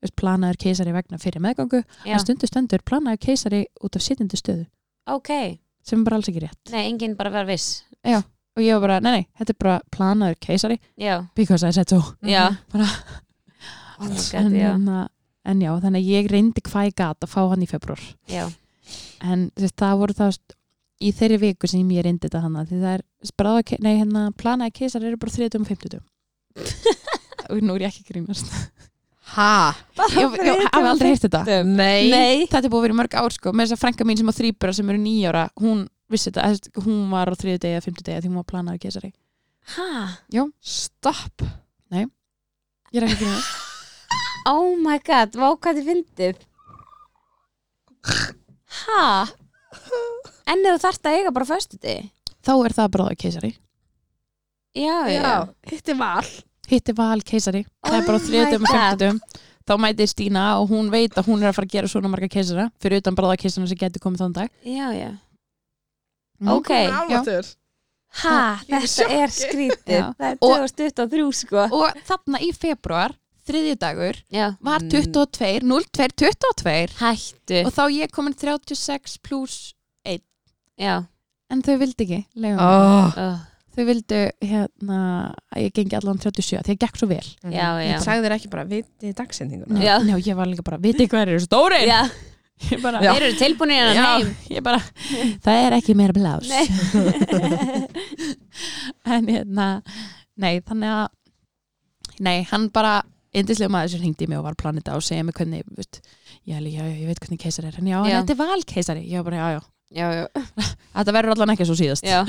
þú veist, planaður keisari vegna fyrir meðgangu
já,
en stundu stendur planaður keisari út af sitjandi stöðu
ok
sem er bara alls ekki rétt
Nei, enginn bara var viss
og ég var bara, nei nei, þetta er bara planaður keisari
Já,
because I said so
já
Bara-
Oh my god,
en,
já,
hérna, en já, þannig að ég reyndi hvað ég gat að fá hann í februar
já
en þú veist, það voru þá st- í þeirri viku sem ég reyndi þetta hana því það er bráða, ke- nei hérna planaði keisar eru bara 30 og
(laughs)
50 og nú er ég ekki að grínast
Ha?
ég ég hef aldrei heyrt þetta
Nei.
Nei,
þetta er búið að vera í mörg ár sko með þess að frænka mín sem á þrýbura sem eru nýjára hún vissi þetta, þú veist, hún var á þriðu degi eða fymtu degi því hún var planaði keisari
hæ,
Stopp.
ég er ekki
(laughs)
að grínast
oh my god, vá hvað þið fyndið Hæ En ef þú þarft að eiga bara föstu þig
þá er það bráða keisari,
Já, já,
Hitti val.
hitti val keisari það er bara á
Oh
þriðu
my
degum og
God.
fymtu degum þá mæti Stína og hún veit að hún er að fara að gera svona marga keisara fyrir utan bráða keisarna sem getur komið þann dag
já, já
Mm.
Ok,
Álatur.
hæ,
Ég er í
þetta er
sjokki.
skrítið
Já.
Það er
Og-
2023 sko
og þarna í februar þriðju dagur
Já,
var
Mm.
22, 02, 22
hættu
og þá ég komin 36 pluss
Já,
en þau vildi ekki leiðum.
Oh.
oh,
þau vildi hérna að ég gengi allan 37 því að gekk svo vel
já, já
Sagðir ekki bara vitið dagsendinguna.
Já.
Njá, ég var líka bara, viti hvað eru stóri
Já,
ég bara,
þeir eru tilbúinir en
Já,
að heim (laughs)
ég bara það er ekki meira blás (laughs) en hérna nei, þannig að nei, hann bara yndislega maður sem hringdi í mig og var planið á og segja mig hvernig þú veist, ég, alveg, já, já, ég veit hvernig keisari er en já, já.
Já.
þetta er valkeisari ég var bara, (laughs) já, já,
Já, já,
þetta verður allan ekki svo síðast
já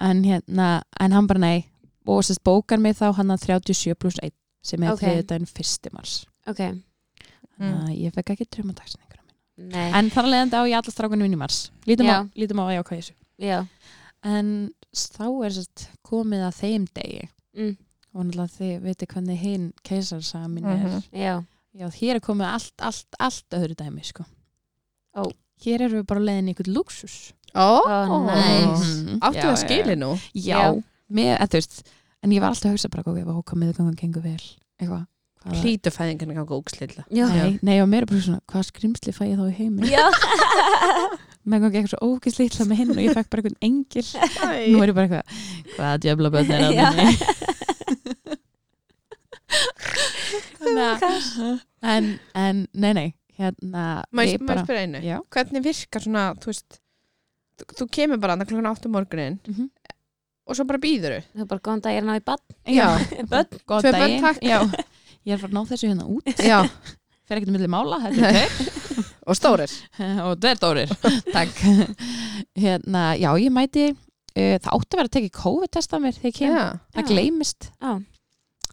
en, hérna, en hann bara nei og sérst bókar mig þá hann að 37 pluss 1 sem er
Ok. Mm.
okay. þriðdæn fyrsti mars
Ok,
Mm.
þannig að ég fekk ekki trömmadagsningur
nei,
en þar leðandi á ég alla strákunum minn í mars lítum
Já.
á, lítum á að ég ákvæði þessu
já
en s- þá er sérst komið að þeim degi
mm,
og náttúrulega þið veitir hvernig hinn keisarsamin er
Mhm.
Já,
já, hér er komið allt, allt, allt öðru dæmi sko.
Ó.
hér eru við bara leðin ykkur luxus
Ó,
Ó, næs.
Mhm.
Áttu
Já,
það
já,
skili nú?
já,
Já.
Mér, eða, þú veist, en ég var alltaf að hugsa bara góð, ef hóka meðgangan gengur vel eitthvað hvaða-
Hlýtu fæðingarna ganga ógslilla.
já
Nei, nei, og mér er bara svona, hvað skrimsli fæ ég þá í heimi?
(laughs) Já,
Mér gangi eitthvað svo ógisli illa með hinn og ég fekk bara einhvern engil.
(laughs)
Nú er ég bara eitthvað, hvaða djöfla börn er að
Já. (laughs)
minni? (laughs)
hvað
Þannig að- en, en, nei, nei, hérna,
Má ég
ég bara,
spyrja einu?
já,
Hvernig virkar svona, þú veist, þú, þú kemur bara annað klukkan 8 morgunin
Mhm.
og svo bara býður þau.
Það er bara góðan dag, ég er að ná í bann
Já.
Börn,
góð
Tvö börn,
daginn.
takk.
(laughs)
Já, ég er að fara að ná þessu hérna út,
Já.
(laughs) fer ekkert um milli mála, þetta (laughs) er
Og stórir.
og það er (laughs) dórir takk hérna, já ég mæti uh, það átti að vera að teki COVID-test af mér þegar ég kem,
Já.
það
Já.
gleymist
Já.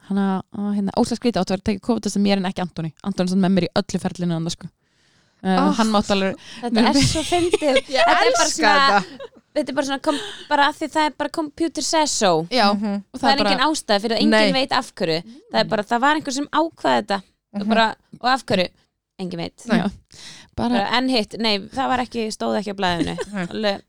hann að að, hérna, óslega skrítið átti að vera að teki COVID-test af mér en ekki Antoni, Antoni sann með mér í öllu ferlinu annars sko Uh,
Ah.
hann mátt alveg
þetta er svo (laughs) fyndið
Ég
Þetta er bara
elska
svona-
þetta.
Þetta er bara svona, kom, bara af því það er bara computer says so
já,
Mhm.
og
Það er engin ástæð fyrir að enginn veit af hverju Það er bara, það var einhver sem ákvaði þetta og,
Mhm.
bara, og af hverju, enginn veit
Nei.
bara,
bara, En hitt, nei, það var ekki, stóð ekki á (laughs) blæðinu
Nei.
Alveg,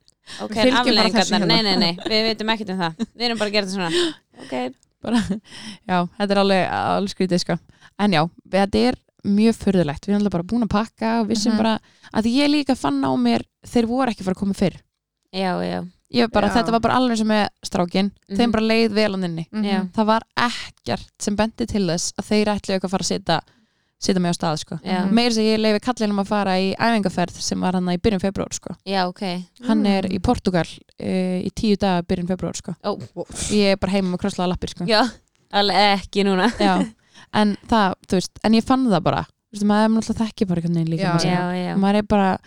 Ok,
Við fylgjum
en
bara
afleðingarnar,
þessu
nei,
hérna.
nei, nei, við veitum ekkert um það Við erum bara að gera þetta svona (gasps) Ok,
bara, (laughs) já, þetta er alveg, alveg skrítið sko. en já, þetta er mjög furðulegt, við erum alltaf bara búin að pakka og vissum
Mhm.
bara, að ég líka fann á mér þeir voru ekki að fara að koma fyrr
já, já
ég bara,
Já.
þetta var bara alveg sem með strákin þeim
Mhm.
bara leið vel á nynni
Mhm.
Já.
það var ekkert sem bendi til þess að þeir ætli eitthvað að fara að setja setja mig á stað sko
Já.
Mhm.
meir sem ég leifi kallinum að fara í æfingaferð sem var hann í byrjun februar sko
Já, ok.
hann er
Mm.
í Portugal uh, í tíu daga byrjun februar sko
Ó,
ég er bara heima með krosslaða lappir sko
já, alveg ekki núna.
Já.
(laughs)
en það, þú veist, en ég fann það bara þú veist, maður er náttúrulega þekki bara einhvern veginn líka
Já,
maður,
Já, já,
maður er bara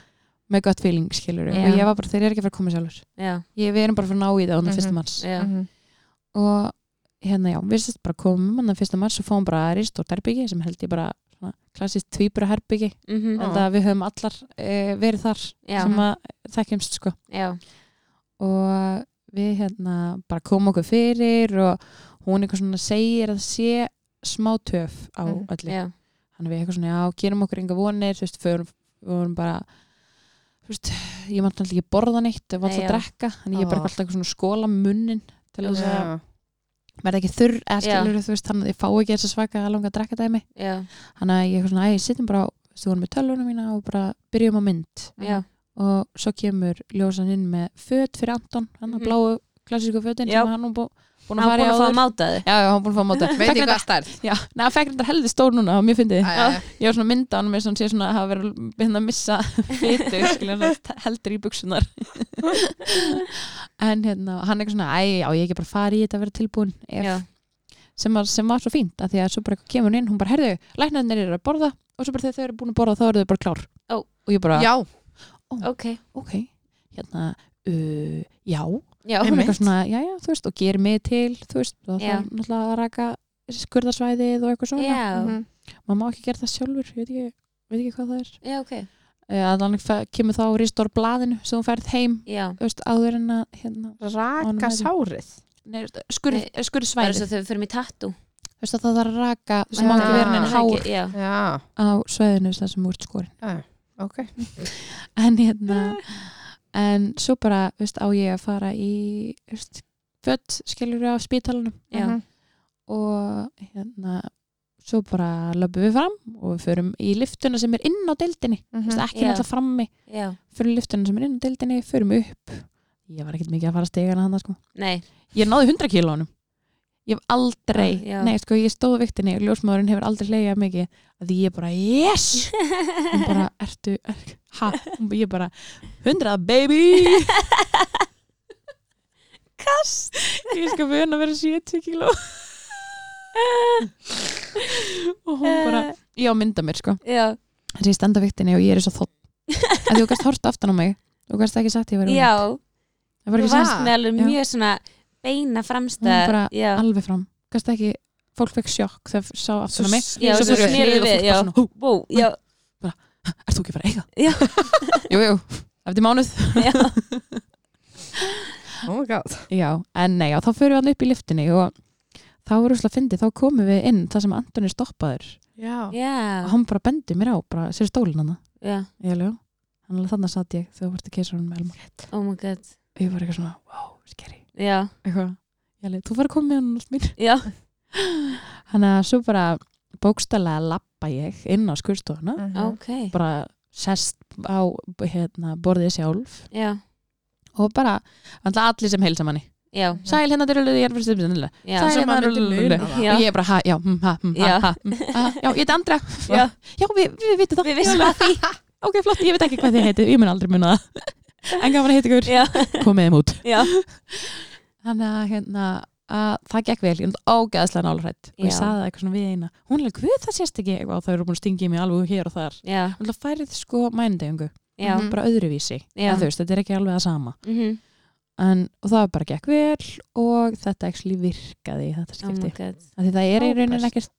með gott feeling skilur
Já.
og ég var bara, þeir eru ekki að fara að koma sjálfur
já,
ég, við erum bara að fara að ná í það á
Mhm.
þannig fyrsta mars
já.
Mhm.
og hérna já, við sérst bara komum hann fyrsta mars og fáum bara aðri stórt herbyggi sem held ég bara svona, klassist tvíbura herbyggi
Mhm.
en það við höfum allar e, verið þar
Já,
sem að þekkjumst sko
já,
og við hérna bara komum okkur fyrir og hún eitthvað svona segir að sé smá töf á
Mm,
öllu
Mhm. já.
hann er við eitthvað svona, já, gerum okkur enga vonir þú veist, förum, við vorum bara þú veist, ég mátti alltaf ekki borða neitt og
Nei,
alltaf
já.
að drekka, þannig ég bara
Ó.
alltaf eitthvað svona að skóla munnin til þess að
Já.
verða ekki þurr eða
Já.
skilur þú veist, þannig að ég fá ekki þess að svaka að langa að drekka dæmi,
já,
þannig að ég eitthvað svona, æ, sittum bara á þú veist, við vorum með tölvuna mína og bara byrjum á mynd
já,
og svo kemur ljósan inn með föt fyrir Anton, hann að
Mhm.
bláu klassísku fötin
Já.
sem hann var bú-
hann
búin að
búin
fara í
að fá að
áður
máta þið
Já, já, hann búin að fá að móta
(laughs)
Veit ég hvað stærð
Já, neða, fækrindar helði stór núna og mér fyndi
Æ, æ, æ.
ég var svona að mynda á hann með svona sé svona að hafa verið hérna
(laughs)
að missa fytu, skilja svona heldur í buksunar en hérna, hann eitthvað svona, æ, já, ég ekki bara fara í þetta að vera tilbúin
Já,
ef, sem, var, sem var svo fínt, af því að svo bara eitthvað kemur hún inn, hún bara, herðu, læknarnir eru að borða og svo bara þegar þau eru búin að borða, þá eru þau bara klár
Ó.
og ég bara,
Já,
ok,
ok, hérna uh, já,
já,
og hún
Einmitt.
eitthvað svona, já, já, þú veist, og ger mig til þú veist, og það
Já.
er náttúrulega að raka skurðarsvæðið og eitthvað svona
já,
Mhm.
maður má ekki gera það sjálfur, ég veit ekki, veit ekki hvað það er
já, ok,
Eh, að hann fe- kemur þá ristur blaðinu sem hún færð heim
já.
þú veist, áður en að hérna,
raka
Ánægður.
sárið
nei, skur,
Nei,
skur
Það er svo
svæði
þau fyrir mig tattu.
þú veist að það þarf að raka
Já.
það má ekki vera neinn
Já.
hár
Já,
Já,
á svæðinu þar sem úr skorin
já, ok
en hérna en svo bara þú veist, á ég að fara í þú veist, fött skilur á spítalunum
já,
Mhm.
og hérna svo bara löpum við fram og við förum í liftuna sem er inn á deildinni
Mhm.
Þú veist, ekki
Já.
náttúrulega frammi
já,
förum í liftuna sem er inn á deildinni, förum upp ég var ekkert mikið að fara stegana hann sko
nei,
ég náði 100 kílónum ég hef aldrei,
Já.
nei sko ég stóð á viktinni og ljósmaðurinn hefur aldrei leiðið mikið að því ég bara, yes hún bara, ertu, er, ha hún, ég bara, 100 baby kast ég skal vöna að vera 70 kíló (laughs) og hún bara
Eh.
ég á að mynda mér sko,
já,
þess að ég standa á viktinni og ég er svo þótt, að því þú gast hort aftan á mig þú gast ekki sagt ég var
já,
það var
þú
ekki
Vá.
sagt
varst með alveg
Já.
mjög svona beina
Hún
framstæð,
bara
já,
alveg fram gast ekki, fólk fekk sjokk þegar sá aftur á mig
já,
svo
svo
fór ég að
sneru
hliða og
við,
fólk
já,
bara svona, hú,
bú, já,
(laughs) ert þú ekki að fara að eiga?
Já.
(laughs) jú, jú, eftir mánuð
já,
Oh my god
já, en nei, já, þá förum við hann upp í liftinni og þá er úrslega fyndið, þá komum við inn það sem Antoni er stoppaður
Já,
já,
hann bara bendi mér á, bara sér stólin hann
já,
ég alveg, hann alveg þannig satt ég þegar þú vart að keisa hann með Elmar
oh my god,
og ég var eitthvað svona, wow, scary
já,
eitthvað, ég alveg, þú var að koma með hann allt mín
já,
hann að svo bara bókstælega lappa ég inn á skurstofuna
Mhm.
ok,
bara sest á hérna, borðið sjálf
já,
og bara alltaf allir sem heilsa manni
já,
sæl hérna dyrullu, ég er fyrir stundin
já,
Sæl.
Sem maður myndi muna það.
já,
og ég er bara, ha, já, hm, ha, hm, ha,
Já.
ha, hm, ha, já, ég heiti Andra
Já.
já við, við vitum það
við vissum að því,
ok, flott, ég veit ekki hvað þið heitið, ég mun aldrei muna það en gaman að heita ykkur,
já,
komið þeim út
(laughs) já,
þannig að hérna að það gekk vel, ég er ágæðslega nálrætt og ég
Já.
saði það eitthvað svona við eina hún er alveg, hvað það sést ekki, og það eru búin að stingi mig alveg hér og þar,
já,
alltaf færið sko mændegöngu,
já,
Mhm.
bara öðruvísi
Mm. Já.
en þú veist, þetta er ekki alveg það sama
mhm,
en, og það bara gekk vel og þetta actually virkaði í þetta
oh
skipti
my god,
oh því það er í
Frábært.
rauninni ekkert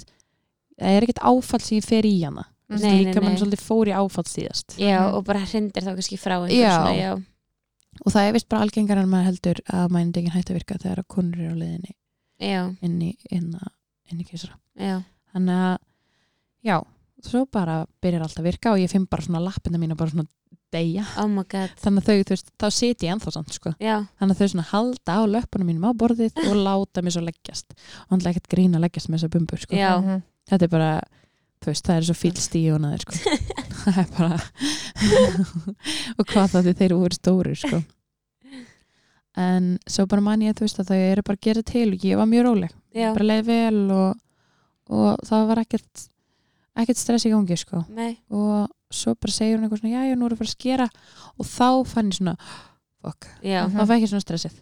það er ekkert áfall sem ég fer í hana Þú veist,
Nei, nei,
líka mann
nei.
svolítið fór í áfall síðast
já, og bara hrindir þá kannski frá einhver
Já.
svona, Mhm. já,
og það er vist bara algengar en maður heldur að mæningin hætti að virka þegar að konur eru á leiðinni
já,
inn í, inn að, inn í kísara
já,
þannig að, já, svo bara byrjar allt að virka og ég finn bara svona lappina mína bara svona deyja
oh my god,
þannig að þau, þú veist, þá sit ég ennþá samt sko.
já,
þannig að þau svona halda á löpunum mínum á borðið og láta mér svo leggjast og hann ekkert grína að leggjast með þessa bumbur sko.
Já.
Mhm.
þetta er bara, þú veist, það er svo fýlst í jónaðir
(laughs)
sko. það er (laughs) bara og hvað það því þeir voru stórir sko. en svo bara man ég þú veist að þau eru bara að gera til og ég var mjög róleg
Já.
bara leið vel og, og það var ekkert ekkert stress í gangi sko
Nei.
og svo bara segir hún eitthvað svona já, já, nú erum við að fara að skera og þá fann ég svona fuck,
Já,
Mhm.
þá fæk ég svona stressið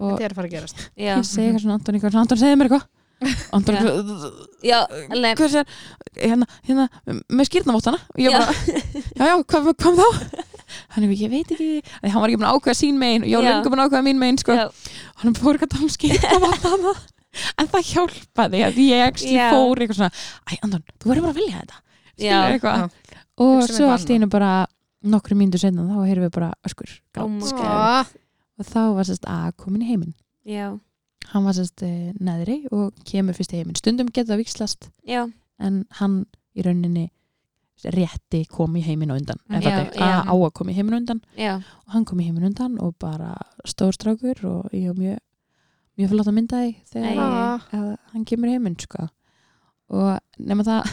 Og-
Þetta er að fara að gerast.
já,
ég segi eitthvað svona Anton eitthvað svona, Anton segði
(laughs)
mér eitthvað Anton
Já.
eitthvað,
já, alveg,
hvað sér hérna, hérna, með skýrnamottana og ég
Já.
bara, já, já, hvað, hvað þá hann er, ég veit ekki, Af því hann var ekki búin að ákveða sín megin og ég var
Já.
lengur búin að ákveða mín megin sko.
já,
hann fór eitthvað tala um skýrnamottana en það hjálpaði að ég actually
Já.
fór eitthvað svona, æ, Anton, þú verður bara að vilja þetta Skilurðu
já,
eitthvað. og
Hugsa um
svo
eitthvað
allt í einu bara nokkru mínútur senna þá heyrðum við bara öskur
Oh my
gát,
Skæði.
skelf. og þá var sérst að komin í heiminn
já,
hann var sérst eh, neðri og kemur fyrst í heiminn stundum getur það vikslast
já,
en hann í rauninni rétti kom í heiminn og undan
Mm, Já,
eða
já.
það á að kom í heiminn og undan
já,
og hann kom í heiminn og undan og bara stórstrákur og ég var mjög mjög fyrir láta mynda því þegar
Æ.
Ah.
að hann kemur í heiminn sko. og nema það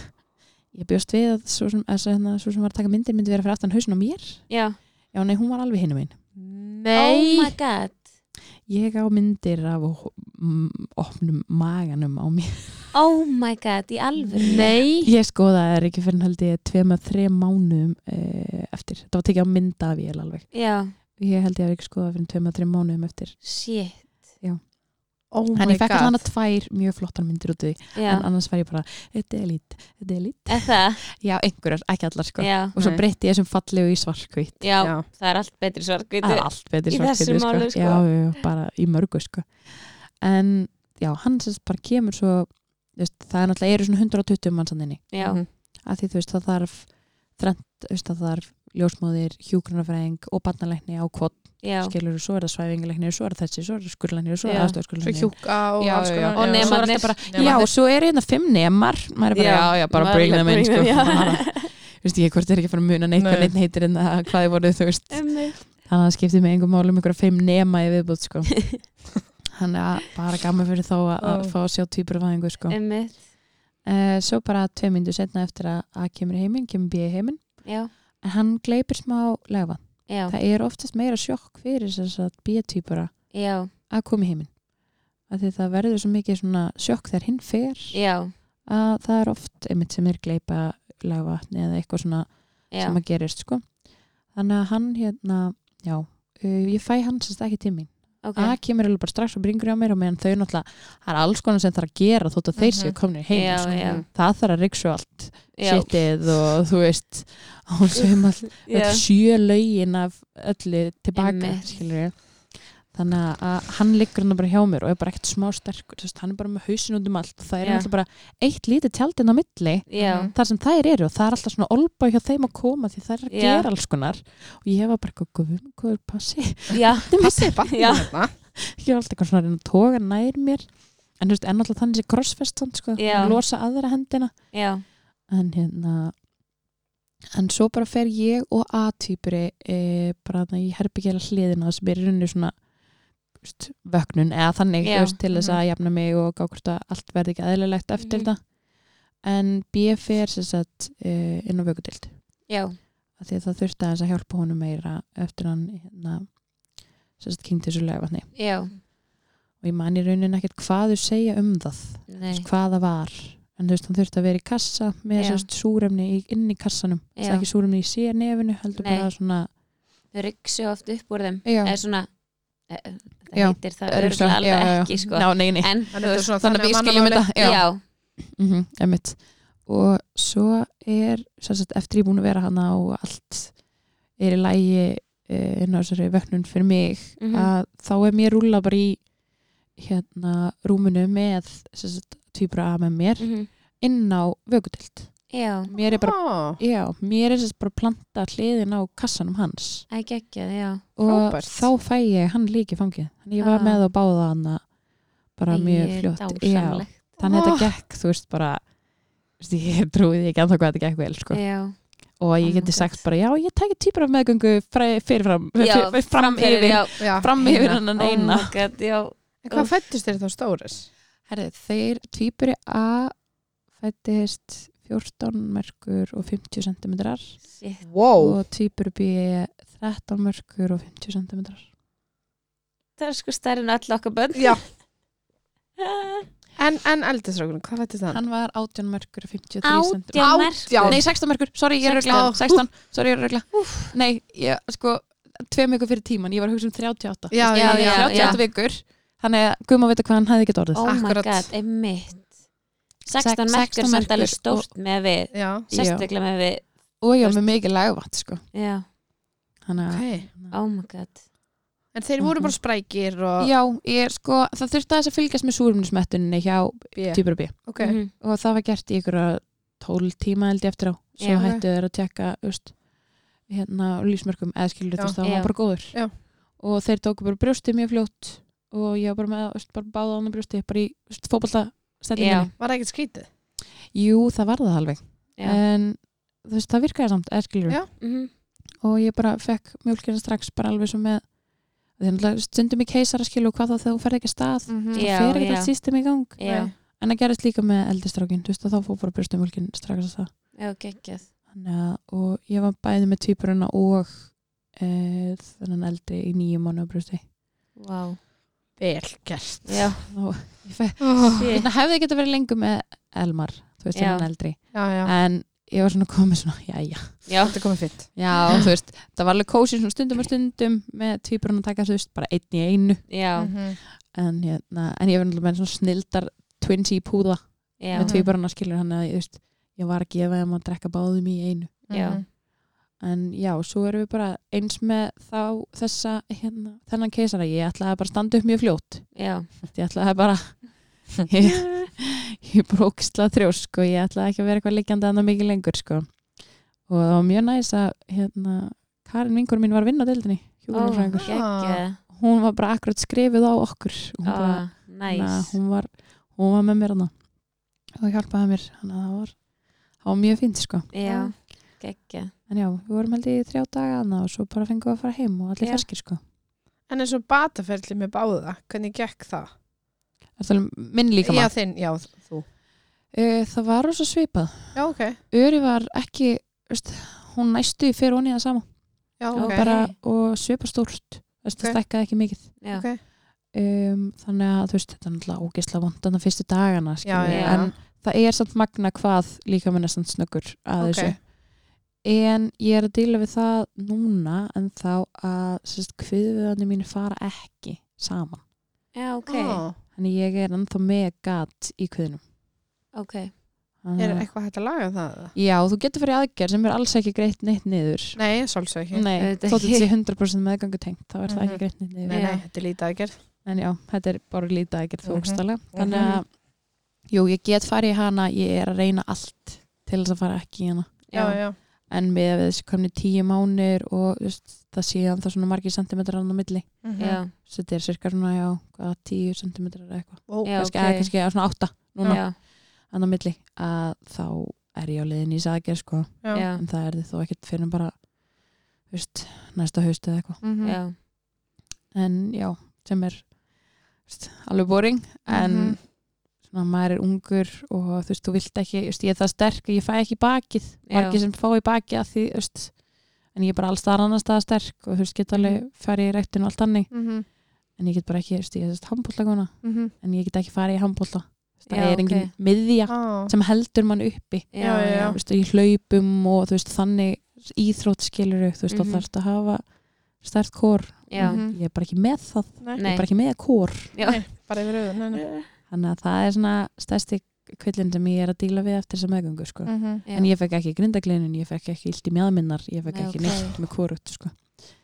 ég bjóst við að svo sem, að, hérna, svo sem var að taka myndir myndi vera fyrir aftan hausin á mér
já.
já nei, hún var alveg hinum einn
Oh my
Nei.
god.
ég á myndir af ho- m- opnum maganum á mér
Oh my god, í alvöru.
Nei.
ég skoðaði það ekki fyrir held ég tveim að þreim mánuðum eh, eftir þetta var tekið á mynda af ég alveg
Já,
ég held ég að ekki skoða fyrir tveim að þreim mánuðum eftir
shit,
Oh
en
my
ég fekk
god.
alltaf tvær mjög flottar myndir út í því.
já,
en annars var ég bara, þetta er lít þetta er lít,
er það,
já einhverjar, ekki allar sko
já,
og svo
Nei.
breytti ég sem fallegu í svarkvít
já, Ah.
Já.
það er allt betri svarkvítu.
það er allt betur
í
svarthvítu,
þessu máli, sko.
já, já, já, bara í mörgu sko. en já, hann sérst bara kemur svo þú veist, það er náttúrulega eru svona 120 mannsaninni
Já,
Mhm.
af því þú veist það þarf þrent, þú veist það þarf ljósmóðir, hjúgrunafræðing og barnalækni á kvot
já,
skilur svo er það svæfingalækni, svo er það þessi svo er það skurlækni, svo
Já.
er það
Svo
aðstofskurlækni
hjúka og
Já,
alls
já,
konar-
já.
Og
já.
nema-
Svo-
nemarnir.
bara- Já, og svo er hérna fimm nemar maður er bara,
Já.
já, já, bara
Maður
bring
er
them
bara
in sko.
bring them, já.
Bara- (laughs) Þú veist ekki hvort þeir ekki að fara að muna neitt hvað
Nei.
neitt heitir en það hvað þið voru, þú veist
Einmitt.
þannig að það skipti mig einhver málum ykkur fimm nema í viðbútt (laughs) sko. þannig að bara gaman fyrir þá að, að
Ó.
fá að sjá týpurfæðingu sko.
Einmitt.
uh, svo bara tvei myndu setna eftir að, að kemur í heiminn, kemur bíði heiminn
já,
en hann gleipir smá legvan
já,
það er oftast meira sjokk fyrir þess að bíðatýpura
já,
að koma í heiminn af því það verður svo mikið svona sjokk þegar hinn fer
já,
að það er oft einmitt sem er gleipa legvatni eða eitthvað svona
já,
sem að gerist sko. þannig að hann hérna já, uh, ég fæ hann sérst ekki til mín
ok,
að kemur alveg bara strax og bringur á mér og meðan þau náttúrulega, það er alls konar sem þarf að gera þótt að þeir séu komin heim
Mhm. Já,
sko.
já.
það þarf að riksu allt
já,
sittið og þú veist
(laughs)
hún sem all,
já,
öll sjö lögin af öllu tilbaka
Einmitt.
skilurðu. þannig að hann liggur hann bara hjá mér og er bara ekkert smá sterkur þú veist, hann er bara með hausin út um allt og það er
Já.
alltaf bara eitt lítið tjaldinn á milli
já,
þar sem þær eru og það er alltaf svona olba hjá þeim að koma því þær er að
Já.
gera alls konar og ég var bara eitthvað, guðum, hvað er passi (laughs)
já,
Passið barnið
Já.
hérna.
ég var alltaf eitthvað svona að reyna að toga nær mér en þú veist, en alltaf þannig sé crossfest þannig sko,
Já.
að losa aðra hendina
já,
en hérna en svo bara fer ég og A-týpuri e, bara þannig að ég herp ekki heila hliðina sem er í rauninni svona þú veist, vöknun eða þannig
Já.
þú veist, til þess að jafna mig og gá hvort að allt verði ekki aðlilegt eftir
Mhm.
þetta en B fer sem sagt e, inn á vökudild
já,
af því að það þurfti aðeins að hjálpa honum meira eftir hann hérna, sem sagt kynnti þessu legavatni
já,
og ég man í rauninni ekkert hvað þau segja um það þú
nei,
veist, hvað það var en þú veist, hann þurfti að vera í kassa með
Já.
sérst súrefni í, inn í kassanum það
Já.
er ekki súrefni í sér nefinu heldur
Nei.
bara svona
þau ryggsu oft upp úr þeim,
já,
eða svona, eh, það
Já.
heitir það
Ryksu,
örgulega
já,
alveg
já, já.
ekki, sko,
Ná, nei, nei.
en,
En þetta er svona
þannig að við
manna
skiljum
máli-
þetta já,
já,
mm einmitt og svo er sérst, eftir ég búin að vera hana og allt er í lægi eh, inn á þessari vöknun fyrir mig
Mhm.
að þá er mér rúla bara í hérna rúminu með sérst, tvíbra að með mér
mhm,
inn á vökudild
já,
mér er bara
Ó,
Ah.
Já, mér er sérst bara að planta hliðin á kassanum hans
ekki ekki, já,
og
Frábært.
þá fæ ég hann líki fangið þannig ég var
Ah.
með og báða hann bara mjög
Æi,
fljótt Já,
dásamlegt.
þannig að
Ah.
þetta gekk, þú veist bara þú veist, ég (laughs) trúið ekki að það hvað þetta gekk vel sko.
já,
og
Oh
ég
my
geti
God.
sagt bara já, ég tæki týpur af meðgöngu fræ- fyrirfram
Já,
fyr- fyr- (laughs) fram
fyrir,
yfir
já,
já. Hérna.
fram hérna. yfir hann
Oh my
eina
God, já,
En Hvað fættist þér þá stóris?
Herri, þeir týpuri A fættist 14 merkur og 50 centimetrar
shit,
Wow.
og týpur B 13 mörgur og 50 cm
það er sko stærri en öll okkar bönn (laughs)
Já. En, en eldisrákurinn, hvað lættist hann?
Hann var 18 mörgur og 53 cm.
átján merkur
Nei, 16 mörgur, sorry, ég er
16.
röglega 16, sorry, ég er röglega Nei, ég, sko, tveim vikur fyrir tíman Ég var að hugsa um 38
Já, já,
já, já.
38 vikur, þannig að guðum að vita hvað hann hefði getið orðið
oh my
Akkurat.
god, einmitt 16
16
merkur er samt
merkur
alveg stórt með við
Já,
sérstaklega með við
Og ég var með mikið lagvand, sko
já,
Þannig að
ok.
oh my god
En þeir voru bara sprækir og...
Já, ég sko, það þurfti aðeins að fylgjast með súrumnismettunni hjá
B.
týpur B
Ok.
Mhm.
og það var gert í ykkur 12 tíma held ég eftir á svo
Já.
hættu þeir að tjekka úst, hérna á lífsmörkum eða skilur
Já.
þetta það
Já.
var bara góður
Já.
og þeir tóku bara brjóstið mjög fljótt og ég var bara með úst, bara báða annar brjóstið bara í úst, fótbolta
já,
stellinginni
Var það ekkert skrítið?
Jú, það var það alveg
já.
en þú veist, það virkaði samt eða skilur
Já.
Mhm.
og ég bara fekk mjölkina strax bara alveg svo með þeir náttúrulega stundum í keisara skilu og hvað þá þegar þú ferð ekki af stað
Mm
Já.
það fer ekki
já.
alltaf sístum í gang
já,
Nei.
en það gerist líka með eldistrákin þú veist að þá fór bara brjóstumjölkin strax að það
já, geggjað
Þannig að, og ég var bæði með týpurina og e, þennan eldri í nýju mánu brusti.
wow.
Vel gert.
já,
Ég fe,
Oh. (laughs)
Shit.
það hefði geta verið lengur með Elmar, þú veist,
Já.
þennan eldri.
Já, já.
En ég var svona komið svona, já, já.
já,
Þetta er komið fint.
Já, þú veist, það var alveg kósið svona stundum og stundum með týpurina að taka, þú veist, bara einn í einu.
já,
Mhm.
En, hérna, en ég var náttúrulega með svona snildar twinsi í púða
já.
með týpurina skilur hann að, þú veist, ég var að gefa þeim að drekka báðum í einu.
Já.
Mhm.
en já, svo erum við bara eins með þá þessa hérna, þennan keisara, ég ætlaði bara að standa upp mjög fljótt
já,
ég ætlaði bara (laughs) ég, ég brókstla þrjósk og ég ætlaði ekki að vera eitthvað liggjandi annað mikið lengur sko. og það var mjög næs að hérna, Karin vingur mín var að vinna á deildinni
Ó,
hjúkrunarfræðingur.
Oh, geggjað Ah,
hún var bara akkurat skrifuð á okkur hún, bara,
Ó, næs
þannig að hún, var, hún var með mér hana og hjálpaði mér þannig að það var, það var mjög fínt sko.
Ah.
já, geggjað
En já, við vorum held í þrjá daga hana og svo bara fengum við að fara heim og allir
Já.
ferskir sko.
En eins og bataferli með báða, hvernig gekk það?
Það er minn líka
já,
maður.
þinn, já, þú.
Það var rosa svipað.
Já, ok.
Öri var ekki, veist, hún næstu fyrir honi það sama
Já,
Já,
ok.
bara, og svipa stórt. Veist, Það
Ok.
stækkaði ekki mikið.
já,
Ok.
Um, þannig að þú veist, þetta er náttúrulega ógisla vondan að fyrstu dagana.
Já,
skilur við,
já.
En það er samt magna hvað líka minna samt snöggur að
Ok.
þessu. En ég er að díla við það núna en þá að kviðvöðanir mínu fara ekki saman.
já, ok
Á,
Þannig ég er ennþá með gat í kviðnum.
ok,
Er eitthvað hægt að laga það? eða?
Já, þú getur fyrir aðgerð sem er alls ekki greitt neitt niður.
Nei, svolsög ekki.
Nei,
Auðvitað
þótt
ekki.
þetta sé 100% meðgangu tengt, þá er það
Mhm.
ekki greitt neitt niður.
nei,
Já.
nei, þetta er lítið aðgerð.
En já, þetta er bara lítið aðgerð þú
Mhm.
ógstalega. Þannig að, jú, ég get farið í hana, ég er að reyna allt til þess að fara ekki í hana.
Já, já.
En með að við þessi komni tíu mánir og þú veist, það sé hann þá svona margir sentimetrar hann á milli.
Mhm.
já,
Svo þetta er cirka svona, já, hvað, tíu sentimetrar eða eitthvað.
Ó,
Já,
Kannski,
ok.
okay. kannski já, svona átta núna.
já,
hann á milli að þá er ég á leiðin í sagir sko
já.
já,
en það er þið þó ekkert fyrir en bara þú veist, næsta haust eða eitthvað
Mhm.
já
en já, sem er þú veist, alveg boring en
Mhm.
svona maður er ungur og þú veist, þú vilt ekki, þú veist, ég er það sterk ég fæ ekki í bakið, margir sem fá í bakið að því, þú veist, en ég er bara alls þar annars staðar sterk og þú veist, get alveg
Mhm.
farið í rektin og allt þannig,
Mhm.
en ég get bara ekki, þú veist, ég er þess handbóltakona,
Mhm.
en ég get ekki farið í handbólta, það
Já,
er engin
ok.
miðja
Á,
sem heldur mann uppi
já,
Já, já.
já,
þú veist, í hlaupum og þú veist, þannig íþrótt skilur þú veist, mm
Mhm.
-hmm. þarfst að hafa stærkt kór,
já,
Mhm.
ég er bara ekki með það ég
Nei.
er bara ekki með kór
Bara yfir auðun, nei, nei.
þannig að það er svona stærsti kvillin sem ég er að díla við eftir þessa meðgöngu sko.
Mhm.
Mm, já.
en ég fekk ekki grindaglinin, ég fekk ekki illt í mjadminnar, ég fekk
Nei,
ekki
ok.
neitt með kórut sko.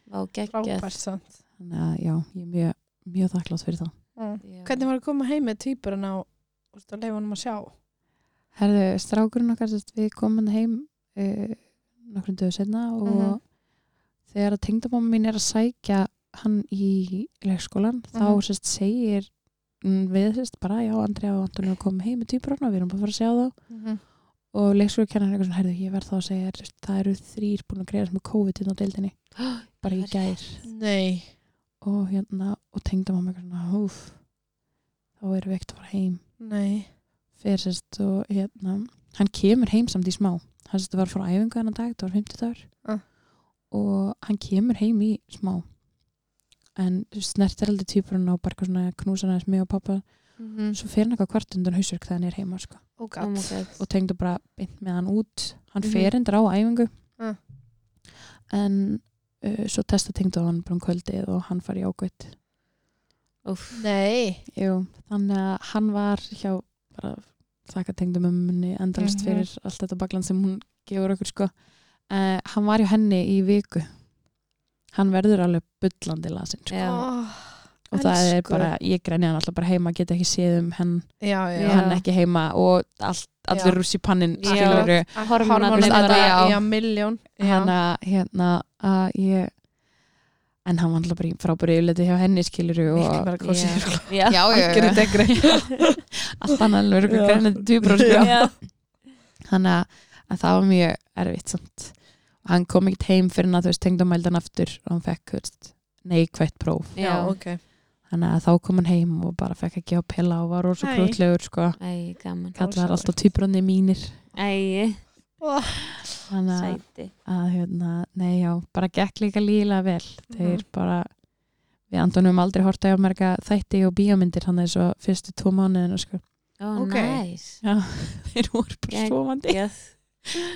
Vá, geggjað
Frábært sant.
þannig að já, ég er mjög, mjög þakklátt fyrir það
Mm.
Já. (gasps)
Hvernig var að koma heim með týpurinn á og leifa honum að sjá?
Herðu, strákurinn okkar, sest, við komum hérna heim uh, nokkrum döðu senna og
Mhm.
þegar að tengdabóma mín er að sækja hann í leikskólan, þá
Mhm.
sest, segir mm, við sest, bara, já, Andri og Antoni að koma heim með týpurinn og við erum bara að fara að sjá þá
Mhm.
og leikskólakennar er eitthvað svona, herðu, ég verð þá að segja þér, sest, það eru þrýr búin að greiðast með COVID inn á deildinni, bara í
Það er
gær
Nei.
og hérna, og tengdabóma eitthvað svona, húf þá erum við ekkert að fara heim
Nei.
fyrir sérst og hérna hann kemur heim samt í smá hann sérst var frá æfingu
Ah.
hennan dag, það var 50 dagur
Ah.
og hann kemur heim í smá en snertir aldrei týpurinn og bara eitthvað svona knúsar aðeins mig og pappa
Mhm.
Mm
svo fer hann eitthvað kvart undan hausverk þegar hann er heima sko.
Oh
Oh
god.
my god.
og tengdu bara beint með hann út hann
Mhm.
fer endur á æfingu
Ah.
en uh, svo testa tengdu hann bara um kvöldið og hann fari ágætt
Úff.
Nei.
Jú, þannig að hann var hjá bara þakka tengdum um henni endalist
Mhm.
fyrir allt þetta bakland sem hún gefur okkur sko. Uh, hann var hjá henni í viku hann verður alveg bullandi lasin sko.
Já.
Oh.
og það er
elsku.
bara, ég græni hann alltaf bara heima get ekki séð um henn
Já, já.
Já.
hann ekki heima og allt, allir
Já.
rússi pannin
Já.
skilur
Hormonarnir
Hormonarnir
bara,
bara,
já.
já, milljón.
hann að hérna að ég en hann var alltaf bara í frábæri yfirleiti hjá henni skilur og
Miklu bara kosið.
Já, (laughs) já,
Algjörðu degri.
allt annað lögur grænandi dýbrór sko.
já.
þannig að, að það var mjög erfitt samt og hann kom ekkert heim fyrir hann að þú veist tengdamældan aftur og hann fekk þú veist, neikvætt próf
Já,
Já,
ok.
þannig að þá kom hann heim og bara fekk ekki á pilla og var rosa
Æ.
grótlegur sko
Æ, gaman
kallar
Rosalegt.
alltaf týbrunni mínir
Æ,
þannig að,
sæti
að hérna, nei já, bara gekk líka líla vel þeir
Mhm.
bara við Antonum aldrei horta á merga þætti og bíómyndir hann þessu fyrstu tvo mánuðinu sko (laughs)
Ó,
Ok.
næs
þeir voru bara
Gegn-
svovandi
Yes.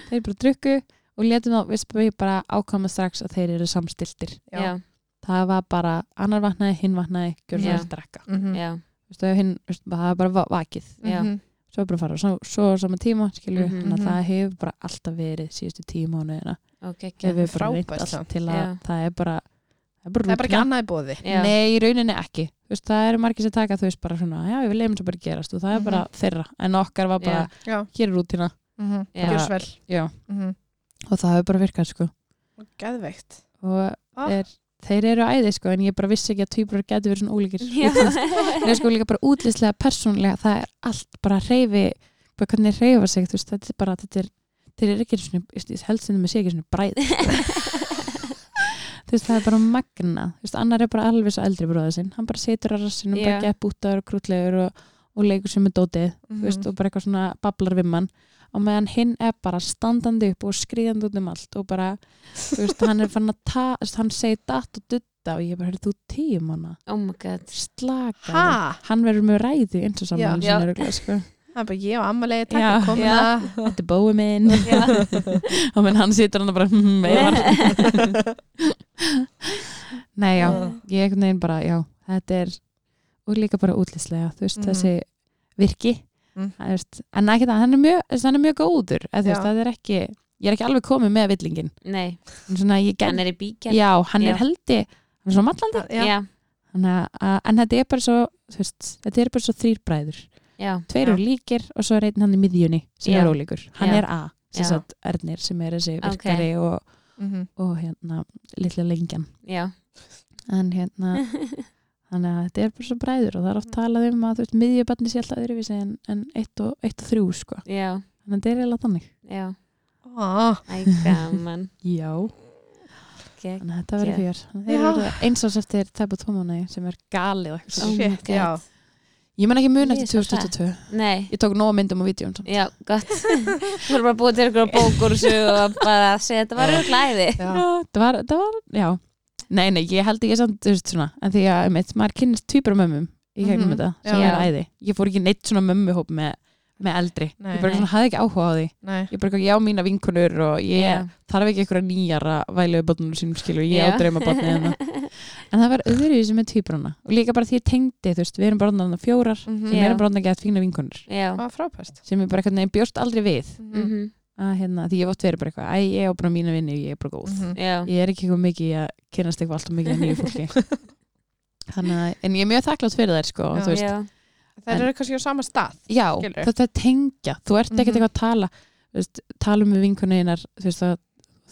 þeir bara drukku og letum þá, við spyrum bara ákama strax að þeir eru samstiltir
Já.
Já,
það var bara annar vatnaði, hinn vatnaði gjörðu
Já.
það að drekka
Mhm.
já,
Vistu, hinn, vistu, það var bara va- vakið
já
Mhm.
svo er bara að fara svo, svo á sama tíma skilur
Mhm.
þannig að það hefur bara alltaf verið síðustu tíu mánuðina
Ok, ekki
hefur bara reynt
frábært
allt
samt.
til að
Já.
það er bara það er bara,
Það er bara ekki
rútína.
annað í bóði.
Já,
nei, í rauninni ekki Vistu, það eru margir sem taka þú veist bara svona já, við leifum svo bara gerast og það er bara þeirra en okkar var bara,
Mhm. Já.
hér er rútina
Mhm.
Já.
Gjör svo vel.
já.
Mhm.
og það hefur bara virkað sko
Geðveikt.
og
Ah.
er, þeir eru æði sko en ég bara vissi ekki að tvíbrur getur verið svona ólíkir
Já.
(laughs) það er sko líka bara útlýslega persónlega það er allt bara reyfi bara hvernig reyfa sig, þú veist, þetta er bara þetta er, þeir eru ekki svona, ég held sem þeim sé ekki svona bræð þú veist, það er bara magna þú veist, annar er bara alveg svo eldri bróða sinn hann bara situr á rassinu, bara
Já.
gepp út og krútlegur og, og leikur sem er dótið
Mhm.
þú
Mm.
veist, og bara eitthvað svona bablar við mann og meðan hinn er bara standandi upp og skriðandi út um allt og bara, þú veist, hann er fann að ta, þú veist, hann segir datt og dutta og ég bara, heyrðu, þú tíu manna
Oh my god
slaka
Hæ?
þig." hann verður með ræði eins og
Já.
saman
Já.
sko.
Það er bara ég og ammalegi takk
Já.
að koma
Já.
þetta (laughs) er bói minn og menn hann situr hann og bara hm, veifar.
(laughs)
nei, já, ég einhvern veginn bara, já þetta er, og líka bara útlýslega þú veist,
Mhm.
þessi virki
Mhm.
það, veist, en ekki það, hann er mjög, þessi, hann er mjög góður eða, þú
Já.
veist, það er ekki, ég er ekki alveg komið með villingin,
Nei,
en svona ég
hann
gerði
er í bíkjart
já, hann
Já.
er heldi hann er svo mallandi
Já.
já,
Þannig að- að- en þetta er bara svo þú veist, þetta er bara svo þrýr bræður
já,
tveir
Já.
eru líkir og svo er einn hann í miðjunni sem
Já.
er ólíkur, hann
Já.
er A sem
Já.
sagt Ernir sem er þessi virkari og,
Mhm.
og hérna litla lengjan
já
en
Hm.
hérna þannig að þetta er bara svo bræður og það er oft talað um að þú veist miðjubarni sé alltaf öðruvísi en, en eitt, og, eitt og þrjú sko
Já,
þannig að þetta er eiginlega þannig
já,
Ó,
æ, gaman
Já.
Gegn.
þannig að þetta verður
Geggjað.
fjör Þannig að þeir
Já.
eru eins ás eftir tæpa tómanægi sem er galið og eitthvað
Oh
svo.
my
shit,
God.
já.
ég man ekki mun eftir
Ég sá það.
2022
Nei,
ég tók nóg af myndum og vídjum samt.
já, gott Þú voru bara að búa til ykkur bókur og svo og bara að segja þetta var auðvitað æði
Já, það var, það var, já Nei, nei, ég held ekki samt, þú veist svona en því að, mitt, maður kynnist tvíbrumömmum í gegnum
Mhm,
þetta, sem
já.
er æði Ég fór ekki neitt svona mömmuhóp með, með eldri
Nei.
Ég bara
Nei.
svona, hafði ekki áhuga á því
Nei.
Ég bara, eitthvað, ég á mína vinkunur og ég þarf ekki einhverja nýjar að væla við botnunum sínum skilu, ég
Já.
á hérna. dreima botni en, (laughs) en það var öðruvísi með tvíbruna og líka bara því ég tengdi, þú veist, við erum bara orðnar fjórar
Mhm.
sem
Já.
erum bara orðnar gett fína vinkunur
(laughs) Já,
Það var frábært.
sem ég bara eitthvað neginn bjóst aldrei við
Mhm.
mhm,
að, hérna, því ég hef oft verið bara eitthvað, æ, ég á bara mína vinnu, ég er bara góð
Mhm.
já
ég er ekki eitthvað mikið í að kynast eitthvað alltaf mikið af nýju fólki
(laughs)
Þannig, að- en ég er mjög þakklátt fyrir þær sko,
Já.
þú veist,
Já,
Þær eru kannski á sama stað.
já,
Skilurðu?
þetta er tengja þú ert
Mhm.
ekkert eitthvað að tala þú veist, tala um við vinkuninnar það, það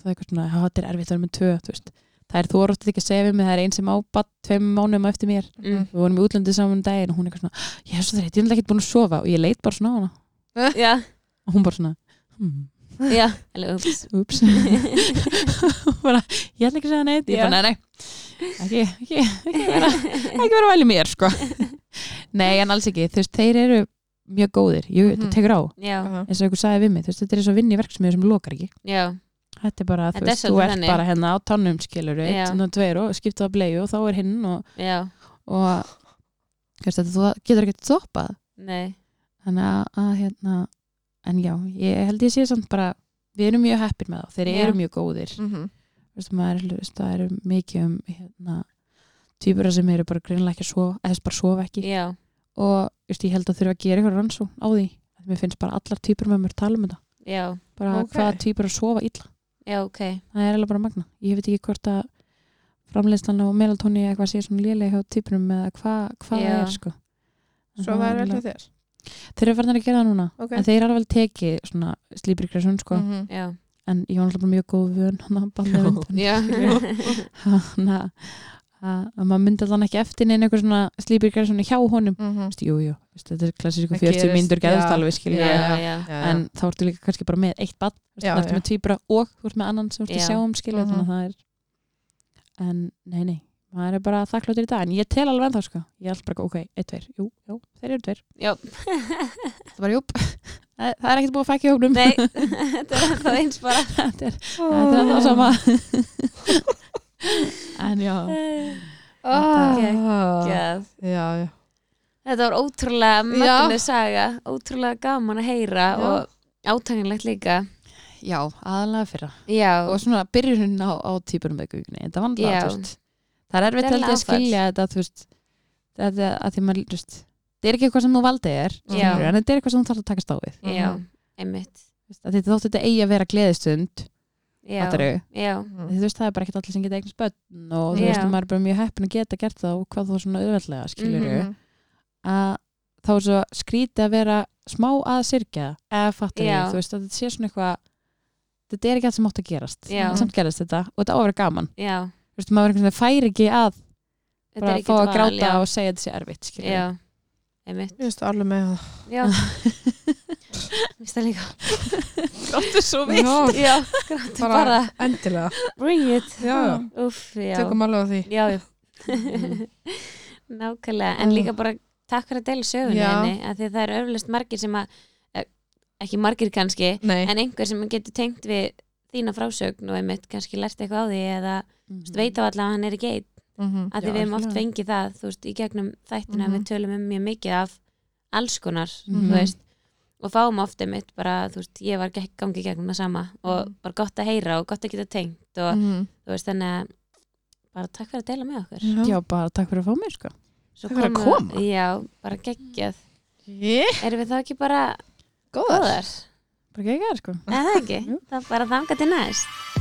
er eitthvað svona, "Ha, þetta er erfitt að vera með tvö þú veist. það er þú orðið ekki að segja við mig það er einn sem ábatt tveim mánuðum á eftir mér
Mhm.
mm,
við vorum í útlöndið saman um daginn og hún er eitthvað svona, ég er svo þreytt, ég er ekki búin að sofa og ég leit bara svona á hana
já,
og hún bara svona,
(laughs)
hmm, (laughs)
já Eller, ups
ups bara, ég ætla ekki að segja neitt ég
Já.
bara, nei, nei, ekki, ekki, ekki vera ekki vera að væli mér, sko nei, en alls ekki, þú veist, þeir eru mjög góðir, jú,
Mhm.
þetta tekur á
Já,
Já.
eins og ykkur sagði við mig, þú veist, þetta er eins og vinni verksmiður sem lokar ekki
já,
Það þetta er bara, þú
Þetta er
veist, þú
svolítið
ert
þannig.
bara hérna á tannum skilur við,
Já.
þannig að tveir og skipta á bleju og þá er hinn og,
já,
og þú veist, þetta, þú getur ekki stoppað
nei
þannig að, að hérna en já, ég held ég sé samt bara við erum mjög heppir með þá, þeir
Já.
eru mjög góðir
mm -hmm.
Þú veist, maður, er- þú veist, það eru mikið um hérna, týpura sem eru bara greinlega ekki að sofa, eða þess bara sofa ekki
já,
og þú veist, ég held að þurfa að gera eitthvað rannsó á því, mér finnst bara allar týpur með mér tala um þetta,
já,
bara
Ókei.
hvaða týpur að sofa illa
já, ok
það er alveg bara magna, ég veit ekki hvort að framleiðslan á melatóni eða eitthvað sé svona lélega hjá týpurum eða hvað hva
Já.
er sko En
Svo
það
var
alveg-
vel hjá þér
þeir eru farnir að gera það núna
Ok.
en þeir eru alveg tekið svona slípir græsun sko
Mm.
Mhm.
já,
en ég var alltaf bara mjög góð vön hann að balla undan (laughs)
já,
hann að að maður myndi alltaf ekki eftir neina eitthvað svona slípir græsun hjá honum
Mhm.
Vist, jú, jú, vist, þetta er klassísku
Það
40
gerist,
myndur geðast
já.
alveg skilur
já,
við.
já, já.
Já, já.
en þá ertu líka kannski bara með eitt bad
Já,
það ertu
já.
með tvíbra og þú ert með annan sem ertu
Já.
að sjá um skilur
Mhm.
þannig að það er en nei, nei, maður er bara þakkláttur í dag en ég tel alveg ennþá sko, ég er alltaf bara ok, eitt, tveir, jú, jú, þeir eru tveir
já.
það var júp, (laughs) það það er ekkert búið að fækja í hóknum
(laughs) nei, (laughs) þetta er það eins bara
(laughs) þetta er þetta er það
(laughs)
sama (laughs) en já
Ah.
Geð.
Já, já.
þetta var ótrúlega
Já.
magnuð saga ótrúlega gaman að
Já.
heyra og átanginlegt líka
já, aðalega fyrra
já,
og svona byrjun á, á típurum með gugunni þetta
Já.
var náttúrulega, þú veist það er erfitt
Þetta er
held ég að
áfall.
skilja þetta, þú veist þetta er að því maður, þú veist þetta er ekki eitthvað sem þú valdið er
Já.
skilurðu, en þetta er eitthvað sem þú þarf að takast á við
Mm.
já, einmitt
Þú veist, að þetta þótt þetta eigi að vera gleðistund
já,
fattarðu?
já,
Því þú veist, það er bara ekkert allir sem geta eignast börn og þú
Já.
veist, og maður er bara mjög heppin að geta gert það og hvað þú svona auðveldlega skilur
Mhm.
að þá er svo skrítið að vera smá að sirkja eða fattar
Já.
ég, þú veist að þetta sé svona eitthvað þetta er ekki allt sem átt að gerast
Já.
en samt gerist þetta og þetta á að vera gaman
já
þú veist, maður einhvern veginn færi ekki að
þetta er
bara fá
ekkert
að
val,
gráta
já.
og segja að þetta sé erfitt skilur við.
já,
Mér
einmitt
finnst það alveg með það.
já, (laughs) minnst það líka
Gróttu svo
Já,
já, gráttu bara,
endilega.
bring it
Já, já.
uff, já
Tökum alveg á því.
já, já (laughs) nákvæmlega, en líka bara takk fyrir að deila sögunni
Já.
henni að því að það eru öflust margir sem að eh, ekki margir kannski,
Nei.
en einhver sem getur tengt við þína frásögn og einmitt kannski lært eitthvað á því eða
Mhm.
mm. veit á allavega að hann er ekki einn
Mhm.
að
Já,
því við hefum oft
algjörlega.
fengið það þú veist, í gegnum þættina
Mhm.
við tölum um mjög mikið af alls konar
Mhm.
þú veist, og fáum oft einmitt bara, þú veist, ég var gekk gangi í gegnum það sama og bara gott að heyra og gott að geta tengt og
Mhm.
þú veist, þannig að bara takk fyrir að deila með okkur
Mm. já, bara takk fyrir að fá mig sko
Svo
Takk fyrir að
komu-
koma.
Já, bara geggjað
Yeah.
Erum við þá ekki bara
Góðar.
góðar?
bara ekki sko
(laughs)
Eða ekki? Það er bara þangað til næst